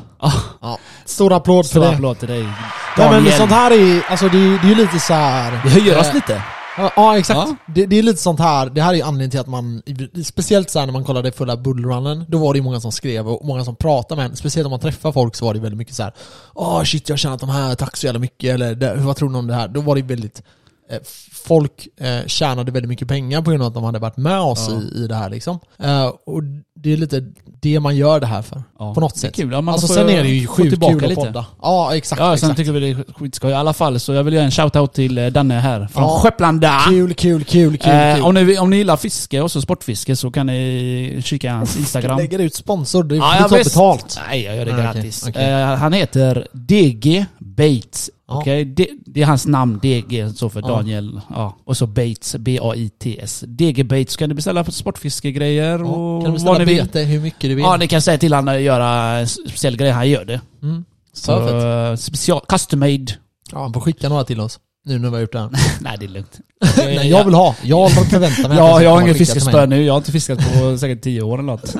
[SPEAKER 1] Ja. Stor applåd för
[SPEAKER 3] Stor
[SPEAKER 1] det.
[SPEAKER 3] applåd till dig.
[SPEAKER 1] Nej men
[SPEAKER 3] Daniel.
[SPEAKER 1] sånt här är alltså det är det är ju lite så här.
[SPEAKER 3] Det höjer
[SPEAKER 1] Eh,
[SPEAKER 3] oss lite.
[SPEAKER 1] Ja, ja exakt.
[SPEAKER 3] Ja.
[SPEAKER 1] Det, det är lite sånt här, det här är ju anledningen till att man, speciellt så här när man kollade fulla bullrunnen, då var det ju många som skrev och många som pratade med en. Speciellt om man träffar folk så var det väldigt mycket så här. åh shit jag känner att de här, tack så jävla mycket, eller "Det- vad tror ni om det här? Då var det ju väldigt eh, f- folk eh, tjänade väldigt mycket pengar på grund av att de hade varit med oss
[SPEAKER 3] Ja.
[SPEAKER 1] i, i det här liksom. Eh, och det är lite det man gör det här för.
[SPEAKER 3] Ja.
[SPEAKER 1] På något
[SPEAKER 3] Det är
[SPEAKER 1] sätt.
[SPEAKER 3] kul. Ja, man
[SPEAKER 1] alltså
[SPEAKER 3] får
[SPEAKER 1] sen är det ju
[SPEAKER 3] få
[SPEAKER 1] sjukt
[SPEAKER 3] tillbaka
[SPEAKER 1] kul att
[SPEAKER 3] lite.
[SPEAKER 1] podda. Ja, exakt.
[SPEAKER 3] Ja, sen typ-
[SPEAKER 1] exakt.
[SPEAKER 3] tycker vi det är skitskoj i alla fall. Så jag vill göra en shoutout till eh, Danne här från
[SPEAKER 1] Ja.
[SPEAKER 3] Skepplanda.
[SPEAKER 1] Kul, kul, kul, kul.
[SPEAKER 3] Eh,
[SPEAKER 1] kul.
[SPEAKER 3] om, ni, om ni gillar fiske och så sportfiske så kan ni kika hans Instagram.
[SPEAKER 1] Lägger ut sponsor, du
[SPEAKER 3] Ja,
[SPEAKER 1] ja,
[SPEAKER 3] ja,
[SPEAKER 1] tar
[SPEAKER 3] visst.
[SPEAKER 1] betalt.
[SPEAKER 3] Nej, jag gör det
[SPEAKER 1] Nej, Ah, okej,
[SPEAKER 3] gratis.
[SPEAKER 1] okej.
[SPEAKER 3] Eh, han heter DG Bates.
[SPEAKER 1] Ja.
[SPEAKER 3] Okej, det, det är hans namn, DG, så för
[SPEAKER 1] Ja.
[SPEAKER 3] Daniel. Ja. Och så Bates, B-A-I-T-S. DG Bates. Kan du beställa sportfiskegrejer
[SPEAKER 1] Ja. Kan
[SPEAKER 3] och
[SPEAKER 1] du
[SPEAKER 3] vad ni
[SPEAKER 1] beställa
[SPEAKER 3] vill?
[SPEAKER 1] bete hur mycket du vill?
[SPEAKER 3] Ja, ni kan säga till honom att göra en speciell grej. Han gör det.
[SPEAKER 1] Mm.
[SPEAKER 3] Så,
[SPEAKER 1] Perfekt.
[SPEAKER 3] eh, special, custom made.
[SPEAKER 1] Ja, han får skicka några till oss. Nu när vi har gjort det här.
[SPEAKER 3] Nej, det är lugnt.
[SPEAKER 1] Nej, jag vill ha. Jag förväntar mig
[SPEAKER 3] Ja,
[SPEAKER 1] att
[SPEAKER 3] jag har
[SPEAKER 1] ingen
[SPEAKER 3] inget fiskespö nu. Jag har inte fiskat på säkert tio år eller något.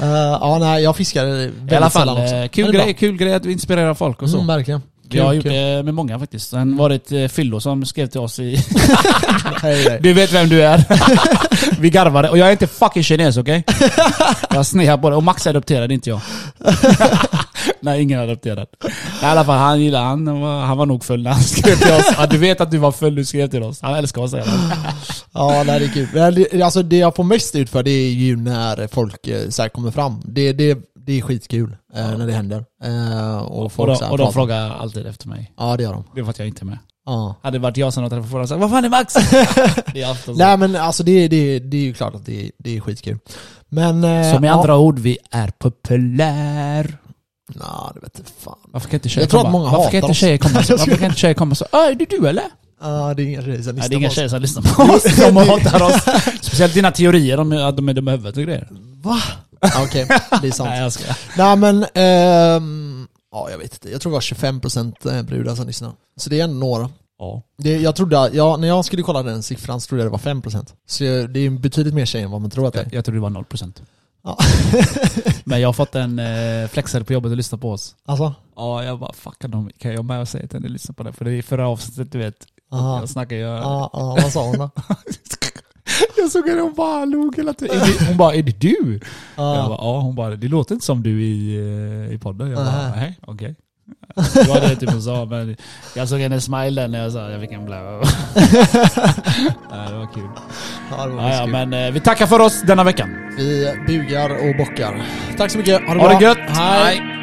[SPEAKER 1] Eh, ja, nej, jag fiskar väldigt
[SPEAKER 3] I alla fall,
[SPEAKER 1] sällan också.
[SPEAKER 3] eh,
[SPEAKER 1] Men
[SPEAKER 3] kul
[SPEAKER 1] det är
[SPEAKER 3] grej, kul grej att vi inspirerar folk
[SPEAKER 1] bra.
[SPEAKER 3] och så.
[SPEAKER 1] Mm, verkligen.
[SPEAKER 3] jag har
[SPEAKER 1] Kul,
[SPEAKER 3] gjort
[SPEAKER 1] kul.
[SPEAKER 3] det med många faktiskt. Sen var det ett eh, fyllo som skrev till oss i...
[SPEAKER 1] Nej, nej.
[SPEAKER 3] Du vet vem du är. vi garvade. Och jag är inte fucking kines, okej? jag snear på det. Och Max är adopterad, inte jag. Nej, ingen är adopterad. I alla fall, han gillade han. var- Han var nog full när han skrev till oss. Ja, du vet att du var full, du skrev till oss. Han älskar oss, säger han.
[SPEAKER 1] Ja, nej, det är kul. Men det- Alltså, det jag får mest ut för det är ju när folk eh, så här, kommer fram. Det, det, det är skitkul eh, när det händer. Eh, och,
[SPEAKER 3] Och
[SPEAKER 1] folk, så
[SPEAKER 3] de,
[SPEAKER 1] här,
[SPEAKER 3] och de
[SPEAKER 1] pratar.
[SPEAKER 3] frågar alltid efter mig.
[SPEAKER 1] Ja, det gör de.
[SPEAKER 3] Det är för att jag inte är med.
[SPEAKER 1] Ja.
[SPEAKER 3] Hade det varit jag som hade träffat förra sagt Vad fan är Max? det är alltid så.
[SPEAKER 1] Nej, men alltså det, det, det är ju klart att det, det är skitkul. Men... eh,
[SPEAKER 3] Som i
[SPEAKER 1] ja.
[SPEAKER 3] andra ord, vi är populär.
[SPEAKER 1] Nej, det vet inte fan.
[SPEAKER 3] Varför kan inte tjejer
[SPEAKER 1] Jag tror att
[SPEAKER 3] komma?
[SPEAKER 1] många
[SPEAKER 3] Varför
[SPEAKER 1] hatar
[SPEAKER 3] kan inte
[SPEAKER 1] oss.
[SPEAKER 3] tjejer komma så? Varför kan inte tjejer komma så? Öh, är det du eller?
[SPEAKER 1] Ja, det är inga tjejer som
[SPEAKER 3] Nej,
[SPEAKER 1] lyssnar
[SPEAKER 3] det är
[SPEAKER 1] på
[SPEAKER 3] inga
[SPEAKER 1] oss.
[SPEAKER 3] tjejer som lyssnar på oss. De hatar oss. Speciellt dina teorier om att de är dumma i huvudet och grejer.
[SPEAKER 1] Va?
[SPEAKER 3] Ah,
[SPEAKER 1] Ja, Okej, det är sant.
[SPEAKER 3] Nej,
[SPEAKER 1] Nej,
[SPEAKER 3] jag ska.
[SPEAKER 1] men... ehm, ja, jag vet inte. Jag tror det var 25% brudar som lyssnar. Så det är ändå några.
[SPEAKER 3] Ja.
[SPEAKER 1] Det, jag trodde, ja, när jag skulle kolla den siffran så trodde jag det var 5% Så jag- det är ju betydligt mer tjejer än vad man tror att det
[SPEAKER 3] Jag,
[SPEAKER 1] är.
[SPEAKER 3] jag tror det var 0%.
[SPEAKER 1] Ja.
[SPEAKER 3] Men jag har fått en eh, flexare på jobbet att lyssna på oss.
[SPEAKER 1] Alltså?
[SPEAKER 3] Ja, jag bara fuckar dem. Kan jag med och säga till henne lyssna på det? För det är förra avsnittet du vet.
[SPEAKER 1] Aha.
[SPEAKER 3] Jag snackar ju...
[SPEAKER 1] Ja, ja, vad sa hon då?
[SPEAKER 3] Jag såg henne, hon bara log hela tiden. Är det- Hon bara, är det du? Jag
[SPEAKER 1] Ja.
[SPEAKER 3] bara, ja, hon bara, det låter inte som du i, eh, i podden. Jag bara,
[SPEAKER 1] Nej.
[SPEAKER 3] nej, okej. Det var det typ hon sa, men jag såg hennes smile där när jag sa jag fick en blå. nej, det var kul.
[SPEAKER 1] Ja, det var
[SPEAKER 3] Ja, ja,
[SPEAKER 1] skoj.
[SPEAKER 3] men eh, vi tackar för oss denna veckan.
[SPEAKER 1] Vi bugar och bockar. Tack så mycket, ha det
[SPEAKER 3] Ha
[SPEAKER 1] bra.
[SPEAKER 3] det gött! Hej.